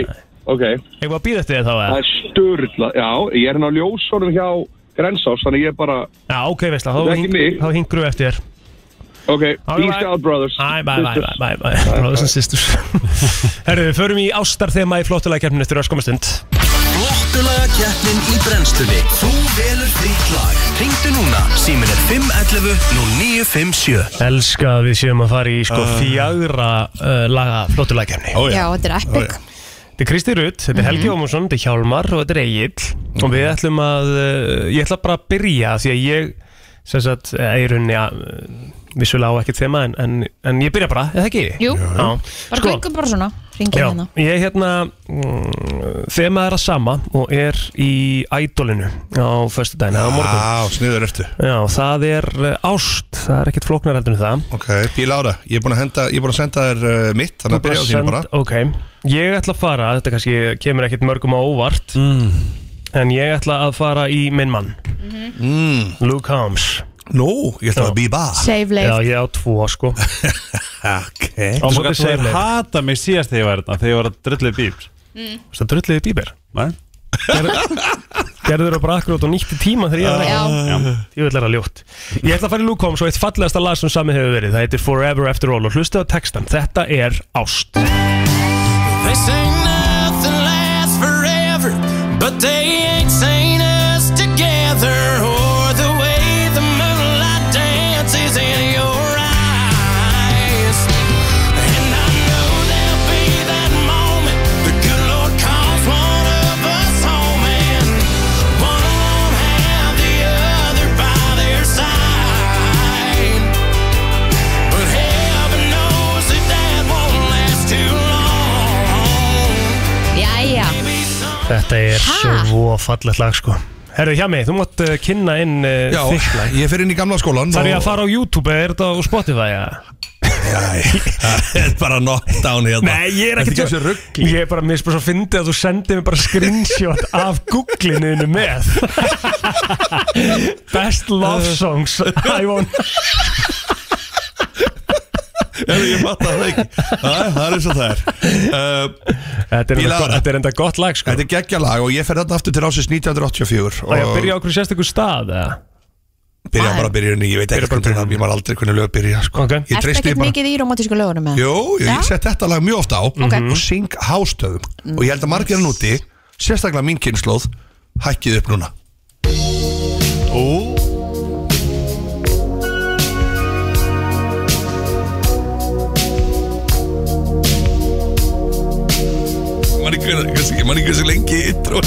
[SPEAKER 1] ok,
[SPEAKER 2] Ég var að býða eftir þér þá
[SPEAKER 1] það
[SPEAKER 2] eða?
[SPEAKER 1] er sturla Já, ég er hérna á ljósónum hjá Grensás, þannig ég er bara
[SPEAKER 2] Já, ok, veist það, þá,
[SPEAKER 1] Þetta er ekki mig.
[SPEAKER 2] hing- þá hingru eftir þér
[SPEAKER 1] Ok,
[SPEAKER 2] All right.
[SPEAKER 1] peace out brothers
[SPEAKER 2] Æ, bæ, bæ, bæ, bæ, bæ, brothers and sisters Herru, við förum í ástar þema í flottulækjarninu eftir öskum stund
[SPEAKER 8] Flottulaga keppnin í brennslunni Þú velur þitt lag Ringdu núna, símin er 511 0957
[SPEAKER 2] Elska að við séum að fara í sko fjagra uh, laga flottulækjarni
[SPEAKER 3] Já, þetta er epic
[SPEAKER 2] Þetta er Kristi Rutt, þetta er Helgi Ómarsson, þetta er Hjálmar og þetta er Egil og við ætlum að, uh, ég ætla bara að byrja því að ég, sem sagt, eh, eirunni að uh, vissulega á ekkert þema en, en, en ég byrja bara, eða ekki?
[SPEAKER 3] Jú,
[SPEAKER 2] Já,
[SPEAKER 3] bara gungum bara svona, ringið
[SPEAKER 2] Sko. Já,
[SPEAKER 3] hérna
[SPEAKER 2] ég hérna mm, Þema er að sama og er í ædolinu á föstu dæna á morgun
[SPEAKER 9] Á, sniður ertu
[SPEAKER 2] Já, það er eh, ást, það er ekkert flóknar heldur en það
[SPEAKER 9] Ok, píla á það Ég er búin að, henda, ég er búin að senda þér uh, mitt Þannig að byrja á þínu bara
[SPEAKER 2] Ok, ég ætla að fara, þetta kannski kemur ekkert mörgum á óvart
[SPEAKER 9] Mm.
[SPEAKER 2] En ég ætla að fara í minn mann
[SPEAKER 9] Mm.
[SPEAKER 2] Luke Holmes
[SPEAKER 9] Nú, ég ætla að býba
[SPEAKER 3] Save
[SPEAKER 2] Já,
[SPEAKER 3] leif,
[SPEAKER 2] ég á tvo sko
[SPEAKER 9] Ok
[SPEAKER 6] Ómaka,
[SPEAKER 2] Svolítið
[SPEAKER 6] þú er
[SPEAKER 2] sælir.
[SPEAKER 6] hata mig síðast þegar ég var þarna Þegar ég var að drullið bíl
[SPEAKER 2] Það drulliði bíber
[SPEAKER 6] Nei?
[SPEAKER 2] Gerður og brakkur út og nýtti tíma þegar ég var ekki
[SPEAKER 3] já,
[SPEAKER 2] Ég vil læra ljótt Ég ætla að fara í Luke Holmes og eitt fallegasta lag sem samið hefur verið Það heitir Forever After All og hlustu á textan Þetta er ást
[SPEAKER 8] They say nothing lasts forever But they ain't seen us together Or the way the moonlight dances in your eyes And I know there'll be that moment The good Lord calls one of us home And one won't have the other by their side But heaven knows that that won't last too long.
[SPEAKER 3] jæja
[SPEAKER 2] Þetta er
[SPEAKER 3] Ha?
[SPEAKER 2] svo fallegt lag sko Herru hjá mig, þú mátt uh, kynna inn uh,
[SPEAKER 9] Já,
[SPEAKER 2] þitt lag
[SPEAKER 9] ég fer inn í gamla skólan
[SPEAKER 2] Þarf ég
[SPEAKER 9] og-
[SPEAKER 2] að fara á YouTube eða er þetta á Spotify ja?
[SPEAKER 9] Æ, Það er bara knockdown hérna
[SPEAKER 2] Nei, ég er
[SPEAKER 9] Þetta er
[SPEAKER 2] ekkert
[SPEAKER 9] ekki þessu rugg
[SPEAKER 2] Ég er bara, mér er bara svo fyndið að þú sendið mér bara screenshot af Google-inu með Best love songs I want
[SPEAKER 9] Ég fatt það ekki Æ, Það er eins og það er uh,
[SPEAKER 2] Þetta
[SPEAKER 9] Ég
[SPEAKER 2] er
[SPEAKER 9] laga það.
[SPEAKER 2] enda gott- þetta er enda gott lag sko
[SPEAKER 9] Þetta er geggja lag og ég fer þetta aftur til ásins 1984
[SPEAKER 2] Það ég að
[SPEAKER 9] og
[SPEAKER 2] byrja á okkur sérstökur stað eða?
[SPEAKER 9] byrja bara að byrja henni Ég veit ekki hvernig það, ég maður aldrei hvernig lög byrja sko.
[SPEAKER 2] Ok.
[SPEAKER 9] Ég
[SPEAKER 3] Ertu
[SPEAKER 9] treysti
[SPEAKER 3] ekkert
[SPEAKER 9] því bara
[SPEAKER 3] mikið í romantísku lögunum með?
[SPEAKER 9] Jú, ég
[SPEAKER 3] Já.
[SPEAKER 9] sett þetta lag mjög ofta á og syng hástöðum og ég held að margir hann úti, sérstaklega mín kynnslóð hækkið upp núna Ó Man ekki hversu- ég man ekki hversu lengi intro er.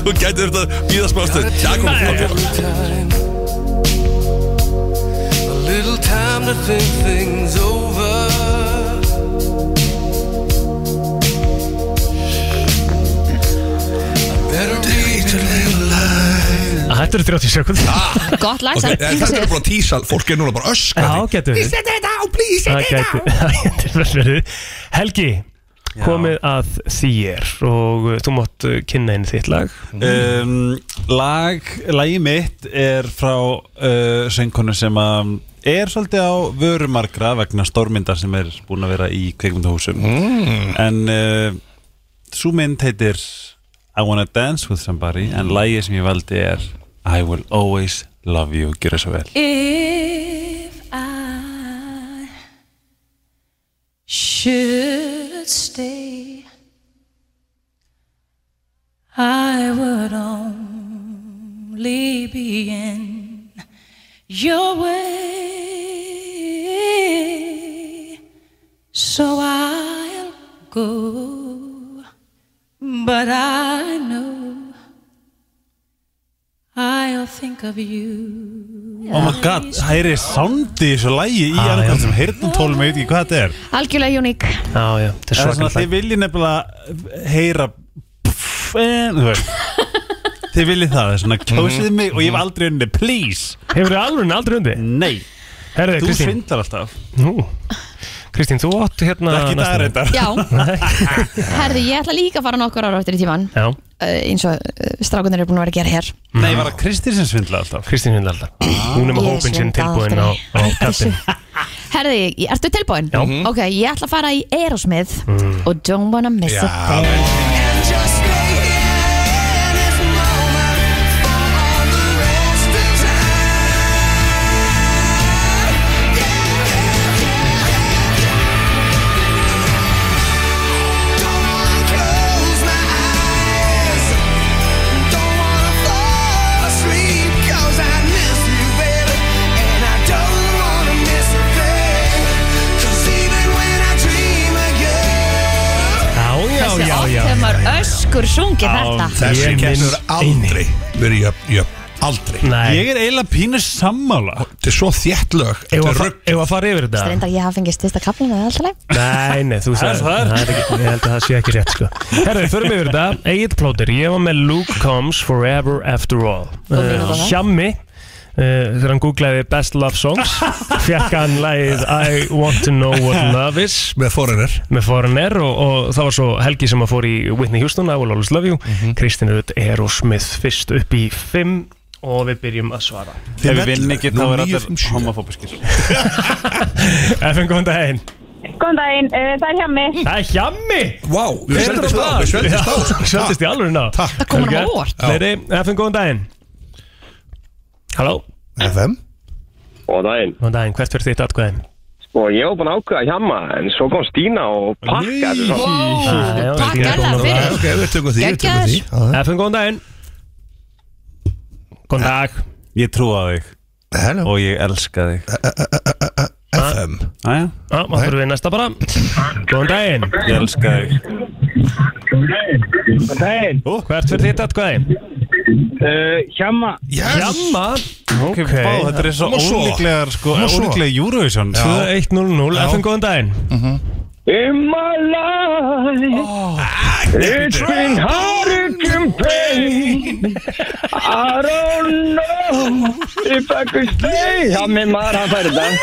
[SPEAKER 9] Þú gæti þetta býða smástuð Já, kom, kom, kom
[SPEAKER 8] A little time to think things over. I better read
[SPEAKER 2] Þetta eru 30 sekund
[SPEAKER 3] Gott lag,
[SPEAKER 9] Ok,
[SPEAKER 3] samt.
[SPEAKER 2] eh,
[SPEAKER 9] en Þetta er bara að tísa, fólk er núna bara að öskra
[SPEAKER 2] Já, getur við
[SPEAKER 9] Sett þetta á, please,
[SPEAKER 2] Það gæti, það gæti vel verið Helgi, komið að þér og uh, þú mátt uh, kynna inn þitt lag
[SPEAKER 3] Mhm.
[SPEAKER 6] um, lag, lagi mitt er frá uh, söngkonu sem að er svolítið á vörumargra vegna stormyndar sem er búin að vera í kveikmyndahúsum
[SPEAKER 9] Mm.
[SPEAKER 6] en uh, svo mynd heitir I Wanna Dance With Somebody en lagi sem ég valdi er I Will Always Love You, gera svo vel
[SPEAKER 10] If I should stay, I would only be in your way. So I'll go, but I know I'll think of you.
[SPEAKER 6] Oh my god, það er sándi í þessu lagi í annarkvæm sem heyrnatólum, ég veit ekki hvað þetta er
[SPEAKER 3] Algjörlega uník
[SPEAKER 2] Já, já, þetta er
[SPEAKER 6] Það er svona
[SPEAKER 2] svakar
[SPEAKER 6] að þið
[SPEAKER 2] lag
[SPEAKER 6] viljið nefnilega eh, heyra pff, en, þú veist Þið viljið það, það er svona kjósið mig og ég hef aldrei unni, please
[SPEAKER 2] Hefur þið alveg aldrei undi?
[SPEAKER 6] Nei,
[SPEAKER 2] Herði,
[SPEAKER 6] þú
[SPEAKER 2] Kristín,
[SPEAKER 6] svindlar alltaf
[SPEAKER 2] nú Kristín, þú átt hérna
[SPEAKER 6] Ekki það
[SPEAKER 2] næsta-
[SPEAKER 6] reyndar
[SPEAKER 3] Já, herði, ég ætla líka að fara nokkur ára áttir í tíman
[SPEAKER 2] Já,
[SPEAKER 3] uh, eins og uh, strákunir eru búin að vera að gera hér
[SPEAKER 6] Nei, var það Kristín sem svindlar alltaf
[SPEAKER 2] Kristín hundar alltaf Hún er með
[SPEAKER 3] Ég
[SPEAKER 2] hópin sinn
[SPEAKER 3] svindla
[SPEAKER 2] tilbúin á,
[SPEAKER 3] aldrei.
[SPEAKER 2] á kattin
[SPEAKER 3] Herði, ertu tilbúin?
[SPEAKER 2] Já. Mm.
[SPEAKER 3] Ok, ég ætla að fara í Aerosmith og Don't Wanna Miss a
[SPEAKER 9] Já,
[SPEAKER 3] Thing
[SPEAKER 2] Já, já,
[SPEAKER 3] Þessi
[SPEAKER 2] já,
[SPEAKER 3] oft
[SPEAKER 2] já
[SPEAKER 3] hefur maður öskur sungið þetta
[SPEAKER 9] Þessi
[SPEAKER 2] Ég
[SPEAKER 9] keppni
[SPEAKER 2] minnst
[SPEAKER 9] hefur aldrei verið jöfn, jöfn, aldrei
[SPEAKER 2] Nei,
[SPEAKER 6] Ég er eiginlega pínu sammála
[SPEAKER 9] Þetta er svo þétt lög
[SPEAKER 2] ef
[SPEAKER 9] Þetta
[SPEAKER 2] að
[SPEAKER 9] er
[SPEAKER 2] fa-
[SPEAKER 9] rugg
[SPEAKER 2] ef að fara yfir þetta
[SPEAKER 3] Reyndar ég hafa fengið stista kaplina eða alltaf leið
[SPEAKER 2] Nei, nei, þú sagði
[SPEAKER 6] það er-
[SPEAKER 2] er ekki, Ég held að það sé ekki rétt sko Herðu, förum yfir þetta Egil plóter, ég var með Luke Combs Forever After All Eh,
[SPEAKER 3] finnur þetta það?
[SPEAKER 2] Hjammi Uh, þegar hann googlaði Best Love Songs fekk hann lagið I Want To Know What Love Is
[SPEAKER 9] með foreigner
[SPEAKER 2] með Foreigner og, og það var svo Helgi sem að fór í Whitney Houston I Will Always Love You
[SPEAKER 9] Mhm.
[SPEAKER 2] Kristín Rutt Aerosmith fyrst upp í 5 og við byrjum að svara
[SPEAKER 6] Ef við vinnum ekki, þá
[SPEAKER 9] Nú,
[SPEAKER 6] er
[SPEAKER 9] níu, fimm,
[SPEAKER 6] allir
[SPEAKER 9] sjö.
[SPEAKER 6] homofóbiskir
[SPEAKER 2] FN góðan daginn
[SPEAKER 7] Góðan daginn, uh, það er hjá mig.
[SPEAKER 2] Það er hjammi
[SPEAKER 9] Vá, við sveldist á, við sveldist á sko.
[SPEAKER 2] Sveldist í alveg ná
[SPEAKER 9] Takk. Það
[SPEAKER 3] kom honum á óvart.
[SPEAKER 2] Leiri, FN góðan daginn Halló
[SPEAKER 9] FM
[SPEAKER 1] Og daginn.
[SPEAKER 2] Góðan daginn, hvert verður þitt atkvæðin?
[SPEAKER 1] Og ég var búin að ákveða hjama, en svo kom Stína og pakka þessu svo.
[SPEAKER 2] já,
[SPEAKER 3] Wow, takk er
[SPEAKER 2] Stína kom nú
[SPEAKER 3] það
[SPEAKER 9] Já,
[SPEAKER 3] fyrir
[SPEAKER 9] Ok, við tökum því, við tökum því Já, já.
[SPEAKER 2] FN góðan daginn Góðan dag
[SPEAKER 6] Ég trúa á þig
[SPEAKER 9] Hello,
[SPEAKER 6] og ég elska þig Ah.
[SPEAKER 9] FM
[SPEAKER 2] Já,
[SPEAKER 6] Æja,
[SPEAKER 2] þá þurfum við í næsta bara Góðan daginn
[SPEAKER 6] ég elska þig
[SPEAKER 2] Ó, Hvert verður þitt atkvæðin?
[SPEAKER 9] Yes,
[SPEAKER 2] Hjamma Ok,
[SPEAKER 6] Vá, þetta er svo
[SPEAKER 9] Má svo.
[SPEAKER 6] ólíklegar sko,
[SPEAKER 9] Má svo.
[SPEAKER 6] ólíklega Eurovision
[SPEAKER 2] 2100, FN góðan daginn
[SPEAKER 1] In my life, it's been hard to compare. I don't know if I could stay. Já, minn maður, hann færi þetta.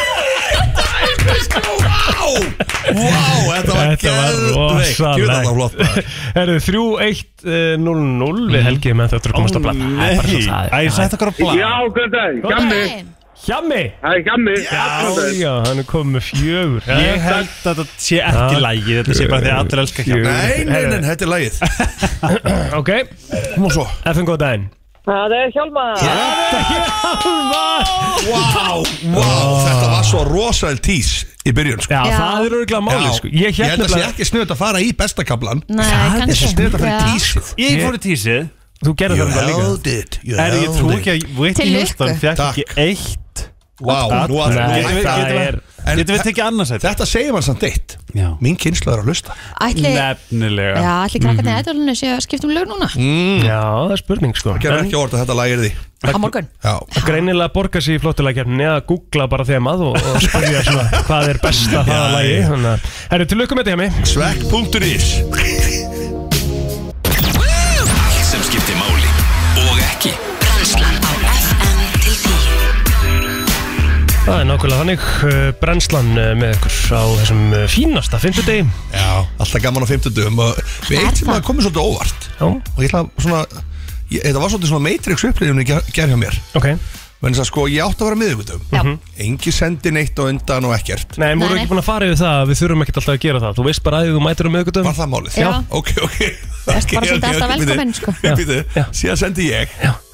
[SPEAKER 9] wow, þetta var
[SPEAKER 2] Þetta var
[SPEAKER 9] geðveikt.
[SPEAKER 2] rosalegt.
[SPEAKER 9] Ég veit að það var flott maður.
[SPEAKER 2] Herðu, 3100 við helgið með þetta að komast að blata
[SPEAKER 6] Mm. Nei, æ, sætt okkar á blá
[SPEAKER 1] góðan daginn.
[SPEAKER 2] Hjammi
[SPEAKER 1] Það er gammi.
[SPEAKER 2] Já, já, hann er komið með fjögur
[SPEAKER 6] Ég held að þetta sé ekki
[SPEAKER 2] Takk.
[SPEAKER 6] lægi Þetta sé bara því að allir elska hjá
[SPEAKER 9] Nei, nei, nei, þetta er lagið
[SPEAKER 2] Ok,
[SPEAKER 9] Má svo
[SPEAKER 2] FN góðan daginn
[SPEAKER 7] Það er Hjálmar.
[SPEAKER 9] Wow, wow, þetta var svo rosal tís í byrjun sko.
[SPEAKER 2] Já,
[SPEAKER 3] Já.
[SPEAKER 2] það er örgulega málið sko Ég
[SPEAKER 9] ég held
[SPEAKER 2] held
[SPEAKER 9] að sé
[SPEAKER 2] nefnilega
[SPEAKER 9] ekki snöðt að fara í bestakablan
[SPEAKER 3] Nei,
[SPEAKER 9] Það er
[SPEAKER 3] kannski
[SPEAKER 9] svo snöðt að fara í
[SPEAKER 3] Já.
[SPEAKER 9] tísið
[SPEAKER 6] Ég fór í tísið
[SPEAKER 2] Þú gerði
[SPEAKER 9] You
[SPEAKER 2] það bara líka
[SPEAKER 9] held it you
[SPEAKER 6] Er ég
[SPEAKER 9] held
[SPEAKER 6] trú
[SPEAKER 9] it.
[SPEAKER 6] ekki að Whitney
[SPEAKER 3] Til
[SPEAKER 6] Houston
[SPEAKER 3] lukku.
[SPEAKER 6] fekk ekki
[SPEAKER 9] Takk.
[SPEAKER 6] eitt
[SPEAKER 9] Vá, nú að
[SPEAKER 2] Nei,
[SPEAKER 9] ég-
[SPEAKER 2] það er-
[SPEAKER 9] En
[SPEAKER 6] Getum við
[SPEAKER 9] þa-
[SPEAKER 6] tekið annars eitt?
[SPEAKER 9] Þetta segir mann samt eitt
[SPEAKER 6] Já
[SPEAKER 9] Mín kynslu er að lusta
[SPEAKER 3] Ætli, já,
[SPEAKER 6] Nefnilega
[SPEAKER 9] Mhm.
[SPEAKER 3] ætli krakkarnir í ætlunni séu að skipta um lög núna
[SPEAKER 9] Mm.
[SPEAKER 2] Já, það er spurning sko
[SPEAKER 9] Gerður ekki orð að þetta lagir því
[SPEAKER 3] á morgun
[SPEAKER 9] Já,
[SPEAKER 2] Greinilega borgar sig í flottulækjarni að googla bara þemað og, og spyrja svona hvað er besta það að lagi Þannig að, herru, til lukkum þetta hjá mig
[SPEAKER 9] svekk.is
[SPEAKER 4] Allt sem skiptir máli og ekki
[SPEAKER 11] Brennslan á
[SPEAKER 2] Það er nákvæmlega þannig uh, brennslan uh, með ykkur á þessum uh, fínasta fimmtudegi
[SPEAKER 9] Já, alltaf gaman á fimmtudum og við eitt sem að komið svolítið óvart
[SPEAKER 2] Já.
[SPEAKER 9] og ég ætla að svona ég, þetta var svolítið svona matrix upplýðunni gerð hjá mér
[SPEAKER 2] ok
[SPEAKER 9] menn þess að sko ég átti að vera
[SPEAKER 3] Já.
[SPEAKER 2] Mhm.
[SPEAKER 9] miðugudum engi sendi neitt og undan og ekkert
[SPEAKER 2] Nei, en voru ekki búin að fara yfir það að við þurfum ekkert alltaf að gera það Þú veist bara að þú mætir um auðvitaðum
[SPEAKER 9] Var það málið?
[SPEAKER 2] Já,
[SPEAKER 3] Já.
[SPEAKER 9] ok, ok
[SPEAKER 3] Erst bara svolítið alltaf velkominn, sko.
[SPEAKER 2] Já.
[SPEAKER 9] býtu, síðan sendi ég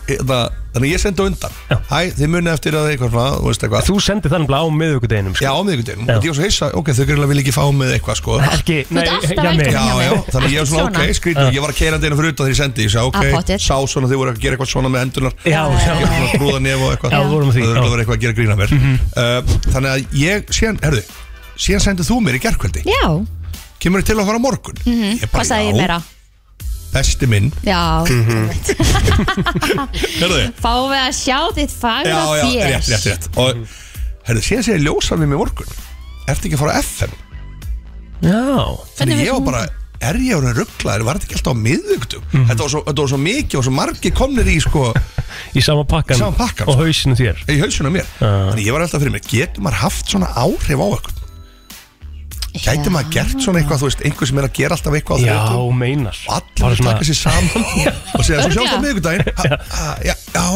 [SPEAKER 9] hérna, þannig að ég sendi á undan hæ, þið munið eftir að eitthvað svona, þú veist eitthvað
[SPEAKER 2] Þú sendir þannig bara á miðvikudeginum sko.
[SPEAKER 9] já, á miðvikudeginum, og ég var svo heissa, ok, þau greiðlega vil ekki fá mig eitthvað sko
[SPEAKER 2] Ekki,
[SPEAKER 3] nei, ert alltaf já, nei. velkominn
[SPEAKER 9] já,
[SPEAKER 3] hjá mér.
[SPEAKER 9] já, þannig ég var svona,
[SPEAKER 3] Svona.
[SPEAKER 9] ok, skrítið, ég var að keira deina fyrir utan þegar ég sendi, ég
[SPEAKER 3] Ah,
[SPEAKER 9] sagði, ok,
[SPEAKER 3] pottet.
[SPEAKER 9] sá svona þið voru að gera eitthvað svona með endunar
[SPEAKER 2] Já,
[SPEAKER 9] ég
[SPEAKER 2] já.
[SPEAKER 9] var svona að brúða nef og eitthvað
[SPEAKER 2] Já, við vorum að
[SPEAKER 9] það
[SPEAKER 2] því, já. Mhm.
[SPEAKER 9] var eitthvað að gera grína mér uh, þannig að ég, síðan, herðu síðan sendið þú mér í gerkvöldi
[SPEAKER 3] Já,
[SPEAKER 9] kemur þið til að fara á morgun
[SPEAKER 3] mhm,
[SPEAKER 9] Ég bara,
[SPEAKER 3] hvað sagði
[SPEAKER 9] já.
[SPEAKER 3] ég
[SPEAKER 9] Mhm.
[SPEAKER 3] meira?
[SPEAKER 9] besti minn
[SPEAKER 3] Já,
[SPEAKER 9] herðu,
[SPEAKER 3] fáum við að sjá þitt fagra
[SPEAKER 9] já, já,
[SPEAKER 3] þér
[SPEAKER 9] rétt, rétt, rétt og herðu, síðan segir ljósan við mig morgun ertu ekki að fara á FM
[SPEAKER 2] já.
[SPEAKER 9] þannig
[SPEAKER 3] Hvernig
[SPEAKER 9] ég var
[SPEAKER 3] vissum
[SPEAKER 9] bara er ég orðin rugglaður, var þetta ekki alltaf á miðugtum
[SPEAKER 2] Mhm.
[SPEAKER 9] þetta, var svo, þetta var svo mikið og svo margir komnir í sko,
[SPEAKER 2] Í sama pakkan,
[SPEAKER 9] Sama pakkan,
[SPEAKER 2] og
[SPEAKER 9] sko.
[SPEAKER 2] hausinu þér
[SPEAKER 9] í hausinu á mér þannig ég var alltaf fyrir mig, getur maður haft svona áhrif á okkur gæti maður gert svona eitthvað, þú veist, einhver sem er að gera alltaf eitthvað á
[SPEAKER 2] Já,
[SPEAKER 9] þrjóttum
[SPEAKER 2] meinar
[SPEAKER 9] og allir að
[SPEAKER 2] um
[SPEAKER 9] taka sér saman og segja svo sjást á
[SPEAKER 3] Örugglega.
[SPEAKER 9] miðugdægin já, já, já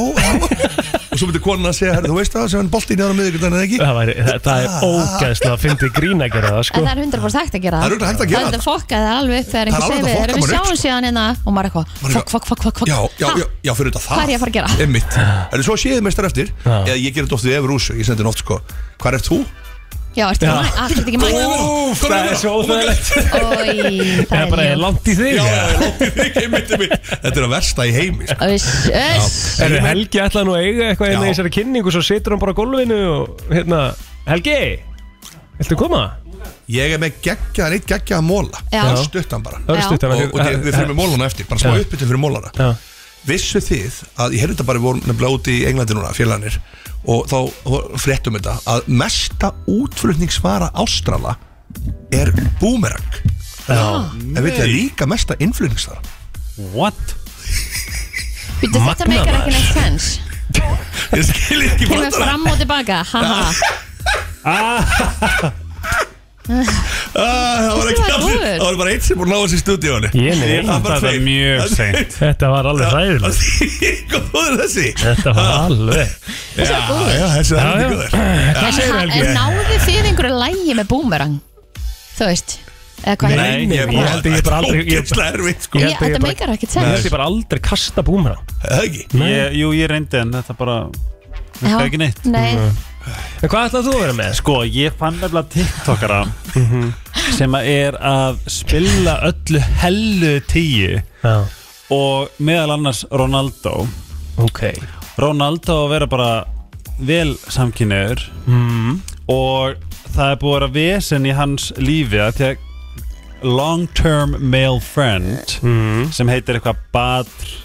[SPEAKER 9] og svo myndir konan að segja, "Herðu, þú veist það, sem hann bolti niður á miðugdægin eða ekki
[SPEAKER 2] Það, væri, það, það er ógæðslega að fyndi grín að gera það sko.
[SPEAKER 3] En það er 100% hægt að gera
[SPEAKER 9] Það er örugglega hægt að gera
[SPEAKER 3] Það er
[SPEAKER 9] það.
[SPEAKER 3] þetta fokkað það alveg upp þegar
[SPEAKER 9] Það er
[SPEAKER 3] einhver
[SPEAKER 9] alveg
[SPEAKER 3] segir
[SPEAKER 9] hægt að fokka
[SPEAKER 3] við erum við
[SPEAKER 9] manni upp,
[SPEAKER 3] sjáum síðan hérna og maður eitthvað
[SPEAKER 9] Maður
[SPEAKER 3] Fokk,
[SPEAKER 9] eitthvað,
[SPEAKER 3] fokk, fokk, fokk, fokk
[SPEAKER 9] Já, já,
[SPEAKER 3] Ha?
[SPEAKER 9] já, já, fyrir þetta það
[SPEAKER 3] Hvað er ég að fara að gera?
[SPEAKER 9] Einmitt Er svo séð mestar eftir
[SPEAKER 2] Já.
[SPEAKER 9] Eða ég gerir þetta oft við Efur Úsu Ég sendi henni oft sko Hvað er þú?
[SPEAKER 3] Já, ertu
[SPEAKER 2] Já.
[SPEAKER 3] mæ- allt ekki mæg
[SPEAKER 9] Úf,
[SPEAKER 2] Það er svo óþægilegt
[SPEAKER 3] Ói,
[SPEAKER 2] Það er bara
[SPEAKER 3] mjög
[SPEAKER 2] langt í þig
[SPEAKER 9] Já, já, já, einmitt, einmitt, einmitt Þetta er að versta í heimi sko.
[SPEAKER 3] Öss, öss
[SPEAKER 2] Er Helgi ætlaði nú að eiga eitthvað hérna
[SPEAKER 9] Já.
[SPEAKER 2] í þessari kynningu Svo situr hann bara á gólfinu og hérna Helgi, viltu koma?
[SPEAKER 9] Ég er með geggjaðan, eitt geggjaðan móla
[SPEAKER 3] Já.
[SPEAKER 9] Það stutt hann bara
[SPEAKER 2] Örstutt
[SPEAKER 9] Og, og ég- við fyrir með mólana eftir Bara smá
[SPEAKER 2] Já.
[SPEAKER 9] uppbyttu fyrir mólana
[SPEAKER 2] Já.
[SPEAKER 9] Vissu þið að ég heyrði þetta bara Við vorum nefnilega úti í Englandi núna Félagarnir Og þá þá fréttum þetta Að mesta útflutningsvara Ástrala Er boomerang En veit það líka mesta innflutningsvara
[SPEAKER 6] What?
[SPEAKER 3] Býttu þetta
[SPEAKER 2] Magnað,
[SPEAKER 3] meikar ekki neitt sens
[SPEAKER 9] Ég skil ekki
[SPEAKER 3] Kemur
[SPEAKER 9] brandara
[SPEAKER 3] fram og tilbaka Haha
[SPEAKER 9] Ah, Það var
[SPEAKER 3] Veistu
[SPEAKER 9] ekki
[SPEAKER 3] hvað er
[SPEAKER 9] allir
[SPEAKER 3] góður?
[SPEAKER 9] Það var bara eitt sem voru náðast í stúdíónu
[SPEAKER 2] Ég nei,
[SPEAKER 9] Það var bara
[SPEAKER 6] Þetta er
[SPEAKER 9] tveir.
[SPEAKER 6] mjög seint
[SPEAKER 2] Þetta var alveg hræðilegt
[SPEAKER 9] Góður þessi
[SPEAKER 2] Þetta var alveg
[SPEAKER 9] Þessi er góður Já, þessi er
[SPEAKER 2] Já, já.
[SPEAKER 9] heldur góður
[SPEAKER 2] Hvað segir Helgi?
[SPEAKER 3] En náðu þið einhverju lægi með boomerang Þú veist Eða hvað
[SPEAKER 2] Nei,
[SPEAKER 3] er
[SPEAKER 2] nei, ég held að ég bara aldrei- ég-
[SPEAKER 9] Ógæsla erfitt sko
[SPEAKER 2] ég
[SPEAKER 3] Ég-
[SPEAKER 2] held að ég
[SPEAKER 3] Þetta
[SPEAKER 2] bara-
[SPEAKER 3] meikar ekkert
[SPEAKER 2] Ég held
[SPEAKER 3] sens
[SPEAKER 2] ég bara aldrei kasta búmrang
[SPEAKER 9] Það ekki
[SPEAKER 6] ég, Jú, ég reyndi en þetta bara
[SPEAKER 3] Já.
[SPEAKER 6] virkaði ekki neitt
[SPEAKER 3] Nei,
[SPEAKER 2] En hvað ætlaði þú að vera með?
[SPEAKER 6] Sko, ég fann nefnilega tiktokara Mhm. sem að er að spila öllu hellu tíu
[SPEAKER 2] Já,
[SPEAKER 6] og meðal annars Ronaldo
[SPEAKER 2] ok
[SPEAKER 6] Ronaldo að vera bara vel samkynniður
[SPEAKER 2] mm.
[SPEAKER 6] og það er búið að vera vesen í hans lífi að því að long term male friend
[SPEAKER 2] Mm.
[SPEAKER 6] sem heitir eitthvað Badr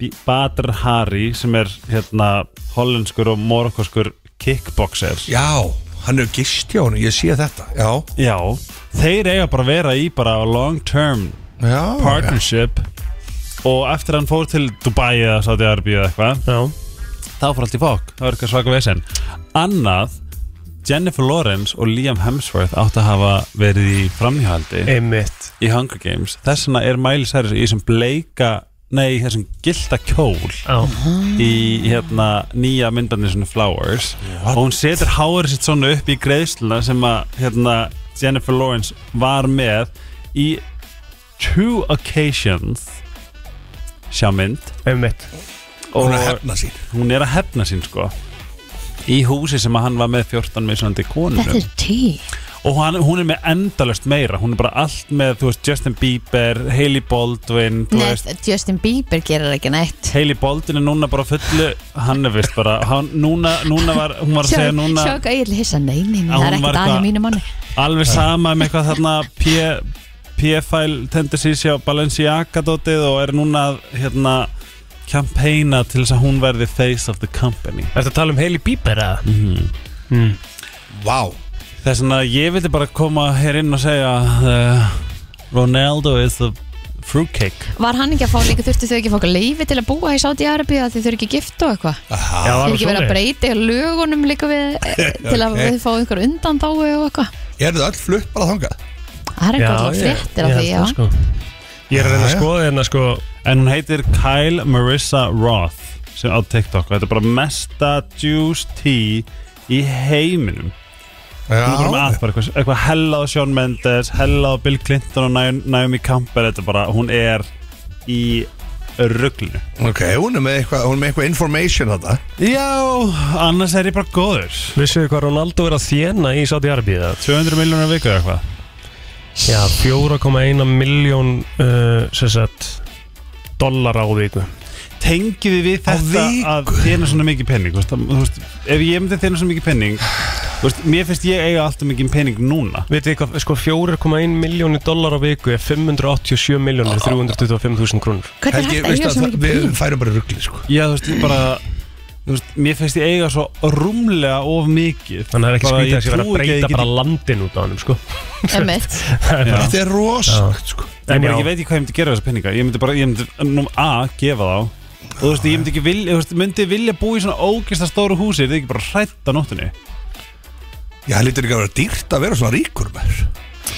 [SPEAKER 6] Bí- Badr Hari sem er hérna hollenskur og morokoskur kickboxer
[SPEAKER 9] Já, hann er gist hjá hann Ég sé þetta Já
[SPEAKER 6] Já, þeir eiga bara að vera í bara long term
[SPEAKER 9] Já
[SPEAKER 6] partnership og eftir að hann fór til Dubai eða Saudi Arabia eða eitthvað
[SPEAKER 2] Já,
[SPEAKER 6] þá fór allt í fokk, það var eitthvað svaka vesen annað, Jennifer Lawrence og Liam Hemsworth átt að hafa verið í framhjáhaldi
[SPEAKER 2] einmitt
[SPEAKER 6] í Hunger Games, þess vegna er Miley Cyrus í þessum bleika, nei, í þessum gilda kjól
[SPEAKER 2] Já,
[SPEAKER 6] í hérna nýja myndandi svona Flowers og hún setur hárið sitt svona upp í greiðsluna sem að hérna Jennifer Lawrence var með í two occasions sjá mynd
[SPEAKER 2] einmitt
[SPEAKER 9] Hún er að hefna sín
[SPEAKER 6] hún er að hefna sín sko í húsi sem að hann var með 14 mismunandi
[SPEAKER 3] þetta
[SPEAKER 6] konunum
[SPEAKER 3] er tí
[SPEAKER 6] og hann, hún er með endalust meira hún er bara allt með, þú veist, Justin Bieber Hailey Baldwin, þú veist
[SPEAKER 3] Nei, Justin Bieber gerir ekki neitt
[SPEAKER 6] Hailey Baldwin er núna bara á fullu hann er vist bara, hann, núna, núna var hún var að
[SPEAKER 3] Sjá
[SPEAKER 6] segja núna
[SPEAKER 3] sjá hvað ég er hissa Nei, nei, nei,
[SPEAKER 6] Að
[SPEAKER 3] það er
[SPEAKER 6] hún
[SPEAKER 3] ekkert
[SPEAKER 6] var
[SPEAKER 3] aðeins
[SPEAKER 6] eitthvað-
[SPEAKER 3] mínu manni
[SPEAKER 6] alveg sama með eitthvað þarna P, P-file tendencies hjá Balenciaga dotið og er núna að, hérna campaigna til þess að hún verði face of the company
[SPEAKER 2] Ertu að tala um Hailey Bieber eða?
[SPEAKER 9] Vá
[SPEAKER 6] Þess vegna ég vildi bara koma hér inn og segja uh, Ronaldo is the Fruitcake
[SPEAKER 3] Var hann ekki að fá líka, þurftu þau ekki að fá eitthvað leifi til að búa í Saudi-Arabi að þau þurfi ekki gift og eitthvað?
[SPEAKER 6] Aha.
[SPEAKER 3] Það er ekki verið að breyta í lögunum líka við eh, til að
[SPEAKER 9] Ok.
[SPEAKER 3] við fá einhver undan þá og eitthvað.
[SPEAKER 9] Er þið öll flutt bara þangað?
[SPEAKER 3] Það er eitthvað alltaf fréttir af því, já.
[SPEAKER 6] sko.
[SPEAKER 2] Ég er að reyna að
[SPEAKER 6] skoða hérna sko En hún heitir Kyle Marissa Roth sem á TikTok og þetta er bara mesta juice tea í heiminum
[SPEAKER 9] Já.
[SPEAKER 6] Hún er bara að bara eitthvað, eitthvað hella á Shawn Mendes hella á Bill Clinton og Na- Naomi Campbell þetta er bara, hún er í rugglinu
[SPEAKER 9] Ok, hún er með eitthvað, hún er með eitthvað information þetta
[SPEAKER 6] Já, annars er ég bara góður
[SPEAKER 2] Vissuðu hvað Ronaldo er að þjena í Saudi-Arabi
[SPEAKER 6] 200 miljónar viku eða eitthvað
[SPEAKER 2] Já, 4,1 miljón uh, sem sagt dollara á viku
[SPEAKER 6] Tengjum við við þetta að þérna svona mikið penning þú veist, að- þú veist, Ef ég myndi þérna svona mikið penning þú veist, Mér finnst ég eiga alltaf mikið penning núna
[SPEAKER 2] Vitið þið hvað, sko 4,1 miljóni dollara á viku er 587 miljónir 325.000 krónur
[SPEAKER 6] Hvernig er Helgi, hægt að veistu eiga að svona það- mikið við pening?
[SPEAKER 9] færum bara ruggli sko
[SPEAKER 6] Já, þú veist, ég bara þú veist, Mér finnst ég eiga svo rúmlega of mikið
[SPEAKER 2] Þannig að það er ekki
[SPEAKER 6] Bara
[SPEAKER 2] skrítið að
[SPEAKER 6] ég
[SPEAKER 2] sé verið
[SPEAKER 6] trúi
[SPEAKER 2] að
[SPEAKER 6] ekki ég
[SPEAKER 2] breyta
[SPEAKER 6] geti-
[SPEAKER 2] bara landin út á hannum sko
[SPEAKER 3] Emmett
[SPEAKER 2] bara-
[SPEAKER 9] Þetta er rosalegt sko
[SPEAKER 6] En
[SPEAKER 2] En
[SPEAKER 6] bara,
[SPEAKER 2] já.
[SPEAKER 6] ég veit ekki hvað ég myndi gera við þessa peninga Ég myndi bara, ég myndi nú A, gefa þá og þú veist, ég myndi ekki vilja, þú veist, myndi vilja búa í svona ógæsta stóru húsi, þetta er ekki bara hrætt á nóttunni
[SPEAKER 9] Já, það lítur ekki að vera dýrt að vera svona ríkur með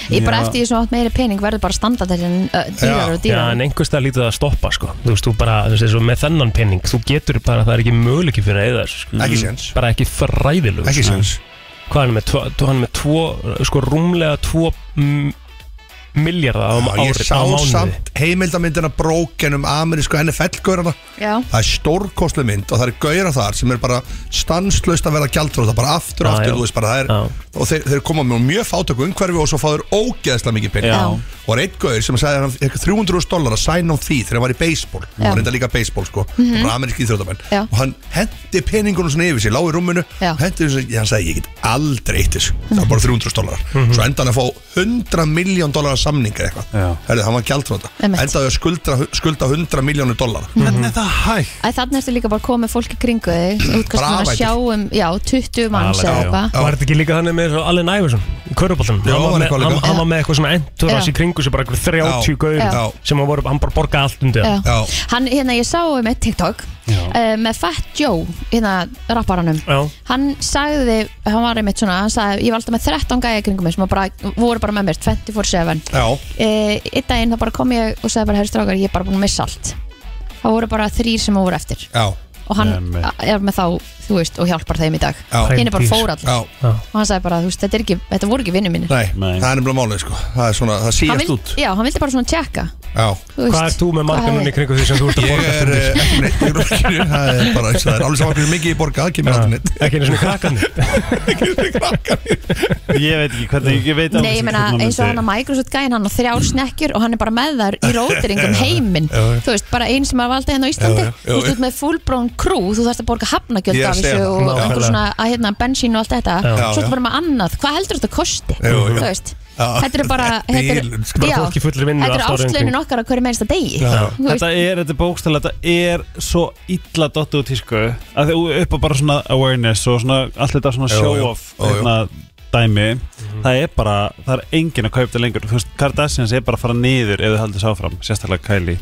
[SPEAKER 3] Ég bara
[SPEAKER 2] Já.
[SPEAKER 3] eftir ég svona átt meiri pening verður bara standardættin uh, dýrar og
[SPEAKER 2] Já,
[SPEAKER 3] dýrar.
[SPEAKER 2] en einhvers það lítið að stoppa sko Þú veist, þú bara, þú veist, eins og með þennan penning Þú getur bara, það er ekki möguleiki fyrir að eða þessu, sko.
[SPEAKER 9] Ekki séns.
[SPEAKER 2] Bara ekki fræðilug
[SPEAKER 9] Ekki séns.
[SPEAKER 2] Hvað er hann með, tvo, tvo- hann er með tvo, sko rúmlega tvo mm, miljardar á
[SPEAKER 9] Já,
[SPEAKER 2] ári
[SPEAKER 9] Ég sá
[SPEAKER 2] á mánuði.
[SPEAKER 9] samt heimildamindina bróken um amerísku henni fellgörana
[SPEAKER 3] Já.
[SPEAKER 9] Það er stórkostlu mynd og það eru gauðra þar sem er bara stanslaust að vera gjaldfróð bara aftur og
[SPEAKER 2] Já, já.
[SPEAKER 9] aftur, þú veist bara það er og þeir, þeir koma með mjög fátöku umhverfi og svo fá þeir ógeðslega mikið pening
[SPEAKER 6] Já.
[SPEAKER 9] og er einn gauður sem sagði að hann fekk 300 dólar að sæna á því þegar hann var í baseball
[SPEAKER 3] Já.
[SPEAKER 9] og reynda líka baseball sko, mm
[SPEAKER 3] Mhm.
[SPEAKER 9] bara ameríski íþróttamenn
[SPEAKER 3] Já.
[SPEAKER 9] og hann hendi peningunum svona yfir sig, lág í rúminu
[SPEAKER 3] Já. Mhm.
[SPEAKER 9] hendi þessu, ég- hann sagði ég get aldrei eitt þessu, það var bara 300 dólar svo endan að fá 100 miljón dólar samninga eða eitthvað, herrið það var gjaldfróta
[SPEAKER 3] Einmitt. Mhm.
[SPEAKER 9] endaði að skulda, skulda 100 miljónu dólar
[SPEAKER 6] Hvernig er það hægt?
[SPEAKER 3] Æ, þannig ertu líka bara að koma með fólki kringu þig útkast
[SPEAKER 2] Bara
[SPEAKER 3] með að
[SPEAKER 2] afætur.
[SPEAKER 3] sjá um, já, 20 manns eða eitthvað
[SPEAKER 2] Var þetta ekki líka þannig með Allen Iverson í Köruboltan
[SPEAKER 9] Já,
[SPEAKER 2] hann, var
[SPEAKER 9] var
[SPEAKER 2] með-
[SPEAKER 9] eitthvað
[SPEAKER 2] hann,
[SPEAKER 9] líka.
[SPEAKER 2] hann var með eitthvað svona
[SPEAKER 3] Já.
[SPEAKER 2] enduras í kringu sem bara einhver 30
[SPEAKER 9] Já.
[SPEAKER 2] gauður
[SPEAKER 3] Já.
[SPEAKER 2] sem hann, voru, hann bara borgaði allt undir
[SPEAKER 3] Já. Hann, hérna, ég sá um eitt TikTok
[SPEAKER 2] Já.
[SPEAKER 3] uh, með Fat Joe, hérna, rapparanum
[SPEAKER 2] Já.
[SPEAKER 3] Hann sagði, hann var einmitt svona, hann sagði, ég var alltaf með 13 gæja kringum mig sem var bara, voru bara með mér 24-7
[SPEAKER 9] Já.
[SPEAKER 3] Eh, Einn daginn þá bara kom ég og sagði bara, herri strákar, ég er bara búin að missa allt Það voru bara þrýr sem voru eftir
[SPEAKER 9] Já.
[SPEAKER 3] og hann
[SPEAKER 9] Nei, nei.
[SPEAKER 3] er með þá, þú veist, og hjálpar þeim í dag
[SPEAKER 9] Já.
[SPEAKER 3] Hinn er bara
[SPEAKER 9] Hreindýr.
[SPEAKER 3] fór allir
[SPEAKER 9] Já.
[SPEAKER 3] og hann sagði bara, þú veist, þetta, er ekki, þetta voru ekki vinnu mínir
[SPEAKER 9] Nei, það er nefnilega málið sko Það er svona, það
[SPEAKER 3] Hann
[SPEAKER 9] síðast
[SPEAKER 3] vildi-
[SPEAKER 9] út
[SPEAKER 3] Já, hann vildi bara svona tjekka
[SPEAKER 9] Já.
[SPEAKER 3] Þú veist,
[SPEAKER 2] Hvað ert þú með
[SPEAKER 3] hvað
[SPEAKER 2] marga
[SPEAKER 3] hefði-
[SPEAKER 2] núna í kringu því sem þú ert
[SPEAKER 9] Ég
[SPEAKER 2] að borga
[SPEAKER 9] er eh, ekki neitt í rokkinu Það er bara, það er alveg saman hversu mikið ég borga Það kemur aldrei neitt
[SPEAKER 2] Ekki einu svona krakkarnir
[SPEAKER 6] Ég veit ekki hvernig, ég veit alveg
[SPEAKER 3] Nei, ég
[SPEAKER 6] sem
[SPEAKER 3] meina
[SPEAKER 6] hvernig hún
[SPEAKER 3] eins og
[SPEAKER 6] myndi-
[SPEAKER 3] hann að Microsoft gæinn hann á þrjár snekkjur og hann er bara með þar í rótiringum
[SPEAKER 6] Já, já.
[SPEAKER 3] heiminn
[SPEAKER 6] Já, já.
[SPEAKER 3] Þú veist, bara einn sem að valda hérna á Íslandi
[SPEAKER 6] Já, já, já,
[SPEAKER 3] Þú veist,
[SPEAKER 6] já.
[SPEAKER 3] út með fullbrón crew, þú þarfst að borga hafnagjöld
[SPEAKER 6] Ég er að
[SPEAKER 3] af þessu
[SPEAKER 6] segja það.
[SPEAKER 3] og
[SPEAKER 6] Já.
[SPEAKER 3] einhver svona að hérna bensín og allt þetta
[SPEAKER 6] Já.
[SPEAKER 3] Svo
[SPEAKER 6] Já,
[SPEAKER 3] ertu bara með annað, hvað heldur þetta kosti?
[SPEAKER 6] Já, já.
[SPEAKER 3] Þú veist, þetta er bara þetta er-
[SPEAKER 6] Bilun, sko, bara
[SPEAKER 3] Já,
[SPEAKER 6] fólk í fullri vinnu
[SPEAKER 3] Þetta er
[SPEAKER 6] allt árið um
[SPEAKER 3] áslaunin okkar á hverju meinsta degi Þú veist,
[SPEAKER 6] Þetta er, þetta er bókstæla, þetta er svo illa dottu út í sko að þið upp á bara svona awareness og svona allt þetta svona
[SPEAKER 9] Jú,
[SPEAKER 6] show
[SPEAKER 9] jú.
[SPEAKER 6] off
[SPEAKER 9] Jú, Mhm. jú.
[SPEAKER 6] hérna, dæmi það er bara, það er enginn að kaupa þetta lengur þú veist, Kardashians er bara að fara niður ef þið haldið sáfram, sérstaklega Kylie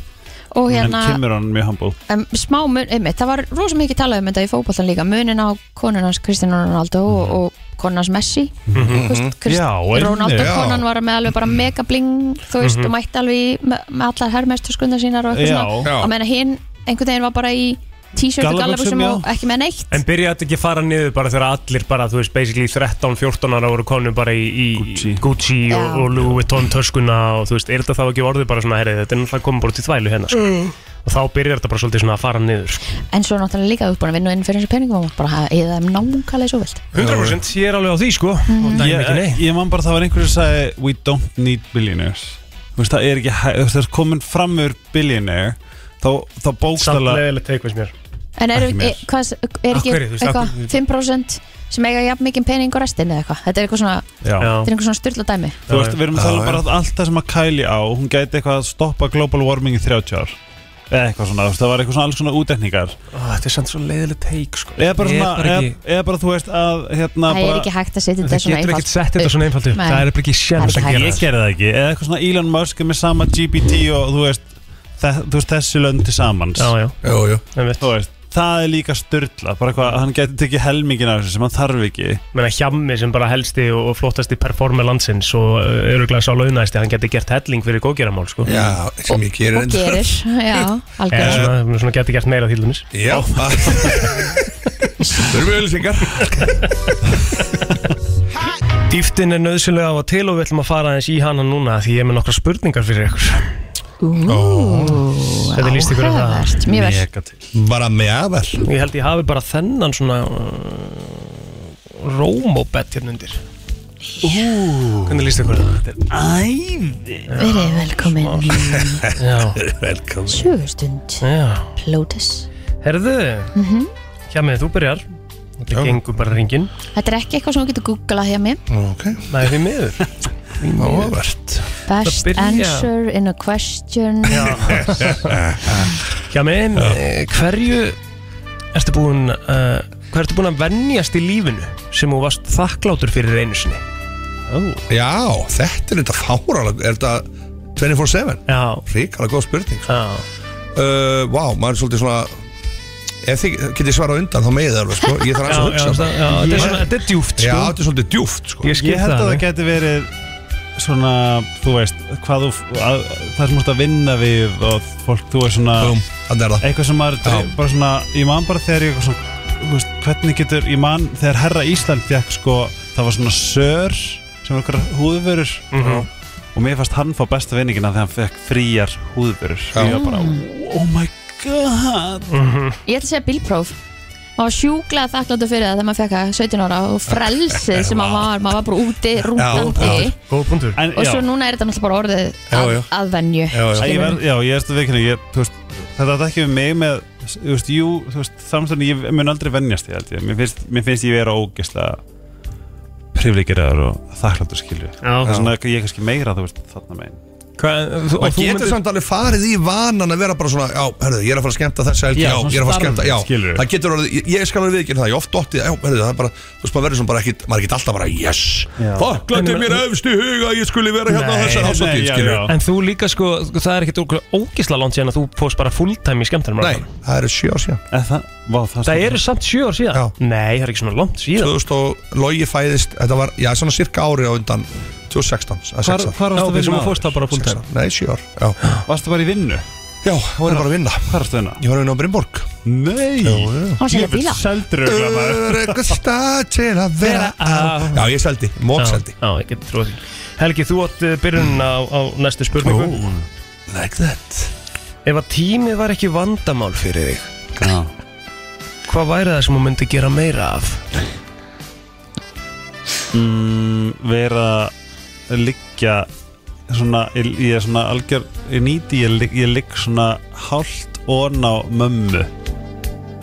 [SPEAKER 3] Og hérna-
[SPEAKER 6] en Kim er hann mjög humble
[SPEAKER 3] um, smá mun, einmitt, það var rosa mikið talað um þetta í fótbollan líka, munin á konunans Kristján Ronaldo og, og konunans Messi
[SPEAKER 6] Mhm.
[SPEAKER 3] Þú veist, Krist-
[SPEAKER 6] Já, einmitt.
[SPEAKER 3] Ronaldo
[SPEAKER 6] Já.
[SPEAKER 3] konan var með alveg bara mega bling, þú veist,
[SPEAKER 6] Mhm.
[SPEAKER 3] og mætti alveg í, með, með allar hermesturskundar sínar og eitthvað
[SPEAKER 2] Já.
[SPEAKER 3] svona,
[SPEAKER 2] Já.
[SPEAKER 3] og meina hinn einhvern veginn var bara í t-shirt og
[SPEAKER 2] Gallabuxum,
[SPEAKER 3] gallabuxum
[SPEAKER 2] já.
[SPEAKER 3] og ekki með neitt
[SPEAKER 2] En byrjaði þetta ekki að fara niður bara þegar allir bara, þú veist, basically 13-14 ára voru konum bara í, í Gucci, og,
[SPEAKER 3] Já.
[SPEAKER 2] og Louis Vuitton töskuna og þú veist, er þetta þá ekki orðið bara svona, herri, þetta er náttúrulega komið bara til þvælu hérna, sko.
[SPEAKER 3] Mm.
[SPEAKER 2] Og þá byrjar þetta bara svolítið svona að fara niður, sko.
[SPEAKER 3] en svo náttúrulega líka þú ert búin að vinna inn fyrir þessu peningum og mátt bara hafa eða þeim nákvæmlega svo vilt
[SPEAKER 2] 100% ég er alveg á því, sko. Og dæmi ekki nei.
[SPEAKER 6] ég, ég man bara það var einhver sem sagði we don't need billionaires þú veist, það er ekki, hæ- þú veist, það er komin fram yfir billionaire, þá, þá bókstæla
[SPEAKER 2] Samt leiðilegt teikvæs mér
[SPEAKER 3] en er,
[SPEAKER 6] Ekki
[SPEAKER 3] er,
[SPEAKER 6] mér.
[SPEAKER 3] hvað, er
[SPEAKER 6] Af
[SPEAKER 3] ekki
[SPEAKER 6] hverju, þú veist, af
[SPEAKER 3] eitthvað
[SPEAKER 6] hverju-
[SPEAKER 3] 5% sem eiga jafn mikið pening og restin eða eitthvað, þetta er eitthvað svona
[SPEAKER 6] Já.
[SPEAKER 3] þetta er einhver svona styrla dæmi
[SPEAKER 6] Þú veist, við erum að
[SPEAKER 9] Já,
[SPEAKER 6] tala um
[SPEAKER 9] já.
[SPEAKER 6] bara að allt það sem að Kylie á, hún gæti eitthvað að stoppa global warming í 30 ár. eða eitthvað svona, þú veist, það var eitthvað svona alls svona útdekningar
[SPEAKER 2] Þetta er samt svo leiðileg teik sko.
[SPEAKER 6] eða bara
[SPEAKER 2] Ég er
[SPEAKER 6] svona,
[SPEAKER 2] bara ekki-
[SPEAKER 6] eða, eða bara þú veist að hérna
[SPEAKER 3] Það er
[SPEAKER 6] bara-
[SPEAKER 3] ekki hægt að setja þetta
[SPEAKER 2] Það
[SPEAKER 3] svona
[SPEAKER 2] getur
[SPEAKER 3] einfalt
[SPEAKER 2] ekkert sett þetta svona einfalt upp
[SPEAKER 3] Nei.
[SPEAKER 2] Það er bara ekki sjans að
[SPEAKER 3] Það er
[SPEAKER 2] gera
[SPEAKER 6] ég gerði það ekki, eða eitthvað svona Elon Musk er með sama GPT og þú veist, þe þú veist þessi lönd til samans
[SPEAKER 2] Já, já.
[SPEAKER 9] Jú, jú.
[SPEAKER 6] Þú veist, það er líka styrla bara hvað, hann getur tekið helmingin af þessu sem hann þarf ekki
[SPEAKER 2] Menna Hjammi sem bara helsti og og flottasti performer landsins og öruglega sá launæsti, hann geti gert helling fyrir góðgeramál sko.
[SPEAKER 9] Já, sem ég gerir
[SPEAKER 3] og gerir, já,
[SPEAKER 2] Eða
[SPEAKER 3] algjörlega
[SPEAKER 2] svona, svona geti gert meira til dæmis
[SPEAKER 9] Já Þurfum við ölsingar
[SPEAKER 2] Dýftin er nöðsynlega á að til og við ætlum að fara aðeins í hana núna því ég er með nokkra spurningar fyrir ykkur Þetta líst ykkur á það?
[SPEAKER 3] áhugavert, mjög vel
[SPEAKER 9] Bara með vel
[SPEAKER 2] Ég held ég hafi bara þennan svona uh, rómóbett hérna undir Ú, Hvernig líst ykkur á það? Þetta
[SPEAKER 3] verið velkomin
[SPEAKER 2] er- Já,
[SPEAKER 9] Velkomin
[SPEAKER 3] sögustund,
[SPEAKER 2] já
[SPEAKER 3] plótis
[SPEAKER 2] Herðu, Hjammi, þú byrjar Þetta gengur bara ringin
[SPEAKER 3] þetta er ekki eitthvað sem þú getur googlað hjá mér
[SPEAKER 9] Ok,
[SPEAKER 2] Nei, því miður
[SPEAKER 9] mávert
[SPEAKER 3] best
[SPEAKER 2] byrja.
[SPEAKER 3] answer in a question
[SPEAKER 2] Hjammi, eh, hverju ertu búin uh, Hvað ertu búin að venjast í lífinu sem þú varst þakklátur fyrir einu sinni?
[SPEAKER 9] Já, þetta er þetta fáralega Er þetta 24-7?
[SPEAKER 2] Já,
[SPEAKER 9] Ríkala góð spurning sko.
[SPEAKER 2] já
[SPEAKER 9] uh, Vá, maður er svolítið svona Ef þið getið svarað undan þá meðið alveg sko. Ég þarf aðeins
[SPEAKER 2] Já,
[SPEAKER 9] að
[SPEAKER 2] já,
[SPEAKER 9] hugsa
[SPEAKER 2] það- já, þetta er svona- þetta er djúft
[SPEAKER 9] Já,
[SPEAKER 2] sko
[SPEAKER 9] þetta er svolítið djúft sko.
[SPEAKER 2] Ég skil
[SPEAKER 6] ég held að það
[SPEAKER 2] alveg.
[SPEAKER 6] geti verið svona, þú veist hvað þú, að, það sem þú ert að vinna við og fólk, þú veist svona
[SPEAKER 9] Búm, Þannig er það
[SPEAKER 6] eitthvað sem maður,
[SPEAKER 9] Já.
[SPEAKER 6] bara svona ég man bara þegar ég eitthvað svona þú veist, hvernig getur, ég man þegar Herra Ísland fekk sko, það var svona sör sem var eitthvað húðvörur
[SPEAKER 2] Mhm.
[SPEAKER 6] og mér fannst hann fá besta vinningina þegar hann fekk fríjar húðvörur
[SPEAKER 9] Já.
[SPEAKER 6] og ég var bara, oh my god
[SPEAKER 3] ég ætla að segja bílpróf maður var sjúklað þakkláttu fyrir það þegar maður fekk að 17 ára og frelsið sem maður var maður var bara úti, rútandi
[SPEAKER 2] Góð
[SPEAKER 9] Mm.
[SPEAKER 2] punktur
[SPEAKER 6] en,
[SPEAKER 3] og
[SPEAKER 6] já,
[SPEAKER 3] svo núna er þetta náttúrulega bara orðið að,
[SPEAKER 9] já.
[SPEAKER 3] að venju
[SPEAKER 6] Æ, ég verð, já, ég erstu veikinu ég, þú veist, þetta er ekki við mig með þú veist, jú, þú veist, samstæðan ég mun aldrei venjast því, held ég, mér finnst, mér finnst ég vera ógislega privilegiraður og þakkláttur skilju það er svona, ég er kannski meira, þú veist, þarna megin
[SPEAKER 2] Hvað, og
[SPEAKER 9] Maður
[SPEAKER 2] þú
[SPEAKER 9] getur
[SPEAKER 2] myndir
[SPEAKER 9] samt alveg farið í vanan að vera bara svona Já, herðu, ég er að fara að skemmta þessa helgi
[SPEAKER 6] Já,
[SPEAKER 9] Já,
[SPEAKER 6] svona
[SPEAKER 9] ég er að fara að
[SPEAKER 6] starfið,
[SPEAKER 9] skemmta Já,
[SPEAKER 6] skilurðu.
[SPEAKER 9] það getur orðið Ég, ég skal alveg viðkynna það Ég oft dotti Já, herðu, það er bara Þú veist, maður verður svona bara ekkit Maður er ekkit alltaf bara Yes
[SPEAKER 6] Já.
[SPEAKER 9] Þakklandi
[SPEAKER 2] En-
[SPEAKER 9] mér öfst í huga að Ég skuli vera hérna á
[SPEAKER 2] Nei,
[SPEAKER 9] þessar
[SPEAKER 6] nei,
[SPEAKER 9] ásatíð,
[SPEAKER 6] já,
[SPEAKER 9] skilju
[SPEAKER 6] já.
[SPEAKER 2] En þú líka sko, það er ekkert ógisla langt síðan að þú fórst bara fulltime í skemmtunum
[SPEAKER 9] Nei, það eru sjö ár síðan
[SPEAKER 6] eða það, vá, það,
[SPEAKER 2] Það eru samt sjö ár síðan
[SPEAKER 9] Já.
[SPEAKER 2] Nei, það er ekki svona langt síðan
[SPEAKER 9] 2000 og logi fæðist Þetta var, já, svona cirka ári á undan 2016 eða
[SPEAKER 6] hvar,
[SPEAKER 9] 16.
[SPEAKER 6] hvar
[SPEAKER 2] Já,
[SPEAKER 6] varstu að
[SPEAKER 2] ok, sem
[SPEAKER 6] vinna
[SPEAKER 2] þú fórst það bara fulltime
[SPEAKER 9] 16, Nei, sjö ár Já,
[SPEAKER 6] áður? varstu bara í vinnu,
[SPEAKER 9] já það var ég bara að vinna
[SPEAKER 6] hvar varstu að vinna
[SPEAKER 9] Ég var að vinna á Brynborg
[SPEAKER 6] nei,
[SPEAKER 3] og selja bíla
[SPEAKER 6] seldur
[SPEAKER 9] Öryggur stað til að vera á Já, ég seldi, mók seldi
[SPEAKER 2] Já, ég getur trúið því Helgi, þú átt eh, byrjun á, á næstu spurningu
[SPEAKER 9] Like that
[SPEAKER 2] Ef að tímið var ekki vandamál fyrir þig
[SPEAKER 6] já,
[SPEAKER 2] Hvað væri það sem þú myndi gera meira af?
[SPEAKER 6] mm, vera að liggja svona, ég, ég er svona algjör ég nýti, ég, ligg- ég ligg svona hálft ón á mömmu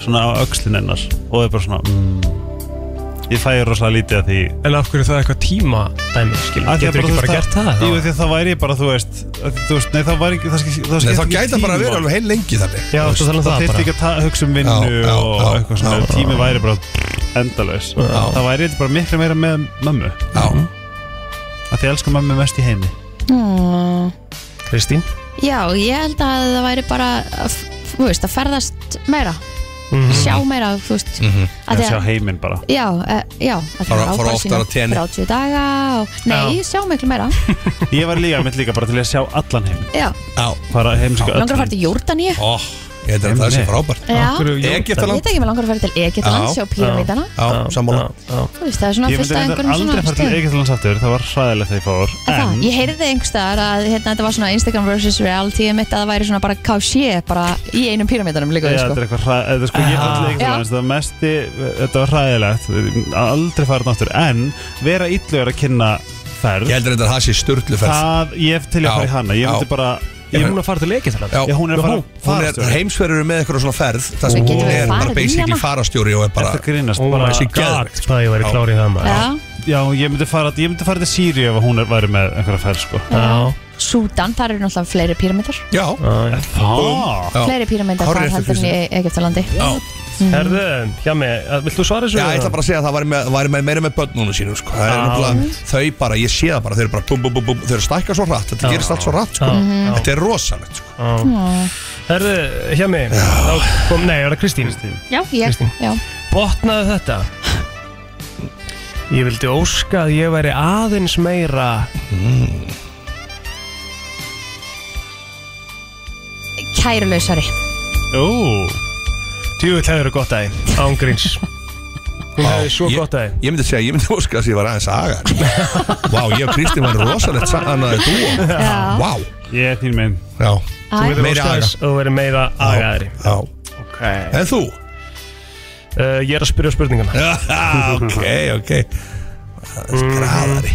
[SPEAKER 6] svona á öxlin hennar og það er bara svona mm, ég fæ rosalega lítið að því
[SPEAKER 2] En af hverju það er eitthvað tíma dæmi, skil
[SPEAKER 6] Af því að
[SPEAKER 2] Getur ekki
[SPEAKER 6] þú
[SPEAKER 2] bara
[SPEAKER 6] veist,
[SPEAKER 2] gert það?
[SPEAKER 6] Jú, því að það væri bara, þú veist, að, þú veist Nei, það væri ekki, það, skil-
[SPEAKER 9] Nei,
[SPEAKER 6] það,
[SPEAKER 9] það
[SPEAKER 6] skiptir ekki
[SPEAKER 9] gæti bara að vera
[SPEAKER 6] tíma.
[SPEAKER 9] alveg heil lengi þannig
[SPEAKER 2] Já, þú talar um
[SPEAKER 6] það
[SPEAKER 2] það
[SPEAKER 6] þyrfti
[SPEAKER 2] bara
[SPEAKER 6] ekki að ta- hugsa um vinnu
[SPEAKER 9] Já, já,
[SPEAKER 6] og
[SPEAKER 9] já,
[SPEAKER 6] eitthvað svona
[SPEAKER 9] já,
[SPEAKER 6] já, tími væri bara endalaus það væri þetta bara miklu meira með mömmu
[SPEAKER 9] Já,
[SPEAKER 6] að því elsku mömmu mest í heimi
[SPEAKER 3] mm.
[SPEAKER 2] Kristín
[SPEAKER 3] já, ég held að það væri bara að, þú veist, að ferðast meira sjá meira, þú veist mm -hmm.
[SPEAKER 6] að Mhm. sjá heiminn bara
[SPEAKER 3] Já, uh, já, að
[SPEAKER 9] Fara-
[SPEAKER 3] fara
[SPEAKER 9] fara
[SPEAKER 3] ábæð
[SPEAKER 9] oftar
[SPEAKER 3] sína
[SPEAKER 9] á tenni.
[SPEAKER 3] 30 daga og, Nei, sjá miklu meira
[SPEAKER 6] ég var líka, mitt líka bara til að sjá allan heiminn
[SPEAKER 3] Já,
[SPEAKER 9] já
[SPEAKER 6] bara heimsku
[SPEAKER 3] langar að fara til Jórdaníu
[SPEAKER 9] Ó, ég held að það sé frábært
[SPEAKER 3] Já,
[SPEAKER 2] Hverju- jú,
[SPEAKER 3] ég veit
[SPEAKER 9] Egyptaland
[SPEAKER 3] ekki með langar að fara til Egyptaland
[SPEAKER 9] Já.
[SPEAKER 3] sjá píramítana
[SPEAKER 9] Já, sammála
[SPEAKER 2] já, já.
[SPEAKER 3] Þú veist, það er svona
[SPEAKER 6] ég myndi
[SPEAKER 3] fyrsta
[SPEAKER 6] reyndar
[SPEAKER 3] einhverjum
[SPEAKER 6] aldrei fara til
[SPEAKER 3] stöðum.
[SPEAKER 6] Egyptalands aftur það var hræðilegt þegar ég fór
[SPEAKER 3] En það,
[SPEAKER 6] en
[SPEAKER 3] Ég heyrði einhverstaðar að hérna, þetta var svona Instagram vs. reality mitt að það væri svona bara KC bara í einum píramítanum líka
[SPEAKER 6] Já,
[SPEAKER 3] sko.
[SPEAKER 6] þetta er eitthvað hræ- þetta er sko, ég fann til Egyptalands, það var mesti, þetta var hræðilegt, aldrei farið náttúr, en vera illugur að kynna ferð,
[SPEAKER 9] Ég held að það sé störtluferð
[SPEAKER 6] það, ég hef til ég að fara í
[SPEAKER 9] Já,
[SPEAKER 6] hana, ég
[SPEAKER 9] já.
[SPEAKER 6] myndi bara,
[SPEAKER 2] Ég er núna að fara til leikið
[SPEAKER 9] Já,
[SPEAKER 6] Já, hún er að fara
[SPEAKER 9] hún er
[SPEAKER 6] farastjóri.
[SPEAKER 9] heimsverður með eitthvað svona ferð Það
[SPEAKER 3] Við
[SPEAKER 9] sem
[SPEAKER 3] getum
[SPEAKER 9] hún
[SPEAKER 3] verið
[SPEAKER 9] er bara
[SPEAKER 3] farið í
[SPEAKER 9] basically
[SPEAKER 3] hana.
[SPEAKER 9] farastjóri og er bara
[SPEAKER 6] Ertu að grínast
[SPEAKER 2] Oh
[SPEAKER 6] bara,
[SPEAKER 2] my god,
[SPEAKER 9] geðveikt, sko.
[SPEAKER 2] hvað ég væri
[SPEAKER 9] Já.
[SPEAKER 2] klárið það maður
[SPEAKER 3] Já,
[SPEAKER 6] Já, ég myndi fara, ég myndi fara til Sýri ef hún er, væri með einhverja færð sko
[SPEAKER 2] Já,
[SPEAKER 3] Súdan, þar eru náttúrulega fleiri píramítar
[SPEAKER 9] Já
[SPEAKER 2] Það
[SPEAKER 3] Fleiri píramítar þar heldur en í Egyptalandi
[SPEAKER 2] Herðu, hjá mig, eh, vilt þú svara þessu?
[SPEAKER 9] Já, ég ætla bara að segja að það væri, með, væri með, meira með börnunum sínum sko. Það er
[SPEAKER 2] Já.
[SPEAKER 9] nefnilega, þau bara, ég sé það bara Þau eru bara, bum, bum, bum, bum, þau eru stækka svo rætt Þetta
[SPEAKER 2] Já.
[SPEAKER 9] gerist allt svo rætt sko.
[SPEAKER 2] Já, já.
[SPEAKER 9] Þetta er rosalegt sko.
[SPEAKER 2] Herðu, hjá mig Þá kom, nei, það er Kristín
[SPEAKER 3] Já, ég
[SPEAKER 2] Kristín.
[SPEAKER 3] já.
[SPEAKER 2] Botnaðu þetta Ég vildi óska að ég væri aðeins meira
[SPEAKER 3] Kærulausari
[SPEAKER 2] Jú Tjúvill hefur gott aði, ángríns Hún hefði svo
[SPEAKER 9] Ég-
[SPEAKER 2] gott aði
[SPEAKER 9] Ég myndi segja, ég myndi óska þess að ég var aðeins aga Vá, ég og Kristín var rosalegt Sannaði dúo
[SPEAKER 3] Já.
[SPEAKER 9] Vá
[SPEAKER 6] Ég er þín minn
[SPEAKER 9] Já,
[SPEAKER 2] Þú vildir
[SPEAKER 9] Meiri
[SPEAKER 2] óska
[SPEAKER 9] aga.
[SPEAKER 2] þess að þú verið meira agaðri
[SPEAKER 9] já
[SPEAKER 2] okay.
[SPEAKER 9] En þú?
[SPEAKER 2] uh, Ég er að spyrja spurningana
[SPEAKER 9] ok, ok Graðari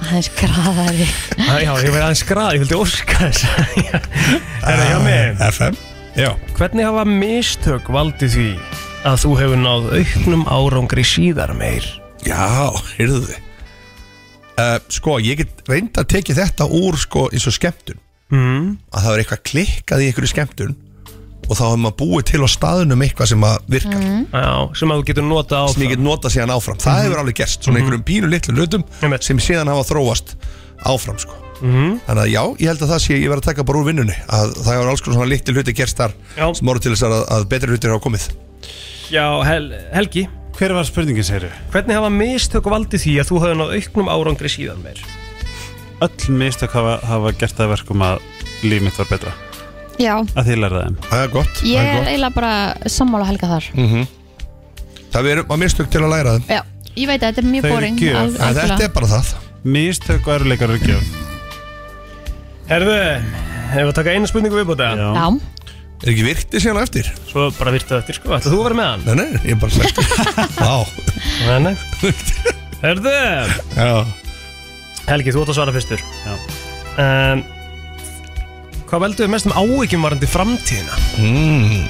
[SPEAKER 3] Aðeins graðari
[SPEAKER 2] Æ, Já, ég verið aðeins grað, ég vildi óska þess Herra, hjá mig
[SPEAKER 9] FM Já
[SPEAKER 2] Ah. Hvernig hafa mistök valdið því að þú hefur náð auknum árangri síðar meir
[SPEAKER 9] Já, heyrðu þið uh, Sko, ég get reynd að tekið þetta úr sko, eins og skemmtun
[SPEAKER 2] mm.
[SPEAKER 9] að það er eitthvað klikkað í einhverju skemmtun og þá hefur maður búið til á staðunum eitthvað sem að virkar mm.
[SPEAKER 2] Já, sem að þú getur notað á
[SPEAKER 9] sem ég get notað síðan áfram það hefur alveg gerst, svona einhverjum pínu litlu hlutum
[SPEAKER 2] Einmitt.
[SPEAKER 9] sem síðan hafa þróast áfram sko.
[SPEAKER 2] Mhm.
[SPEAKER 9] þannig að já, ég held að það sé ég verið að taka bara úr vinnunni að það hefur alls konar svona litlu hluti gerst þar
[SPEAKER 2] Já.
[SPEAKER 9] sem orður til þess að, að betri hlutir hafa komið
[SPEAKER 2] Já, hel, Helgi
[SPEAKER 6] Hver var spurningin, segir
[SPEAKER 2] Hvernig hafa mistök valdið því að þú hefur náð auknum árangri síðar meir
[SPEAKER 6] Öll mistök hafa, hafa gert það að verkum að líf mitt var betra
[SPEAKER 3] Já,
[SPEAKER 6] Að því ég lærði þeim
[SPEAKER 9] það er gott, það
[SPEAKER 3] ég
[SPEAKER 9] er
[SPEAKER 3] er
[SPEAKER 9] gott.
[SPEAKER 3] eiginlega bara sammála helga þar
[SPEAKER 9] það verður maður mistök til að læra þeim
[SPEAKER 3] Já, ég veit að þetta er mjög
[SPEAKER 6] Þau eru
[SPEAKER 3] boring
[SPEAKER 6] gjöf.
[SPEAKER 3] al-
[SPEAKER 9] en þetta
[SPEAKER 3] algjörlega.
[SPEAKER 9] er bara það
[SPEAKER 6] Mistök og eruleikar eru gjöf
[SPEAKER 2] Herðu, hefur við að taka eina spurningu viðbúta
[SPEAKER 3] Já,
[SPEAKER 9] er ekki virti síðan á eftir
[SPEAKER 2] Svo bara virtu eftir sko, ætlaðu þú að vera með hann?
[SPEAKER 9] Nei, nei, ég er bara sagt Vá
[SPEAKER 2] Nei, nei Herðu,
[SPEAKER 9] Já
[SPEAKER 2] Helgi, þú átt að svara fyrstur
[SPEAKER 6] Já.
[SPEAKER 2] um, Hvað velduðu mest um áhyggjum varandi framtíðina?
[SPEAKER 9] mm.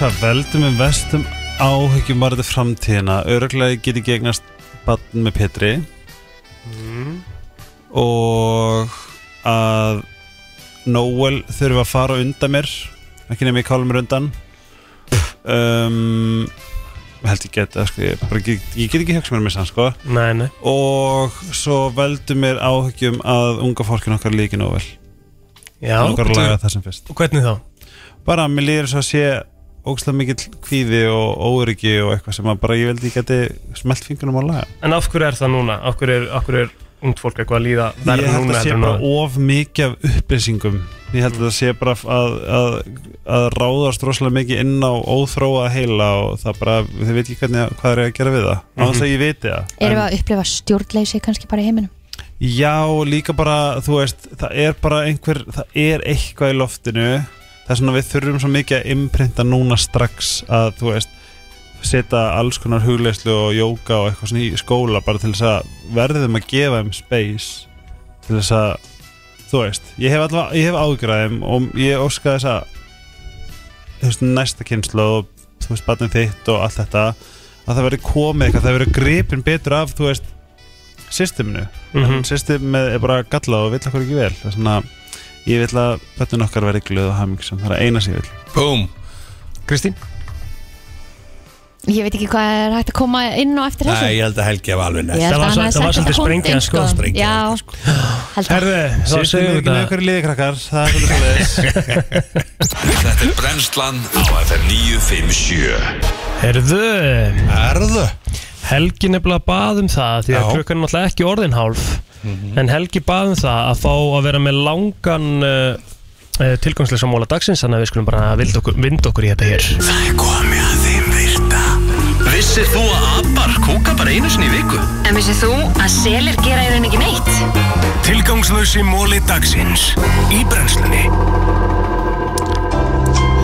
[SPEAKER 6] Hvað veldum við vestum áhyggjum varðið framtíðina? Öruglega ég geti gegnast bann með Petri og að Noel þurfi að fara á undan mér ekki nefnir ég kála mér undan um, held ég geta sko, ég, bara, get, ég get ekki hugsa mér með sann sko
[SPEAKER 2] Nei, nei
[SPEAKER 6] og svo veldum mér áhyggjum að unga fólkin okkar líki Noel
[SPEAKER 2] Já,
[SPEAKER 6] okkar að laga það sem fyrst
[SPEAKER 2] og hvernig þá?
[SPEAKER 6] bara mér líður svo að sé ógslag mikill kvíði og óryggi og eitthvað sem að bara ég veldi ég geti smelt fingunum á laga
[SPEAKER 2] En af hverju er það núna? Af hverju er, af hverju er ungd fólk eitthvað að líða
[SPEAKER 6] ég
[SPEAKER 2] verður
[SPEAKER 6] held
[SPEAKER 2] núna
[SPEAKER 6] að sé
[SPEAKER 2] heldur en
[SPEAKER 6] bara
[SPEAKER 2] áður?
[SPEAKER 6] of mikið af upplýsingum ég held að það sé bara að, að, að ráðast rosalega mikið inn á óþróa heila og það bara þið veit ekki hvernig, hvað er að gera við það á
[SPEAKER 2] Mhm.
[SPEAKER 6] þess að ég viti það
[SPEAKER 3] erum við
[SPEAKER 6] En-
[SPEAKER 3] að upplifa stjórnleysi kannski bara í heiminum
[SPEAKER 6] Já, líka bara, þú veist, það er bara einhver, það er eitthvað í loftinu það er svona við þurfum svo mikið að imprinta núna strax að, þú veist setja alls konar hugleyslu og jóka og eitthvað svona í skóla bara til þess að verðum að gefa þeim space til þess að, þú veist ég hef allavega, ég hef ágræðum og ég óska þess að þú veist, næsta kynslu og þú veist, batnið þitt og allt þetta að það verði komið eitthvað, það verði gripin betur af, þú veist, systeminu
[SPEAKER 2] Mhm.
[SPEAKER 6] en systemið er bara gallað og vill okkur ekki vel það er svona, ég vill að bötun okkar verði glöð og hamingsam, það er að eina sem ég vill
[SPEAKER 9] Búm
[SPEAKER 2] Kristín?
[SPEAKER 3] Ég veit ekki hvað er hægt að koma inn á eftir þessu
[SPEAKER 9] Nei, ég held að Helgi var alveg
[SPEAKER 3] Ég
[SPEAKER 9] næst
[SPEAKER 3] held
[SPEAKER 2] Það
[SPEAKER 3] að
[SPEAKER 2] var
[SPEAKER 3] hann
[SPEAKER 2] svo-
[SPEAKER 3] hafi
[SPEAKER 2] það var
[SPEAKER 3] sagt
[SPEAKER 2] svolítið
[SPEAKER 3] þetta fótinn,
[SPEAKER 2] sprengja, sko.
[SPEAKER 3] sko.
[SPEAKER 9] Sprengja,
[SPEAKER 3] Já, held að
[SPEAKER 2] Herðu, þá
[SPEAKER 6] Systemið er
[SPEAKER 2] segjum
[SPEAKER 6] ekki
[SPEAKER 2] við
[SPEAKER 6] með
[SPEAKER 2] þetta
[SPEAKER 6] okkur í liði krakkar, það er svolítið svoleiðis.
[SPEAKER 4] Þetta er brennslan á FM 957
[SPEAKER 2] Herðu,
[SPEAKER 9] Erðu?
[SPEAKER 2] Helgi nefnilega bað um það því að
[SPEAKER 9] Já.
[SPEAKER 2] klukkan er náttúrulega ekki orðin hálf en Helgi bað um það að fá að vera með langan uh, uh, tilgangsleisa móla dagsins þannig að við skulum bara vinda okkur, vinda okkur í þetta hér
[SPEAKER 8] Það er komið að þeim virta Vissir þú að abar kúka bara einu sinni í viku?
[SPEAKER 11] En vissið þú að selir gera í rauninni ekki neitt?
[SPEAKER 8] Tilgangslösi móli dagsins Í brennslunni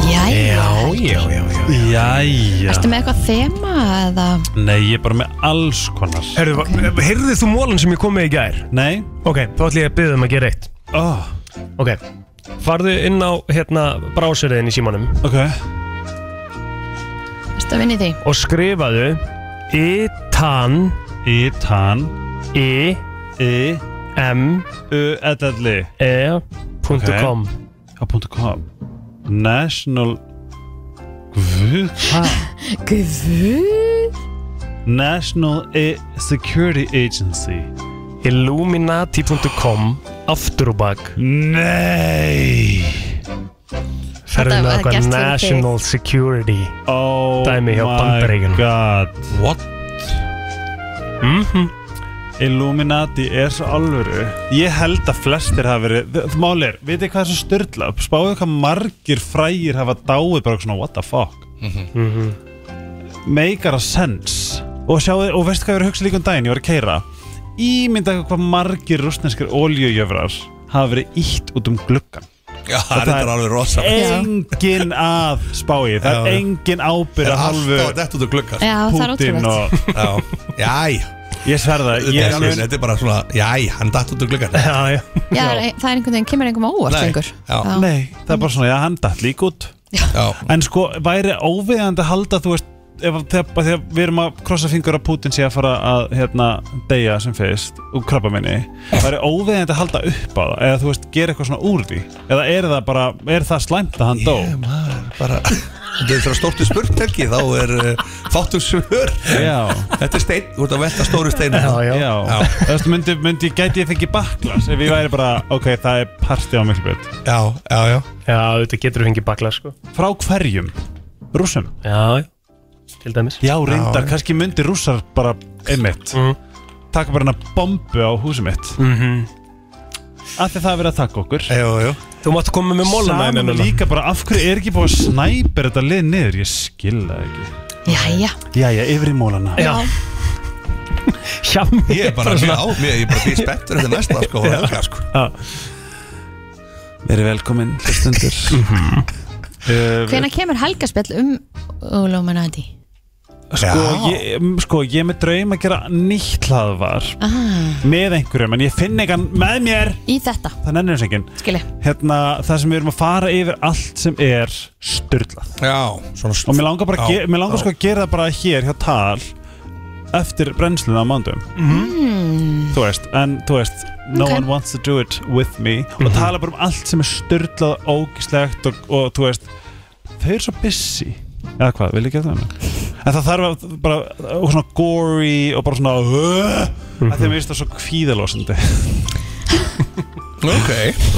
[SPEAKER 3] Jæja,
[SPEAKER 2] já, já, já
[SPEAKER 6] Jæja,
[SPEAKER 3] ertu með eitthvað þema eða
[SPEAKER 6] nei ég er bara með alls konar
[SPEAKER 2] Herðu, okay. heyrðu eh, þú mólan sem ég kom með í gær?
[SPEAKER 6] Nei,
[SPEAKER 2] Ok, þá ætlum ég að byggja um að gera eitt
[SPEAKER 6] oh,
[SPEAKER 2] Ok, farðu inn á hérna bráseriðin í símanum
[SPEAKER 6] ok
[SPEAKER 3] ertu að vinna í því?
[SPEAKER 2] og skrifaðu itan
[SPEAKER 6] Ítan,
[SPEAKER 2] i
[SPEAKER 6] í,
[SPEAKER 2] M
[SPEAKER 6] U E, L L
[SPEAKER 2] E .com.
[SPEAKER 6] .com National Guð, hvað?
[SPEAKER 3] Guð
[SPEAKER 6] National e Security Agency
[SPEAKER 2] Illuminati.com Aftur og bak
[SPEAKER 6] Nei
[SPEAKER 2] Ferðin
[SPEAKER 3] Þetta
[SPEAKER 2] að
[SPEAKER 3] var gert
[SPEAKER 2] eitthvað
[SPEAKER 3] fyrir
[SPEAKER 2] National Security
[SPEAKER 6] oh
[SPEAKER 2] Dæmi hjá bandaríkjunum
[SPEAKER 6] god Mhm.
[SPEAKER 9] What?
[SPEAKER 2] mm -hmm.
[SPEAKER 6] Illuminati er svo alvöru Ég held að flestir hafa verið Þ- þ- Mál er, veitir hvað er svo styrla Spáðu hvað margir frægir hafa dáið bara svona what the fuck
[SPEAKER 9] Mhm.
[SPEAKER 2] Mhm.
[SPEAKER 6] Meikar að sense Og, sjáðu, og veistu hvað ég var að hugsa líka um daginn Ég var að keira Ímynda ykkur hvað margir rúsneskir oljujöfrar hafa verið ítt út um gluggan
[SPEAKER 9] Já, það er alveg rosa
[SPEAKER 6] engin að spáið það
[SPEAKER 9] Já.
[SPEAKER 6] er engin ábyrð að halvu
[SPEAKER 9] Alltaf þetta út og glugga
[SPEAKER 3] Já, það er
[SPEAKER 6] Putin
[SPEAKER 3] ótrúlegt
[SPEAKER 9] Já,
[SPEAKER 6] og
[SPEAKER 9] jæ
[SPEAKER 6] ég sverða
[SPEAKER 9] Þetta er alveg- þetta er bara svona, jæ, hann datt út og glugga
[SPEAKER 2] Já, já
[SPEAKER 3] Já, það er- það er einhvern veginn, kemur einhverjum á óvart
[SPEAKER 9] Nei.
[SPEAKER 3] lengur
[SPEAKER 9] Já.
[SPEAKER 6] nei, það er bara svona, já, hann datt líka út
[SPEAKER 9] Já,
[SPEAKER 6] en sko, væri óviðandi að halda þú veist, ef, þegar, þegar við erum að krossa fingur að Putin sé að fara að hérna, deyja sem fyrst úr krabba minni væri óviðandi að halda upp á það eða þú veist, gera eitthvað svona úr því eða er það bara, er það slæmt að hann dó
[SPEAKER 9] Ég, maður, bara Þetta er það stórtu spurningi Þá er uh, fátum svör
[SPEAKER 6] já
[SPEAKER 9] Þetta er stein, þú ert að velta stóru steinu
[SPEAKER 2] Já, já.
[SPEAKER 6] Já,
[SPEAKER 9] Já.
[SPEAKER 6] þú veist, myndi, myndi, gæti ég fengið baklas ef ég væri bara, ok, það er partí á miklu björn
[SPEAKER 9] já, já, já.
[SPEAKER 2] Já, þetta getur fengið bakla sko
[SPEAKER 6] Frá hverjum? Rússum?
[SPEAKER 2] Já, já. til dæmis
[SPEAKER 6] Já, reyndar,
[SPEAKER 9] já.
[SPEAKER 6] kannski myndi rússar bara einmitt
[SPEAKER 2] Mhm.
[SPEAKER 6] Taka bara hana bombu á húsum mitt
[SPEAKER 2] mm
[SPEAKER 6] Af því það er verið að taka okkur
[SPEAKER 9] Jú, jú.
[SPEAKER 2] Þú mátt koma með mólana
[SPEAKER 6] Saman líka bara, af hverju er ekki búið að snæper þetta lið niður? Ég skil það ekki
[SPEAKER 3] Jæja,
[SPEAKER 6] Jæja, yfir í mólana
[SPEAKER 2] Já. Hjá mér
[SPEAKER 9] Ég er bara
[SPEAKER 2] Bara
[SPEAKER 9] mjög
[SPEAKER 2] svona-
[SPEAKER 9] á mér, ég er bara býð spettur Þetta næsta sko, og helga sko
[SPEAKER 6] Verið velkomin, hlustundur uh,
[SPEAKER 3] hvenær kemur helgaspjall um Illuminati?
[SPEAKER 6] sko, ég, sko, ég er með draum að gera nýtt hlaðvar
[SPEAKER 3] Ah,
[SPEAKER 6] með einhverjum en ég finn eitthvað með mér
[SPEAKER 3] í þetta,
[SPEAKER 6] það nennir þess enginn
[SPEAKER 3] skilji
[SPEAKER 6] hérna, það sem við erum að fara yfir allt sem er styrlað
[SPEAKER 9] Já, svona
[SPEAKER 6] og mér langar, bara,
[SPEAKER 9] Já,
[SPEAKER 6] að ge- mér langar
[SPEAKER 9] já.
[SPEAKER 6] sko að gera það bara hér hjá tal eftir brennsluna á mándum
[SPEAKER 3] mm,
[SPEAKER 6] þú veist, en þú veist no
[SPEAKER 3] Ok.
[SPEAKER 6] one wants to do it with me
[SPEAKER 9] Mhm.
[SPEAKER 6] og tala bara um allt sem er styrlað ógislegt og, og þú veist þau eru svo busy eða hvað, vil ég gera það? en það þarf að bara og svona gory og bara svona uh, að
[SPEAKER 9] Mhm.
[SPEAKER 6] því að mér finnst það svo kvíðalósandi
[SPEAKER 9] Ok,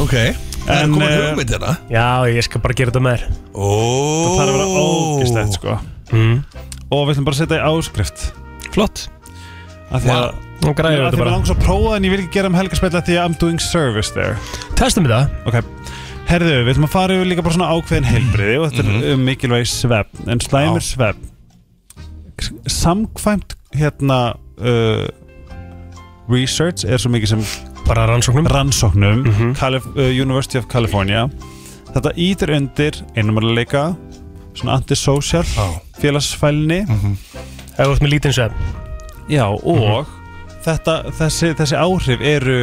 [SPEAKER 9] ok Það er
[SPEAKER 6] En,
[SPEAKER 9] komin
[SPEAKER 6] eh,
[SPEAKER 9] hugmynd hérna
[SPEAKER 2] Já, ég skal bara gera þetta með þér
[SPEAKER 9] Ó.
[SPEAKER 6] Það er að vera ógislegt sko
[SPEAKER 2] mm.
[SPEAKER 6] Og við ætlum bara að setja í áskrift
[SPEAKER 2] Flott
[SPEAKER 6] Af því að
[SPEAKER 9] Vá.
[SPEAKER 2] Nú græðum við
[SPEAKER 6] Af því
[SPEAKER 2] þetta
[SPEAKER 6] að við
[SPEAKER 2] bara
[SPEAKER 6] langs að prófa en ég vil ekki gera um helgarspell Af því að I'm doing service there
[SPEAKER 2] Testum við það
[SPEAKER 6] Ok Herðu, við ætlum að fara yfir líka bara svona ákveðin heilbriði Og þetta
[SPEAKER 2] Mhm.
[SPEAKER 6] er um mikilvæg svefn En slæmur svefn Samkvæmt hérna uh, Research er svo mikið sem
[SPEAKER 2] Bara rannsóknum
[SPEAKER 6] rannsóknum
[SPEAKER 2] Mhm.
[SPEAKER 6] Calif uh, University of California Þetta ítir undir einumarleika Svona antisocial
[SPEAKER 9] Já.
[SPEAKER 6] Félagsfælni
[SPEAKER 2] Ef þú ert með lítinn svefn
[SPEAKER 6] Já, og þetta, þessi, þessi áhrif eru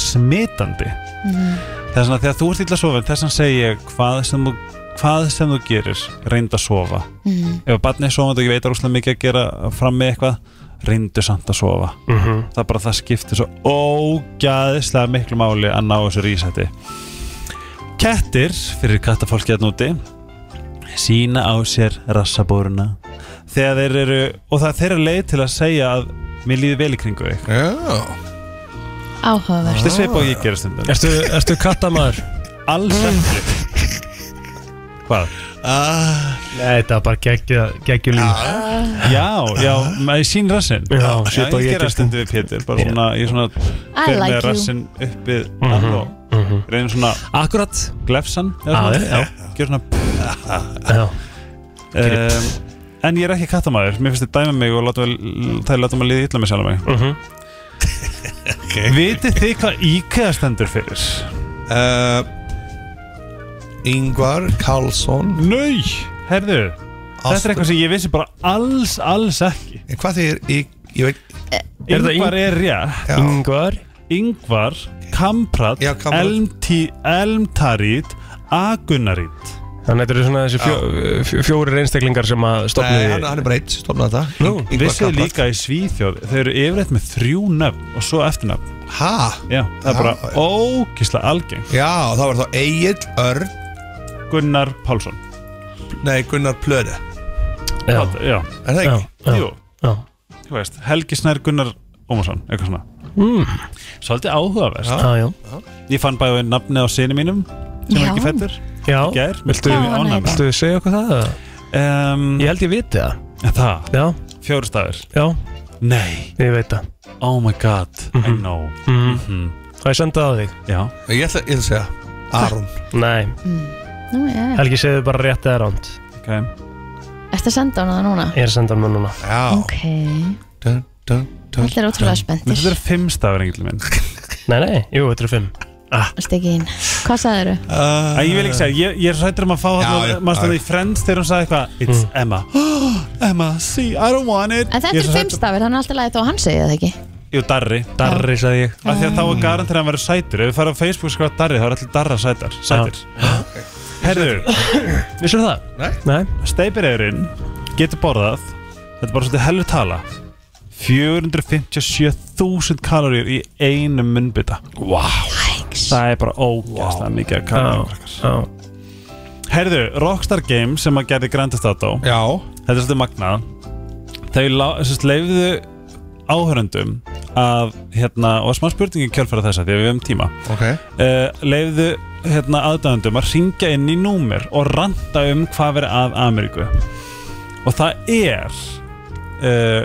[SPEAKER 6] smitandi Þess vegna þegar þú ert illa að sofa Þess vegna segi ég hvað sem þú, hvað sem þú gerir Reyndu að sofa
[SPEAKER 3] mm,
[SPEAKER 6] Ef að barnið er sofandi og ég veit að rúslega mikið að gera fram með eitthvað Reyndu samt að sofa
[SPEAKER 2] mm -hmm.
[SPEAKER 6] Það er bara það skiptir svo ógæðislega miklu máli að ná þessu rísæti Kettir, fyrir kattafólki að núti sína á sér rassabóruna þegar þeir eru og það er þeirra leið til að segja að mér líði vel í kringu þig
[SPEAKER 9] Já,
[SPEAKER 3] áhugavert
[SPEAKER 6] Þetta Ah. er svip og ég gerir stundum
[SPEAKER 2] Ertu, ertu kattamæður?
[SPEAKER 6] Alls ekki Hvað?
[SPEAKER 2] Nei, þetta er bara geggja, geggju líf
[SPEAKER 6] Já, já, maður sín rassin
[SPEAKER 2] Já, svip og
[SPEAKER 6] ég
[SPEAKER 2] ég
[SPEAKER 6] gerir
[SPEAKER 2] gerir
[SPEAKER 6] stundum við Pétur bara svona, ég svona
[SPEAKER 3] I
[SPEAKER 6] fer
[SPEAKER 3] like
[SPEAKER 6] með
[SPEAKER 3] you.
[SPEAKER 6] rassin upp við hann og reynir svona
[SPEAKER 2] Akkurat
[SPEAKER 6] glefsan eða
[SPEAKER 2] Já,
[SPEAKER 6] svona,
[SPEAKER 2] já.
[SPEAKER 6] Gjör svona
[SPEAKER 2] Já,
[SPEAKER 6] um, En ég er ekki kattamæður Mér finnst þið dæma mig og láta mig- það er láta mig líði illa með sjálf mig
[SPEAKER 2] mm -hmm.
[SPEAKER 6] Mhm. Vitið þið hvað IKEA stendur fyrir?
[SPEAKER 9] uh, Ingvar Karlsson
[SPEAKER 6] Nei, herðu Þetta er eitthvað sem ég vissi bara alls, alls ekki
[SPEAKER 9] En hvað þýr, ég, ég veit
[SPEAKER 2] Er það
[SPEAKER 6] Yngvar er rétt
[SPEAKER 9] Já,
[SPEAKER 2] Yngvar
[SPEAKER 6] Yngvar, Kamprat,
[SPEAKER 9] Já, Kamprad.
[SPEAKER 6] Elmti, Elmtarit Agunarit
[SPEAKER 2] Þannig að þetta eru svona þessi fjó, fjó, fjórir einstaklingar sem að
[SPEAKER 9] Nei,
[SPEAKER 2] stopni
[SPEAKER 9] hann, hann er bara eitt, stofnaði þetta
[SPEAKER 6] Vissið þið líka í Svíþjóð Þau eru yfirleitt með þrjú nöfn og svo eftirnöfn
[SPEAKER 9] Hæ?
[SPEAKER 6] Já, það er bara ókíslega algeng
[SPEAKER 9] Já, það var þá Egil Örn
[SPEAKER 6] Gunnar Pálsson
[SPEAKER 9] Nei, Gunnar Plöde
[SPEAKER 6] Já,
[SPEAKER 9] Já.
[SPEAKER 6] já.
[SPEAKER 9] Er það ekki?
[SPEAKER 6] Já, já.
[SPEAKER 9] Jú.
[SPEAKER 6] Já. Þú veist, Helgi Snær Gunnar Ómarsson, eitthvað svona
[SPEAKER 2] Mm.
[SPEAKER 6] Svolítið áhugaverst
[SPEAKER 2] Já. Ah, Já, já.
[SPEAKER 6] Ég fann bæði nafni á sinni mínum sem
[SPEAKER 2] Já.
[SPEAKER 6] er ekki fættur
[SPEAKER 2] Já.
[SPEAKER 6] Gær,
[SPEAKER 2] Viltu- Hvað á hann að heita? viltu segja okkur það?
[SPEAKER 6] Um,
[SPEAKER 2] ég held ég viti það
[SPEAKER 6] Það?
[SPEAKER 2] Já
[SPEAKER 6] Fjóru stafir
[SPEAKER 2] Já
[SPEAKER 6] Nei
[SPEAKER 2] Ég veit það
[SPEAKER 6] Oh my god, I know
[SPEAKER 2] Mhm.
[SPEAKER 6] Mhm.
[SPEAKER 2] Það er sendað að þig
[SPEAKER 6] Já
[SPEAKER 9] Ég ætla, ég ætla að segja Aron
[SPEAKER 2] Nei,
[SPEAKER 3] Nú, já, já.
[SPEAKER 2] Helgi segðu bara rétt eða ránt
[SPEAKER 6] Ok
[SPEAKER 3] Ertu að senda hana það núna?
[SPEAKER 2] Ég er að senda hann núna
[SPEAKER 9] Já
[SPEAKER 3] Ok Allir ótrúlega spenntir
[SPEAKER 6] Þetta er fimm stafir engil minn
[SPEAKER 2] Nei, nei, jú, þetta er fimm
[SPEAKER 3] Stikki inn Hvað sagðið þau?
[SPEAKER 6] Æ, Ég vil ekki segja, ég, ég er hrættur um að fá
[SPEAKER 9] já,
[SPEAKER 6] hann Mást
[SPEAKER 9] já.
[SPEAKER 6] það í Friends þegar hún sagði eitthvað It's Emma Mm. Emma, see, I don't want it
[SPEAKER 3] En þetta
[SPEAKER 6] Ég
[SPEAKER 3] er
[SPEAKER 6] svo hræddur-
[SPEAKER 3] fimmstafir, þannig alltaf lagið þó að hann segja það ekki
[SPEAKER 6] Jú, Darri
[SPEAKER 2] Darri, sagði ég
[SPEAKER 6] Af því að þá er garantir að hann verður sætur Ef við farum á Facebook og skrifa Darri, þá er allir Darra sætar Sætir Herðu
[SPEAKER 2] Vissur það? Nei
[SPEAKER 6] Steipireyðurinn getur borðað Þetta er bara svolítið hellu tala 457.000 kaloríur í einum munnbytta wow. Það er bara ógæslega mikið að
[SPEAKER 2] kaloríur
[SPEAKER 6] Herðu, Rockstar Games sem að gerði Grand Theft Auto
[SPEAKER 9] Já.
[SPEAKER 6] Þetta er svolítið magnað Þau lá- sem sagt, leyfðu áhörundum að, hérna, og smá spurningi kjálfæra þessa því að við höfum tíma eh,
[SPEAKER 9] okay.
[SPEAKER 6] leyfðu hérna, aðdæðandum að ringja inn í númer og ranta um hvað verið að Ameríku og það er uh,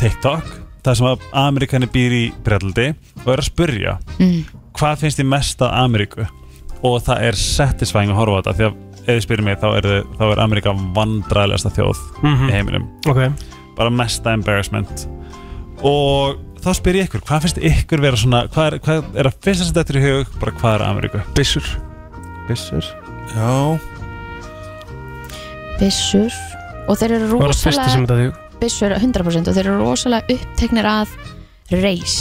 [SPEAKER 6] TikTok það sem að Ameríkani býr í breldi og er að spurja
[SPEAKER 8] Mm.
[SPEAKER 6] hvað finnst þið mest að Ameríku og það er satisfying að horfa á þetta því að ef þið spyrir mig þá er, þá er Ameríka vandræðlegasta þjóð
[SPEAKER 2] Mhm.
[SPEAKER 6] í heiminum
[SPEAKER 2] Ok.
[SPEAKER 6] bara mesta embarrassment og þá spyr ég ykkur hvað finnst ykkur vera svona hvað er, hvað er að fyrsta sem þetta er í hug bara hvað er Ameríku
[SPEAKER 2] Bissur
[SPEAKER 6] Bissur
[SPEAKER 9] Já
[SPEAKER 3] Bissur Og þeir eru
[SPEAKER 2] Var það fyrsta sem þetta
[SPEAKER 3] rosalega
[SPEAKER 2] þig?
[SPEAKER 3] Bissur 100% og þeir eru rosalega uppteknir að Reis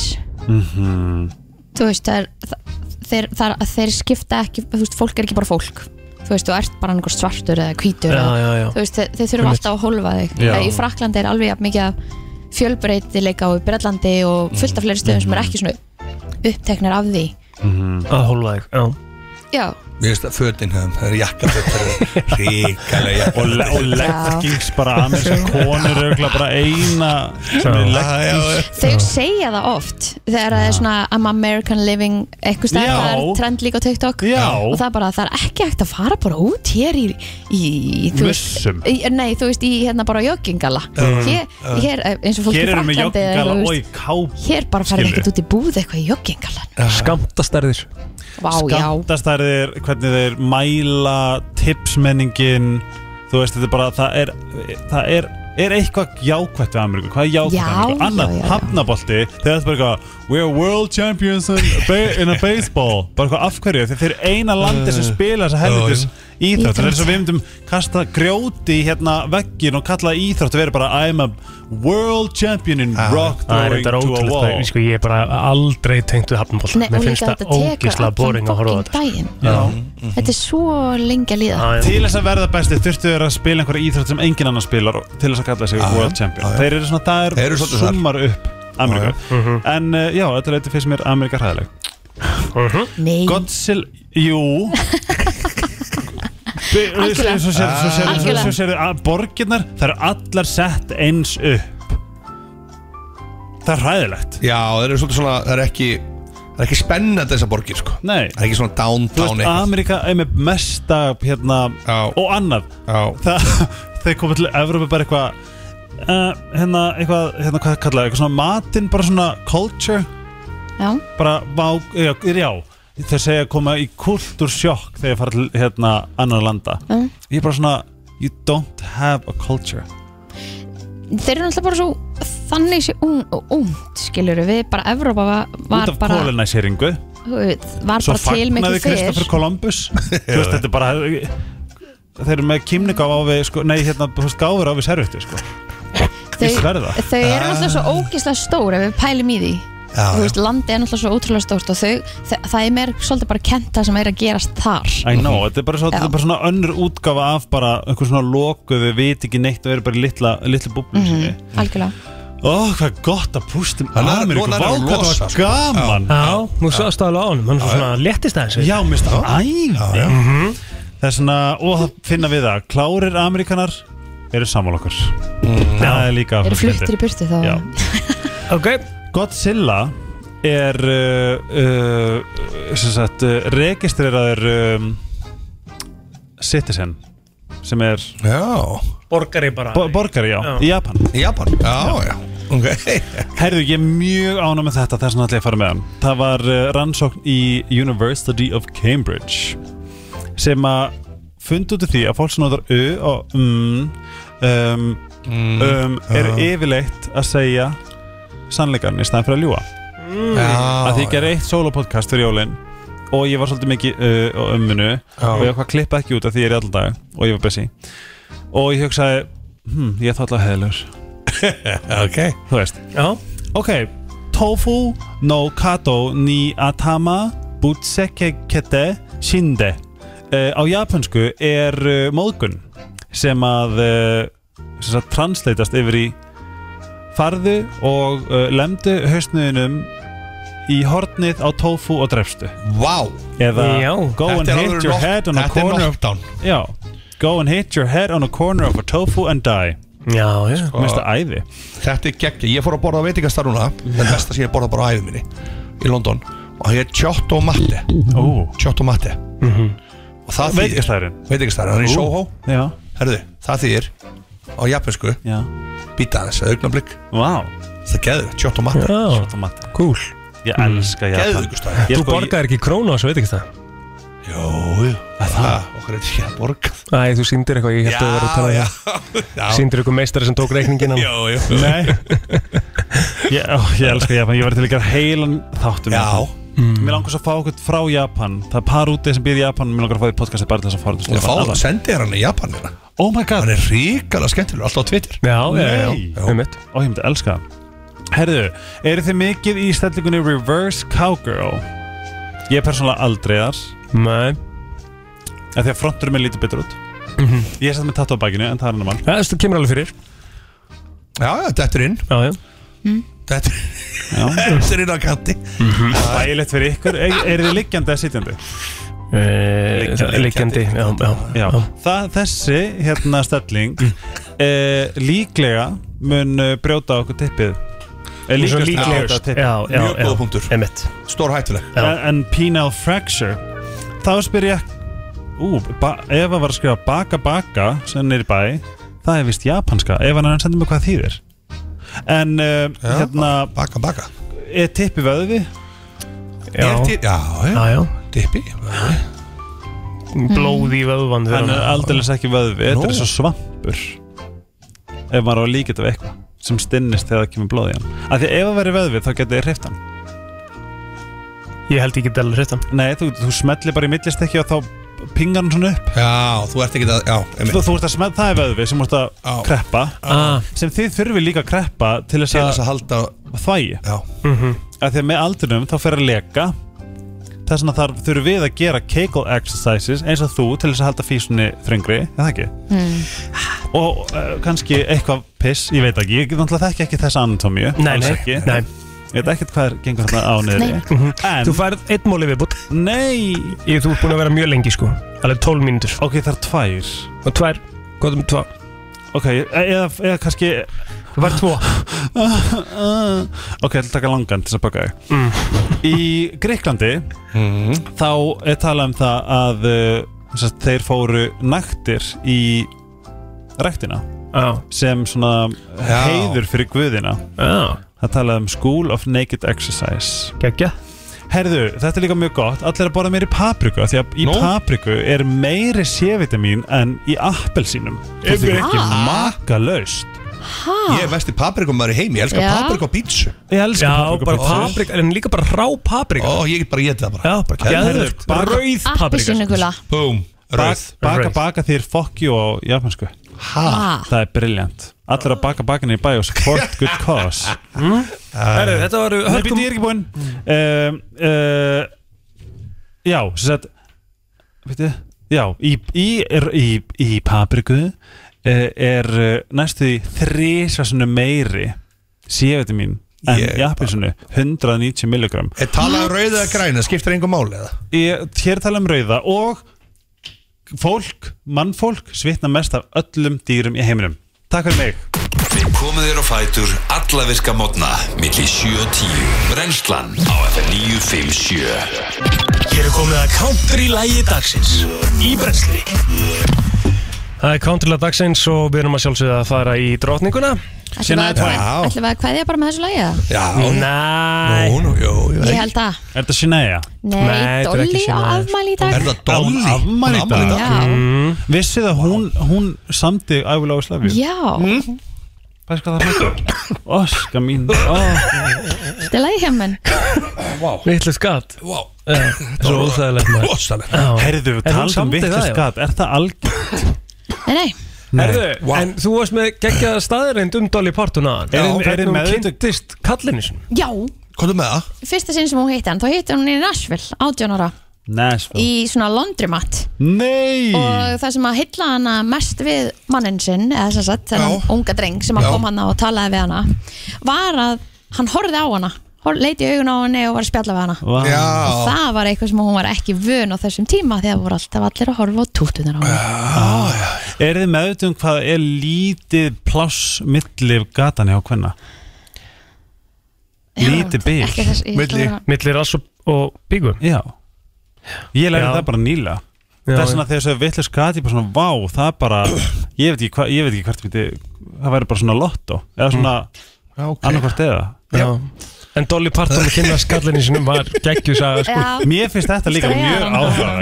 [SPEAKER 6] Mhm.
[SPEAKER 3] Þú veist, það er það- Þeir, það, er- þeir skipta ekki, þú veist, fólk er ekki bara fólk Þú veist, þú ert bara einhver svartur eða hvítur
[SPEAKER 2] Já,
[SPEAKER 3] eða,
[SPEAKER 2] já, já.
[SPEAKER 3] Þú veist, þeir, þeir þurfum
[SPEAKER 2] Einmitt.
[SPEAKER 3] alltaf að hólfa þig
[SPEAKER 2] Já.
[SPEAKER 3] Í Fraklandi er alveg jafn mikið af fjölbreytileika og í Bretlandi og fullt af fleiri stöðum sem er ekki svona uppteknir af því
[SPEAKER 6] mhm.
[SPEAKER 2] Að hólfa þig, já
[SPEAKER 3] Já,
[SPEAKER 9] Mér finnst að fötin hefðum, það er jakkaföt Það er ríkalega
[SPEAKER 6] og, le og leggings bara ameríska konur auðvitað bara eina sem er leggings
[SPEAKER 3] Þau segja það oft þegar það er svona I'm American living eitthvað stær,
[SPEAKER 6] Já.
[SPEAKER 3] það er trend líka á TikTok
[SPEAKER 6] Já.
[SPEAKER 3] og það er bara, það er ekki hægt að fara bara út hér í, í þú veist-
[SPEAKER 6] Mussum.
[SPEAKER 3] í, nei, þú veist, í hérna bara joggingala
[SPEAKER 6] Mm.
[SPEAKER 3] hér,
[SPEAKER 6] Mm.
[SPEAKER 3] hér, eh, eins og fólk
[SPEAKER 6] Hér erum við
[SPEAKER 3] Frakklandi eða eitthvað,
[SPEAKER 6] joggingala og í
[SPEAKER 3] þú veist,
[SPEAKER 6] káp
[SPEAKER 3] hér bara farið
[SPEAKER 6] skilur.
[SPEAKER 3] ekkert út í búð eitthvað í joggingala
[SPEAKER 2] Skamtastærðir
[SPEAKER 3] Vá, já,
[SPEAKER 6] Skattastærðir, hvernig þeir mæla tipsmenningin þú veist, þetta er bara það er, það er, er eitthvað jákvætt við Ameríku, hvað er jákvætt
[SPEAKER 8] Já,
[SPEAKER 6] við Ameríku? Annað
[SPEAKER 8] já, já, já.
[SPEAKER 6] hafnabolti, þegar þetta er bara eitthvað We are world champions in, ba- in a baseball bara eitthvað af hverju, þegar þeir eru eina landi sem spila þessa helvitis íþrótt, það er eins og við myndum kasta grjóti í hérna veggin og kalla það íþrótt og vera bara I'm a world champion in rock
[SPEAKER 2] Það er þetta
[SPEAKER 6] throwing to a
[SPEAKER 2] ótrúlega
[SPEAKER 6] wall
[SPEAKER 2] það, sko, ég er bara aldrei tengt við hafnumból
[SPEAKER 3] Nei, og
[SPEAKER 2] Mér finnst
[SPEAKER 3] líka
[SPEAKER 2] það
[SPEAKER 3] þetta tekur
[SPEAKER 2] ógislega boring að horfa á
[SPEAKER 3] allan
[SPEAKER 2] þetta sko. Mhm. Ah.
[SPEAKER 3] daginn
[SPEAKER 6] Já.
[SPEAKER 2] Mm.
[SPEAKER 3] Þetta er svo lengi að líða
[SPEAKER 6] Til þess að verða besti þurftu þeir að spila einhverja íþrótt sem engin annar spilar og til þess að kalla sig
[SPEAKER 9] Ah,
[SPEAKER 6] World Champion Þeir eru svona, það
[SPEAKER 9] Þeir eru
[SPEAKER 6] er
[SPEAKER 9] svolítið þar. Ah, Mhm.
[SPEAKER 6] summar upp Ameríku En uh, já, þetta leiti fyrst mér Ameríka hræðileg
[SPEAKER 2] Mhm.
[SPEAKER 3] Nei
[SPEAKER 6] Godzilla, jú Bi-
[SPEAKER 8] Algjörlega.
[SPEAKER 6] Svo sér- svo sér- svo-
[SPEAKER 8] Algjörlega.
[SPEAKER 6] svo sér að borgirnar Það eru allar sett eins upp Það er hræðilegt
[SPEAKER 9] Já, það er svolítið svona, það er ekki Það er ekki spennandi þessar borgir, sko
[SPEAKER 6] Nei
[SPEAKER 9] Það er ekki svona
[SPEAKER 6] Þú veist,
[SPEAKER 9] downtown
[SPEAKER 6] Ameríka er með mesta hérna, og annað Þa, þeir komið til Evrópu bara eitthvað uh, hérna, eitthvað, hérna, hvað kallaði eitthvað svona matinn, bara svona culture
[SPEAKER 3] Já
[SPEAKER 6] bara, vá, já, já þeir segja að koma í kultursjokk þegar þeir fara til, hérna, annar landa
[SPEAKER 3] Mm.
[SPEAKER 6] ég er bara svona, you don't have a culture
[SPEAKER 3] þeir eru náttúrulega bara svo þannig sé umt skilur við bara Evrópa var, var
[SPEAKER 6] út af
[SPEAKER 3] bara
[SPEAKER 6] kólinæseringu
[SPEAKER 3] var bara til miklu fyrr
[SPEAKER 6] Kristoffer Columbus þú veist, þetta er bara þeir eru með kýmninga á við, sko, nei, hérna, þú veist, gáfur á við servetti, sko
[SPEAKER 3] þau,
[SPEAKER 6] Ég sverða.
[SPEAKER 3] þau eru náttúrulega svo ógeðslega stór ef við pælum í því
[SPEAKER 6] Já,
[SPEAKER 3] Þú
[SPEAKER 6] já.
[SPEAKER 3] veist, landið er náttúrulega svo ótrúlega stórt og þau, þau, það er mér svolítið bara kent það sem er að gerast þar
[SPEAKER 6] I
[SPEAKER 2] Mhm.
[SPEAKER 6] know, þetta er bara, svo,
[SPEAKER 3] Já.
[SPEAKER 6] þetta er bara svona önnur útgafa af bara einhver svona loku, við veit ekki neitt og eru bara í litla, litla búblum
[SPEAKER 3] Mhm,
[SPEAKER 6] sinni
[SPEAKER 3] algjörlega
[SPEAKER 6] Ó, hvað gott að pústum
[SPEAKER 2] Hann er-
[SPEAKER 6] Ameríku,
[SPEAKER 2] núna er
[SPEAKER 6] vá,
[SPEAKER 2] hann að
[SPEAKER 6] hvað
[SPEAKER 2] losa,
[SPEAKER 6] það var
[SPEAKER 2] sko.
[SPEAKER 6] gaman
[SPEAKER 2] Já, nú sást það alveg á honum, hann er svona léttist aðeins við.
[SPEAKER 6] Já, mér finnst það
[SPEAKER 2] Já. Já, Mhm. já.
[SPEAKER 6] æði Það er svona, og það finna við það Klárir Ameríkanar eru saman okkur
[SPEAKER 2] Mhm.
[SPEAKER 6] Það er líka
[SPEAKER 3] Eru
[SPEAKER 6] fyndið.
[SPEAKER 3] fluttir í burtu þá
[SPEAKER 6] Já.
[SPEAKER 2] Ok
[SPEAKER 6] Godzilla er uh, uh, sem sagt uh, registreraður um, citizen sem er
[SPEAKER 9] já.
[SPEAKER 2] Borgari bara
[SPEAKER 6] Bo borgari, já,
[SPEAKER 2] Já.
[SPEAKER 6] í Japan
[SPEAKER 9] Í Japan, já, já, Okay.
[SPEAKER 6] Herðu, ég er mjög ánum með þetta þess vegna ætla ég að fara með hann Það var uh, rannsókn í University of Cambridge sem að fundi út úr því að fólk sem notar U og mm, um, um, eru
[SPEAKER 9] Mm. já.
[SPEAKER 6] yfirleitt að segja sannleikarn í staðan fyrir að ljúa
[SPEAKER 9] Mm. Já,
[SPEAKER 6] að því ég gerði eitt sólopodcast fyrir jólin og ég var svolítið mikið uh, á ömminu og ég hvað klippa ekki út af því ég er í allan dag og ég var busy og ég hugsaði, hm, ég er þá alltaf heðlur
[SPEAKER 9] ok
[SPEAKER 6] þú veist
[SPEAKER 2] Já.
[SPEAKER 6] ok, tofu no kato ni atama butseke kete shinde uh, á japansku er uh, móðgun sem að uh, sem sagt transleitast yfir í farðu og uh, lemdu hausnuðinum í hornið á tofu og drefstu
[SPEAKER 9] Wow
[SPEAKER 6] eða
[SPEAKER 9] Já.
[SPEAKER 6] go
[SPEAKER 9] Þetta
[SPEAKER 6] and
[SPEAKER 9] er
[SPEAKER 6] hit
[SPEAKER 9] alveg
[SPEAKER 6] your
[SPEAKER 9] knock-
[SPEAKER 6] head on a
[SPEAKER 9] þetta er
[SPEAKER 6] corner of
[SPEAKER 9] knockdown.
[SPEAKER 6] já, go and hit your head on a corner of a tofu and die
[SPEAKER 2] já, já
[SPEAKER 9] Sko-
[SPEAKER 6] minnst það æði
[SPEAKER 9] Þetta er geggja, ég fór að borða á veitingastar núna Það besta sem ég borða bara á æðum minni Í London Og ég er tjótt og matte
[SPEAKER 6] Ó.
[SPEAKER 9] Tjótt og matte
[SPEAKER 6] Mhm.
[SPEAKER 9] Og það þýðir
[SPEAKER 6] Veitingastæðurinn?
[SPEAKER 9] Veitingastæðurinn, hann er í
[SPEAKER 6] Ú.
[SPEAKER 9] Soho
[SPEAKER 6] Já.
[SPEAKER 9] Herðu, það þýðir Á japansku
[SPEAKER 6] Já
[SPEAKER 9] Býta aðeins, augnablik
[SPEAKER 6] Vá
[SPEAKER 9] Það geður, tjótt og matte
[SPEAKER 2] Já, cool
[SPEAKER 6] Ég elska Japan.
[SPEAKER 9] Geðveikur staður.
[SPEAKER 6] Ég
[SPEAKER 2] Þú
[SPEAKER 6] sko-
[SPEAKER 2] borgaði ekki krónu á þessu, veit ekki það?
[SPEAKER 9] Jó, jú Það, okkur er ekki að borga
[SPEAKER 2] Æ, þú sýndir eitthvað, ég held að þú verið að tala um
[SPEAKER 9] já, já.
[SPEAKER 2] Sýndir eitthvað meistari sem tók reikningina
[SPEAKER 9] Jó, jó
[SPEAKER 6] Nei ég, ó, ég elska Japan, ég var til að gera heilan þáttum
[SPEAKER 9] Já.
[SPEAKER 6] mm. Mér langar svo að fá okkur frá Japan Það er par úti sem býr í Japan Mér langar að fá því podcasti bara til þess að fara út í
[SPEAKER 9] Ég fá
[SPEAKER 6] Japan.
[SPEAKER 9] það,
[SPEAKER 6] Alla.
[SPEAKER 9] sendi þér hann í Japan hérna.
[SPEAKER 6] Oh my god
[SPEAKER 9] Hann er ríkala skemmtilegur, alltaf á Twitter
[SPEAKER 2] Já, já, já,
[SPEAKER 6] Nei.
[SPEAKER 2] já, um mitt
[SPEAKER 6] Ó, ég myndi elska það. Herðu, eru þið mikið í stellingunni Reverse Cowgirl? Ég er persónulega aldrei þar
[SPEAKER 2] Nei
[SPEAKER 6] Af Því að fronturum er lítið betur út Ég er sett með tattu á bakinu en það er hann mann
[SPEAKER 2] Það stu- kemur alveg fyrir
[SPEAKER 9] Já, já, þetta er inn
[SPEAKER 2] Já, já
[SPEAKER 9] Þetta þetta er inn á kanti
[SPEAKER 6] Bægilegt fyrir ykkur, er, er þið liggjandi eða sitjandi?
[SPEAKER 2] Eh, Liggjandi, já, já, Mm.
[SPEAKER 6] Já. Það, þessi hérna stelling eh, líklega mun eh, brjóta okkur tippið eh,
[SPEAKER 2] Líka
[SPEAKER 6] líklega
[SPEAKER 2] líklega
[SPEAKER 6] brjóta tippið
[SPEAKER 2] Já, já,
[SPEAKER 9] Mjög góða
[SPEAKER 2] já,
[SPEAKER 9] punktur.
[SPEAKER 2] emitt
[SPEAKER 9] Stór hættuleg
[SPEAKER 2] Já.
[SPEAKER 6] en, en penile fracture þá spyr ég ú, ba, ef að var að skrifa baka baka sem er í bæ, það er vist japanska ef hann er að senda mig hvað þýðir en eh,
[SPEAKER 9] Já,
[SPEAKER 6] hérna
[SPEAKER 9] Baka, baka
[SPEAKER 6] er tippið vöðvi
[SPEAKER 9] Er
[SPEAKER 2] Já,
[SPEAKER 9] til- Já, já,
[SPEAKER 2] já, já
[SPEAKER 9] dippi
[SPEAKER 2] Blóð í vöðvan
[SPEAKER 6] hann er aldrei ekki vöðvi,
[SPEAKER 9] Nú.
[SPEAKER 6] þetta er svo svampur ef maður á að líka þetta við eitthvað sem stinnist þegar það kemur blóð í hann af því að ef að veri vöðvi þá getið þið hreift hann
[SPEAKER 2] Ég held ekki delur hreittan
[SPEAKER 6] Nei, þú, þú smellir bara í millistekki og þá pingar hann svona upp
[SPEAKER 9] Já, þú ert ekki það, já,
[SPEAKER 6] þú,
[SPEAKER 9] einmitt
[SPEAKER 6] þú ert að smell, það er vöðvi sem þú ert að
[SPEAKER 9] Já.
[SPEAKER 6] kreppa
[SPEAKER 2] Ah,
[SPEAKER 6] sem þið þurfið líka að kreppa til þess
[SPEAKER 9] Til
[SPEAKER 6] að
[SPEAKER 9] þess að halda,
[SPEAKER 6] þvægi
[SPEAKER 9] já
[SPEAKER 6] af því að með aldrinum þá fer að leka þess vegna þar þurfum við að gera kegel exercises eins og þú til þess að halda físunni þrengri, er það ekki?
[SPEAKER 3] Mm.
[SPEAKER 6] og uh, kannski eitthvað piss, ég veit ekki, ég náttúrulega þekki ekki þessa anatómíu
[SPEAKER 2] Nei,
[SPEAKER 6] alls
[SPEAKER 2] nei,
[SPEAKER 6] ekki.
[SPEAKER 2] nei.
[SPEAKER 6] ég veit ekkert hvað er gengur þarna á
[SPEAKER 3] Nei.
[SPEAKER 6] niður en,
[SPEAKER 2] Þú færð einn móli viðbútt
[SPEAKER 6] nei
[SPEAKER 2] Ég, þú ert búin að vera mjög lengi sko Alveg 12 mínútur
[SPEAKER 6] ok, það er tvær
[SPEAKER 2] Og tvær, gott um tvá
[SPEAKER 6] ok, e- eða, eða kannski
[SPEAKER 2] Það var tvo
[SPEAKER 6] Ah. ok, ég ætla að taka langan til þess að baka þig
[SPEAKER 2] Mm.
[SPEAKER 6] í Greiklandi þá er talað um það að uh, sérst, þeir fóru nægtir í ræktina
[SPEAKER 2] Já,
[SPEAKER 6] sem svona
[SPEAKER 9] Já.
[SPEAKER 6] heiður fyrir guðina
[SPEAKER 2] já,
[SPEAKER 6] það talaði um School of Naked Exercise
[SPEAKER 2] geggja
[SPEAKER 6] Herðu, þetta er líka mjög gott Allir að borða meiri papriku af Því að í
[SPEAKER 9] Nú?
[SPEAKER 6] papriku er meiri sévitamin En í appelsínum Það er ekki makalaust
[SPEAKER 9] Ég er vesti paprikumar í heimi, ég elska
[SPEAKER 3] Ah. Já.
[SPEAKER 9] papriku á pítsu
[SPEAKER 6] Ég elska
[SPEAKER 2] Já,
[SPEAKER 6] papriku
[SPEAKER 2] bara
[SPEAKER 6] bara
[SPEAKER 2] paprika, en líka bara rá paprika
[SPEAKER 9] Ó, ég get bara getið það bara
[SPEAKER 2] Já, bara geðvögt
[SPEAKER 6] Bara
[SPEAKER 2] Rauð paprika
[SPEAKER 3] Appisínugula
[SPEAKER 9] Búm,
[SPEAKER 6] Bak,
[SPEAKER 9] rauð
[SPEAKER 6] baka
[SPEAKER 2] Rauð.
[SPEAKER 6] baka þér fuck you á japansku
[SPEAKER 3] ah.
[SPEAKER 6] Það er briljant Allir að baka bakinni í bæ og support good cause
[SPEAKER 2] Herru, þetta var
[SPEAKER 6] Nei, býtti ég er ekki búinn um, uh, Já, sem sagt Býtti, já Í, í, er, í, eh, í papriku uh, er uh, næstu því þrísvarsunum meiri C-vitamin en í appilsinu 190 milligram
[SPEAKER 9] Er talað um rauða eða græna, skiptir engum máli eða?
[SPEAKER 6] Ég, hér tala um rauða og fólk, mannfólk svitna mest af öllum dýrum í heiminum Takk fyrir mig
[SPEAKER 4] Við komum þér á fætur alla virka mótna millir 7 og 10 Brennslan á FM 957
[SPEAKER 8] Hér er komið að counter í lægi dagsins Í brensli
[SPEAKER 2] Það er countrilega dagsins og við erum að sjálfsögða að fara í drotninguna
[SPEAKER 3] Ætlum við að- ætlum við að kveðja bara með þessu lagi eða?
[SPEAKER 2] Næ
[SPEAKER 9] Nú, nú, jú,
[SPEAKER 3] Ég held að
[SPEAKER 6] Er þetta Sineja?
[SPEAKER 3] Nei, Dolly á afmæli í dag
[SPEAKER 6] Dolly? Afmæli í dag?
[SPEAKER 3] Já.
[SPEAKER 6] Mm. Vissið að hún, hún samti I Will Always Love You?
[SPEAKER 3] Já,
[SPEAKER 6] Mm. Hvað skal það hluta? Óska mín ó.
[SPEAKER 3] þetta er lagi hjá menn
[SPEAKER 2] Vittlega skatt
[SPEAKER 9] Vá
[SPEAKER 2] Svo óþægilegt maður
[SPEAKER 9] Rosalegt.
[SPEAKER 6] Herðu, við
[SPEAKER 2] um
[SPEAKER 6] talum vitlega skatt Er það algjör?
[SPEAKER 3] Nei, nei,
[SPEAKER 2] Herðu, en þú varst með geggjaða staðarind um Dolly Parton aðan
[SPEAKER 6] Já,
[SPEAKER 2] Er-
[SPEAKER 6] er
[SPEAKER 2] Er hún
[SPEAKER 6] með þetta-
[SPEAKER 2] kynntist kallinu sinni?
[SPEAKER 3] já
[SPEAKER 9] Hvað er með það?
[SPEAKER 3] Fyrsta sinn sem hún hitti hann, þá hitti hún hann í Nashville 18 ára,
[SPEAKER 6] Nashville
[SPEAKER 3] í svona laundromat
[SPEAKER 6] Nei
[SPEAKER 3] og það sem að hylla hana mest við mannin sinn eða sem sagt, þennan unga dreng sem að
[SPEAKER 6] Já.
[SPEAKER 3] kom hana og talaði við hana var að hann horfði á hana hor- leiti í augun á henni og var að spjalla við hana
[SPEAKER 6] Vá.
[SPEAKER 9] Já.
[SPEAKER 3] og það var eitthvað sem hún var ekki vön á þessum tíma því að voru alltaf allir að horfa á tútunar á henni
[SPEAKER 6] Er þið meðutum hvað er lítið pláss milli gatan hjá hvenna? Lítið bygg
[SPEAKER 3] ekki þess- ég ætla Milli- að vera-
[SPEAKER 2] Milli rass og, og byggu
[SPEAKER 6] Já Ég lærði
[SPEAKER 2] Já.
[SPEAKER 6] það bara nýla
[SPEAKER 2] Já,
[SPEAKER 6] Þess vegna þegar þessu vitlega skatt ég bara svona Vá, það er bara Ég veit ekki, hva, ég veit ekki hvert myndi Það væri bara svona lotto Eða svona
[SPEAKER 9] Mm. Já, ok.
[SPEAKER 6] annarkvort eða
[SPEAKER 2] Já. En Dolly Parton að kynna skallinu sinum var geggjusaga
[SPEAKER 3] Já.
[SPEAKER 2] sko
[SPEAKER 6] Mér finnst þetta líka
[SPEAKER 2] Stræðan.
[SPEAKER 6] mjög áhugavert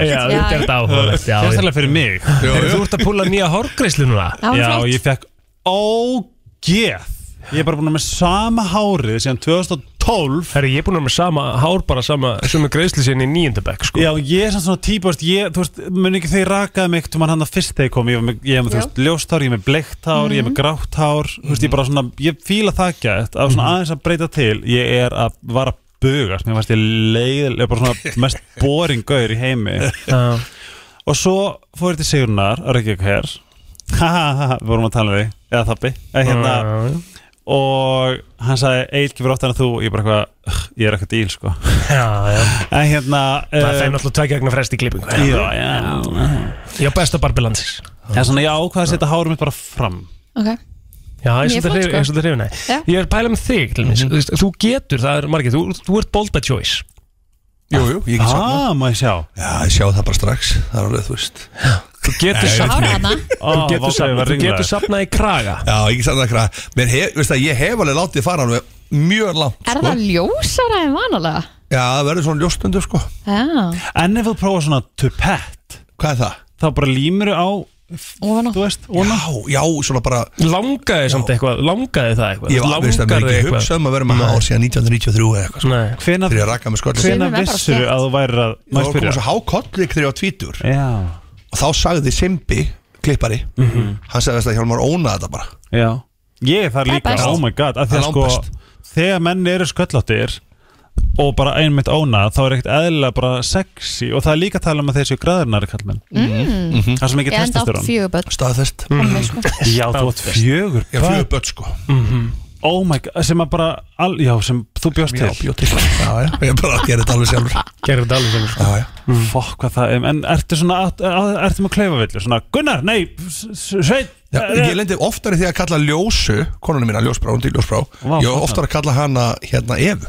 [SPEAKER 2] Já, þetta er þetta áhugavert, já, já.
[SPEAKER 6] Sérstaklega fyrir mig
[SPEAKER 2] Heyrðu, Þú ert að púla nýja hárgreislu núna
[SPEAKER 3] Já, hún er
[SPEAKER 6] Já,
[SPEAKER 3] flott.
[SPEAKER 6] ég fekk ógeð Ég er bara búin að vera með sama hárið síðan 2012
[SPEAKER 2] Herri, ég er búin að vera með sama hár bara sama Sumi greiðslu sinni í nýjöndabæk sko
[SPEAKER 6] Já, ég er samt svona típa, veist, ég, þú veist, mun ekki þegar ég rakaði mig eitthvað hann að fyrst þegar ég kom, ég var með, ég er með,
[SPEAKER 3] Já.
[SPEAKER 6] þú
[SPEAKER 3] Mhm.
[SPEAKER 6] veist, ljósthár, ég er með bleikt hár, ég er með grátt hár, þú veist, ég bara svona, ég fíla það ekki að svona
[SPEAKER 3] Mhm.
[SPEAKER 6] aðeins að breyta til, ég er að, var að bugast, mér fannst ég leið, ég bara svona mest boring gaur í heimi.
[SPEAKER 2] Já.
[SPEAKER 6] Og svo fór ég til Sigurnar, að reykja ykkur hér, ha ha ha, ha, við vorum að tala um þig, eða þabbi, eða hérna,
[SPEAKER 2] Já, já, já.
[SPEAKER 6] og hann sagði, Eil, gefur oftar en þú, ég bara eitthvað, "Ugh, ég er eitthvað díl, sko.
[SPEAKER 2] Já, já
[SPEAKER 6] En hérna
[SPEAKER 2] Það
[SPEAKER 6] eh,
[SPEAKER 2] er náttúrulega tveggja vegna frest í klippingu
[SPEAKER 6] Já, já,
[SPEAKER 2] Já, besta barbilansis
[SPEAKER 6] Það er svona, ég ákvað að setja hárum mitt bara fram
[SPEAKER 3] okay.
[SPEAKER 2] Já, eins
[SPEAKER 3] Mjög
[SPEAKER 2] og þetta
[SPEAKER 3] flott,
[SPEAKER 2] hrif-
[SPEAKER 3] sko.
[SPEAKER 2] eins og þetta hrifin
[SPEAKER 3] Já.
[SPEAKER 2] Ég er að pæla um þig, til mér Þú getur, það er margir, þú, þú ert bold by choice
[SPEAKER 9] Jú, jú, ég get sagt
[SPEAKER 6] Ah, má ég sjá
[SPEAKER 9] Já, ég sjá það bara strax Það er alveg, þú veist
[SPEAKER 2] Þú getur
[SPEAKER 9] Nei,
[SPEAKER 2] safna
[SPEAKER 3] Hára hana
[SPEAKER 2] Þú getur safna, þú getur
[SPEAKER 6] safn
[SPEAKER 2] safna í kraga
[SPEAKER 9] Já, ég get sagt það ekki Mér hef, veist það, ég hef alveg látið fara alveg mjög langt
[SPEAKER 3] Er
[SPEAKER 9] sko.
[SPEAKER 3] það ljósara en vanalega?
[SPEAKER 9] Já, það verður svona ljóstundu, sko
[SPEAKER 3] Já,
[SPEAKER 6] En ef þú prófa svona tupett
[SPEAKER 9] Hvað er það?
[SPEAKER 6] Þá bara límur á,
[SPEAKER 3] ofan á
[SPEAKER 6] þú veist, óna
[SPEAKER 9] Já, já, svona bara
[SPEAKER 2] Langaði samt eitthvað, langaði það eitthvað
[SPEAKER 9] Ég var veist að mér
[SPEAKER 2] Langaði
[SPEAKER 9] ekki hugsað um að vera með hár síðan 1993 eða eitthvað sko.
[SPEAKER 2] Nei,
[SPEAKER 6] Hvena,
[SPEAKER 9] Þegar ég rakka með sköldum
[SPEAKER 3] Sumum
[SPEAKER 6] hvena
[SPEAKER 3] er bara
[SPEAKER 6] vissur
[SPEAKER 3] slétt.
[SPEAKER 6] að þú væri að
[SPEAKER 9] Það
[SPEAKER 6] Má
[SPEAKER 9] var komið
[SPEAKER 6] ég
[SPEAKER 9] svo
[SPEAKER 6] spyrja
[SPEAKER 9] hákollik þegar ég var tvítur
[SPEAKER 6] Já,
[SPEAKER 9] Og þá sagði Simbi, klippari Hann sagði veist að Hjálmar ónaði þetta bara
[SPEAKER 6] já Ég er þar
[SPEAKER 3] er
[SPEAKER 6] líka,
[SPEAKER 3] best.
[SPEAKER 6] oh my god af
[SPEAKER 9] Það
[SPEAKER 6] því að
[SPEAKER 9] er
[SPEAKER 6] sko,
[SPEAKER 9] langbest.
[SPEAKER 6] Þegar menn eru sköllóttir og bara einmitt óna þá er ekkert eðlilega bara sexy og það er líka að tala um að þeir séu græðurnari kallmenn
[SPEAKER 9] Mhm,
[SPEAKER 6] mm. Það er svo
[SPEAKER 3] Ég
[SPEAKER 6] mikið
[SPEAKER 3] enda átt
[SPEAKER 6] testosterón
[SPEAKER 3] fjöguböld
[SPEAKER 9] Staðfest
[SPEAKER 3] Mm. sko.
[SPEAKER 6] Já, þú átt fjögur
[SPEAKER 9] Ég fjöðu börn sko
[SPEAKER 6] Oh my god, sem að bara al, Já, sem þú bjóst
[SPEAKER 9] Já,
[SPEAKER 6] til
[SPEAKER 9] bjó til Já, já, ég bara gerði þetta alveg sjálfur
[SPEAKER 2] gerði þetta alveg sem
[SPEAKER 9] Já, já
[SPEAKER 6] Fokk hvað það er En ertu svona að- að- Ertu með klaufavillu Svona Gunnar, nei S- S- Sveinn
[SPEAKER 9] Já,
[SPEAKER 6] eh,
[SPEAKER 9] ég lendi oftar í því að kalla ljósu konunum mína, ljósbrá, hún til ljósbrá
[SPEAKER 6] Vá,
[SPEAKER 9] Ég
[SPEAKER 6] flott.
[SPEAKER 9] oftar að kalla hana hérna Evu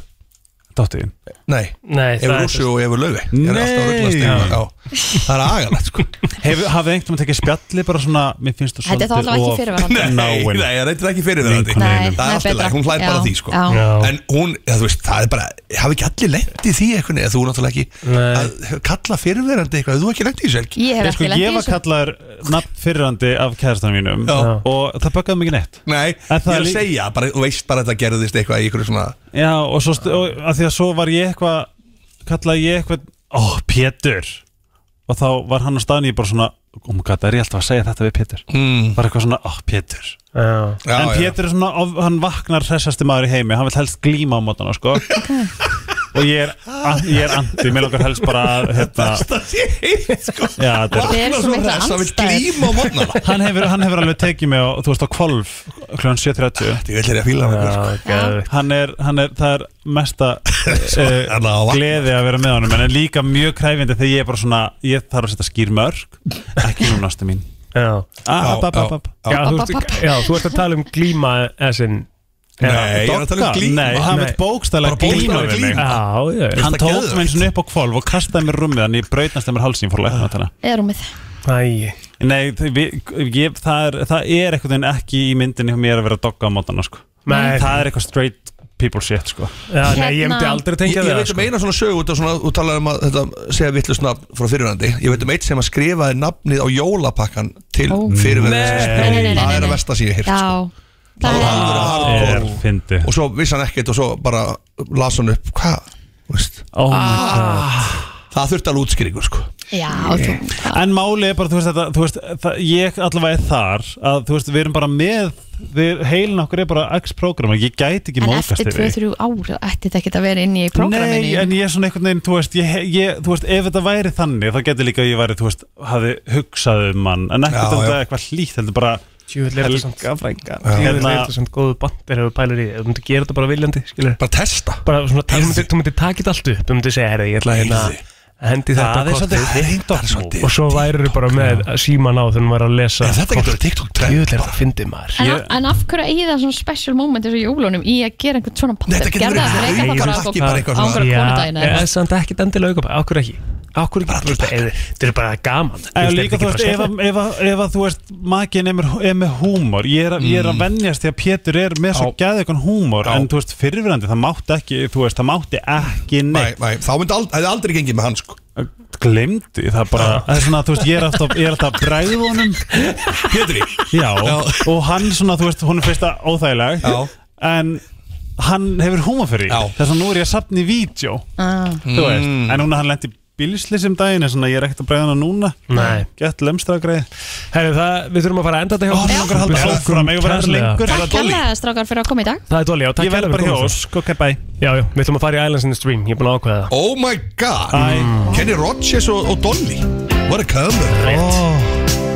[SPEAKER 6] Dóttir þín
[SPEAKER 9] Nei,
[SPEAKER 2] Nei,
[SPEAKER 9] Evu
[SPEAKER 2] það er
[SPEAKER 9] Rússu og Evu Löfi Ég er alltaf að rullast
[SPEAKER 6] Nei.
[SPEAKER 9] hérna, já. Það er agalegt sko
[SPEAKER 6] Hefur, hafið einhvern veginn tekið spjalli bara svona Mér finnst þú
[SPEAKER 3] Þetta er þá allavega ekki fyrirverandi.
[SPEAKER 9] Nei,
[SPEAKER 6] Náinn
[SPEAKER 9] nei, það er ekki fyrir það
[SPEAKER 6] Vinkonum.
[SPEAKER 9] Það
[SPEAKER 3] Nei, nei,
[SPEAKER 9] er alltaf
[SPEAKER 3] betra.
[SPEAKER 9] leið, hún hlæði bara
[SPEAKER 3] Já,
[SPEAKER 9] að því sko
[SPEAKER 3] já.
[SPEAKER 2] Já.
[SPEAKER 9] En hún, ja, þú veist, það er bara Hafi ekki allir lent í því eitthvað Eða þú náttúrulega ekki
[SPEAKER 2] Nei.
[SPEAKER 9] að kalla fyrirverandi eitthvað Þú ekki lent í þessu helgi
[SPEAKER 3] Ég hef
[SPEAKER 6] Ég,
[SPEAKER 3] ekki
[SPEAKER 6] sko, ég
[SPEAKER 3] lendið í
[SPEAKER 6] var
[SPEAKER 3] þessu
[SPEAKER 6] kallaður nafn fyrirandi af kæðastanum mínum
[SPEAKER 9] Já.
[SPEAKER 6] og það böggaði mikið neitt
[SPEAKER 9] Nei, ég
[SPEAKER 6] En það
[SPEAKER 9] er að
[SPEAKER 6] er lí-
[SPEAKER 9] segja, bara, þú veist bara að þetta gerðist eitthvað í einhverju svona
[SPEAKER 6] Já, og svo stu- og, að því að svo var ég eitthvað kallaði ég eitthvað Ó, Pétur og þá var hann á staðan ég bara svona Oh my god, er ég alltaf að segja þetta við Pétur
[SPEAKER 9] mm,
[SPEAKER 6] bara eitthvað svona, ó, Pétur
[SPEAKER 2] Já,
[SPEAKER 9] já,
[SPEAKER 6] en
[SPEAKER 9] já.
[SPEAKER 6] Pétur er svona, of- hann vaknar hressasti maður í heimi, hann vil helst glíma á mótana, sko og ég er, ég er andi, mér langar helst bara að hérna,
[SPEAKER 9] sko.
[SPEAKER 6] já, þetta
[SPEAKER 3] Þetta er svo mikla Hann er svo mikla andstæður. glímu á morgnana.
[SPEAKER 6] hann hefur, hann hefur alveg tekið mig á, þú veist, á kvolf kl.
[SPEAKER 9] Ég
[SPEAKER 6] 7.30
[SPEAKER 9] vil þeirra fíla
[SPEAKER 6] hann hann er, hann er, það er mesta uh, gleði að vera með honum en er líka mjög kræfindi þegar ég er bara svona ég þarf að setja skýrmörk ekki núna, ástu mín
[SPEAKER 2] Já,
[SPEAKER 9] Ah,
[SPEAKER 6] App, app, app, app.
[SPEAKER 2] Já, þú ert- já, þú ert að tala um glíma essin
[SPEAKER 6] Nei, ég er að tala um glíma. Nei, hann vill bókstaflega Bara glíma bókstaflega við mig. glíma.
[SPEAKER 2] Já, já
[SPEAKER 6] hann tók mig eins og upp á kvolf og kastaði mér í rúmið hann ég brautnast þeim er hálsinn fór lækna þarna
[SPEAKER 3] Eða rúmið
[SPEAKER 2] Æ
[SPEAKER 6] Nei, þau- við- ég, það, er, það er einhvern veginn ekki í myndinni hjá mér að vera að dogga á mótana sko.
[SPEAKER 2] Nei.
[SPEAKER 6] Það er eitthvað straight people shit sko.
[SPEAKER 2] Já, nei, ég myndi Hérna- aldrei tengja
[SPEAKER 9] Ég
[SPEAKER 2] það,
[SPEAKER 9] veit um eina svona sögu út af svona, þú talaði um að þetta segja vittlust nafn frá fyrirverandi Ég veit um eitt sem að skrifaði nafnið á jólapakkan til
[SPEAKER 3] Ó. Nei, nei, nei,
[SPEAKER 9] fyrirverandi
[SPEAKER 3] nei,
[SPEAKER 9] Það er
[SPEAKER 3] nei.
[SPEAKER 9] að versta sem ég hýrt
[SPEAKER 3] Já
[SPEAKER 9] Það er alveg
[SPEAKER 6] er fyndi
[SPEAKER 9] Og svo vissi hann ekkert og svo bara las hann upp Hvað? Þú veist
[SPEAKER 6] oh
[SPEAKER 9] Það þurfti alveg útskýringu sko
[SPEAKER 3] Já, þú
[SPEAKER 6] En máli er bara, þú veist, þetta, þú veist það, ég allavega er þar að þú veist, við erum bara með við, heilin okkur er bara X-program ég gæti ekki
[SPEAKER 3] En
[SPEAKER 6] móðgast
[SPEAKER 3] eftir 2-3 ári ætti þetta ekki að vera inni í
[SPEAKER 6] Nei,
[SPEAKER 3] prógraminu
[SPEAKER 6] en ég er svona einhvern veginn, þú veist, ég, ég, þú veist ef þetta væri þannig, þá getur líka að ég væri, þú veist, hafi hugsað um mann, en
[SPEAKER 2] Já,
[SPEAKER 6] ekkert um
[SPEAKER 2] já.
[SPEAKER 6] þetta eitthvað hlýtt, heldur bara
[SPEAKER 2] Tjúvill er þetta samt
[SPEAKER 6] frænga
[SPEAKER 2] Ég veit þetta samt góðu bandir ef þú pælir í því. Þú myndir gera þetta bara viljandi, skilur
[SPEAKER 9] Bara testa
[SPEAKER 2] Bara svona, þú myndir, þú myndir taka þetta allt upp Þú myndir segja, herri, ég ætla hérna
[SPEAKER 6] Heyrðu.
[SPEAKER 2] Hendi þetta
[SPEAKER 6] Það er svolítið
[SPEAKER 2] TikTok sko. Og svo værir þú bara með síman á þegar þú væri að lesa
[SPEAKER 9] En þetta getur verið TikTok trend,
[SPEAKER 2] Tjúvill er þetta fyndið maður
[SPEAKER 3] En, en af hverju eigið það svona special moment eins og jólunum í að gera einhvern svona pabbi?
[SPEAKER 9] Þetta getur verið
[SPEAKER 3] reyka það bara á
[SPEAKER 9] pakki, bara eitthvað
[SPEAKER 3] á einhverja konudagina
[SPEAKER 2] Já, en samt ekkert endilega aukabæk Akkur ekki Akkur ekki Þú veist, eða- Þetta er bara gaman
[SPEAKER 6] En
[SPEAKER 2] veist,
[SPEAKER 6] líka
[SPEAKER 2] þetta
[SPEAKER 6] þú
[SPEAKER 2] er
[SPEAKER 6] veist,
[SPEAKER 2] ekki
[SPEAKER 6] ef,
[SPEAKER 2] bara
[SPEAKER 6] að- ef, að- ef að þú veist makin er, með- er með húmor ég er, að- ég er
[SPEAKER 2] Mm.
[SPEAKER 6] að venjast því að Pétur er með svo gæði eitthvað húmor, en þú veist, fyrirverandi það mátti ekki, þú veist, það mátti ekki neitt
[SPEAKER 9] Nei, þá myndi aldrei, aldrei gengið með hann sko
[SPEAKER 6] Glemdi, það bara það er svona, þú veist, ég er alltaf, ég er alltaf bræð honum
[SPEAKER 9] Pétri
[SPEAKER 6] Já, og hann svona, þú veist, hún er fyrsta óþægileg
[SPEAKER 9] Já.
[SPEAKER 6] en hann hefur húmor fyrir því. þess að nú er ég að sapna í vídeo
[SPEAKER 3] Ah.
[SPEAKER 6] þú veist, en hún hann lendi bílisli sem daginn, en svona, ég er ekkert að bræða hana núna
[SPEAKER 2] Nei.
[SPEAKER 6] Gett lemstra greið
[SPEAKER 2] Herri, það, við þurfum að fara að enda þetta hjá
[SPEAKER 6] Ó, mig langar að halda áfram, eigum við aðeins lengur?
[SPEAKER 2] Það
[SPEAKER 3] Takk kærlega strákar fyrir að koma í dag
[SPEAKER 2] Það er Dolly, já, takk
[SPEAKER 6] Ég verð
[SPEAKER 2] kærlega
[SPEAKER 6] bara
[SPEAKER 2] fyrir
[SPEAKER 6] hjá
[SPEAKER 2] komuna.
[SPEAKER 6] Ósk, ok, bye
[SPEAKER 2] Já, já, við ætlum að fara í Islands in the Stream, ég er búin að ákveða það
[SPEAKER 9] Oh my god Kenny Rogers og, og Dolly What a cover
[SPEAKER 2] Rétt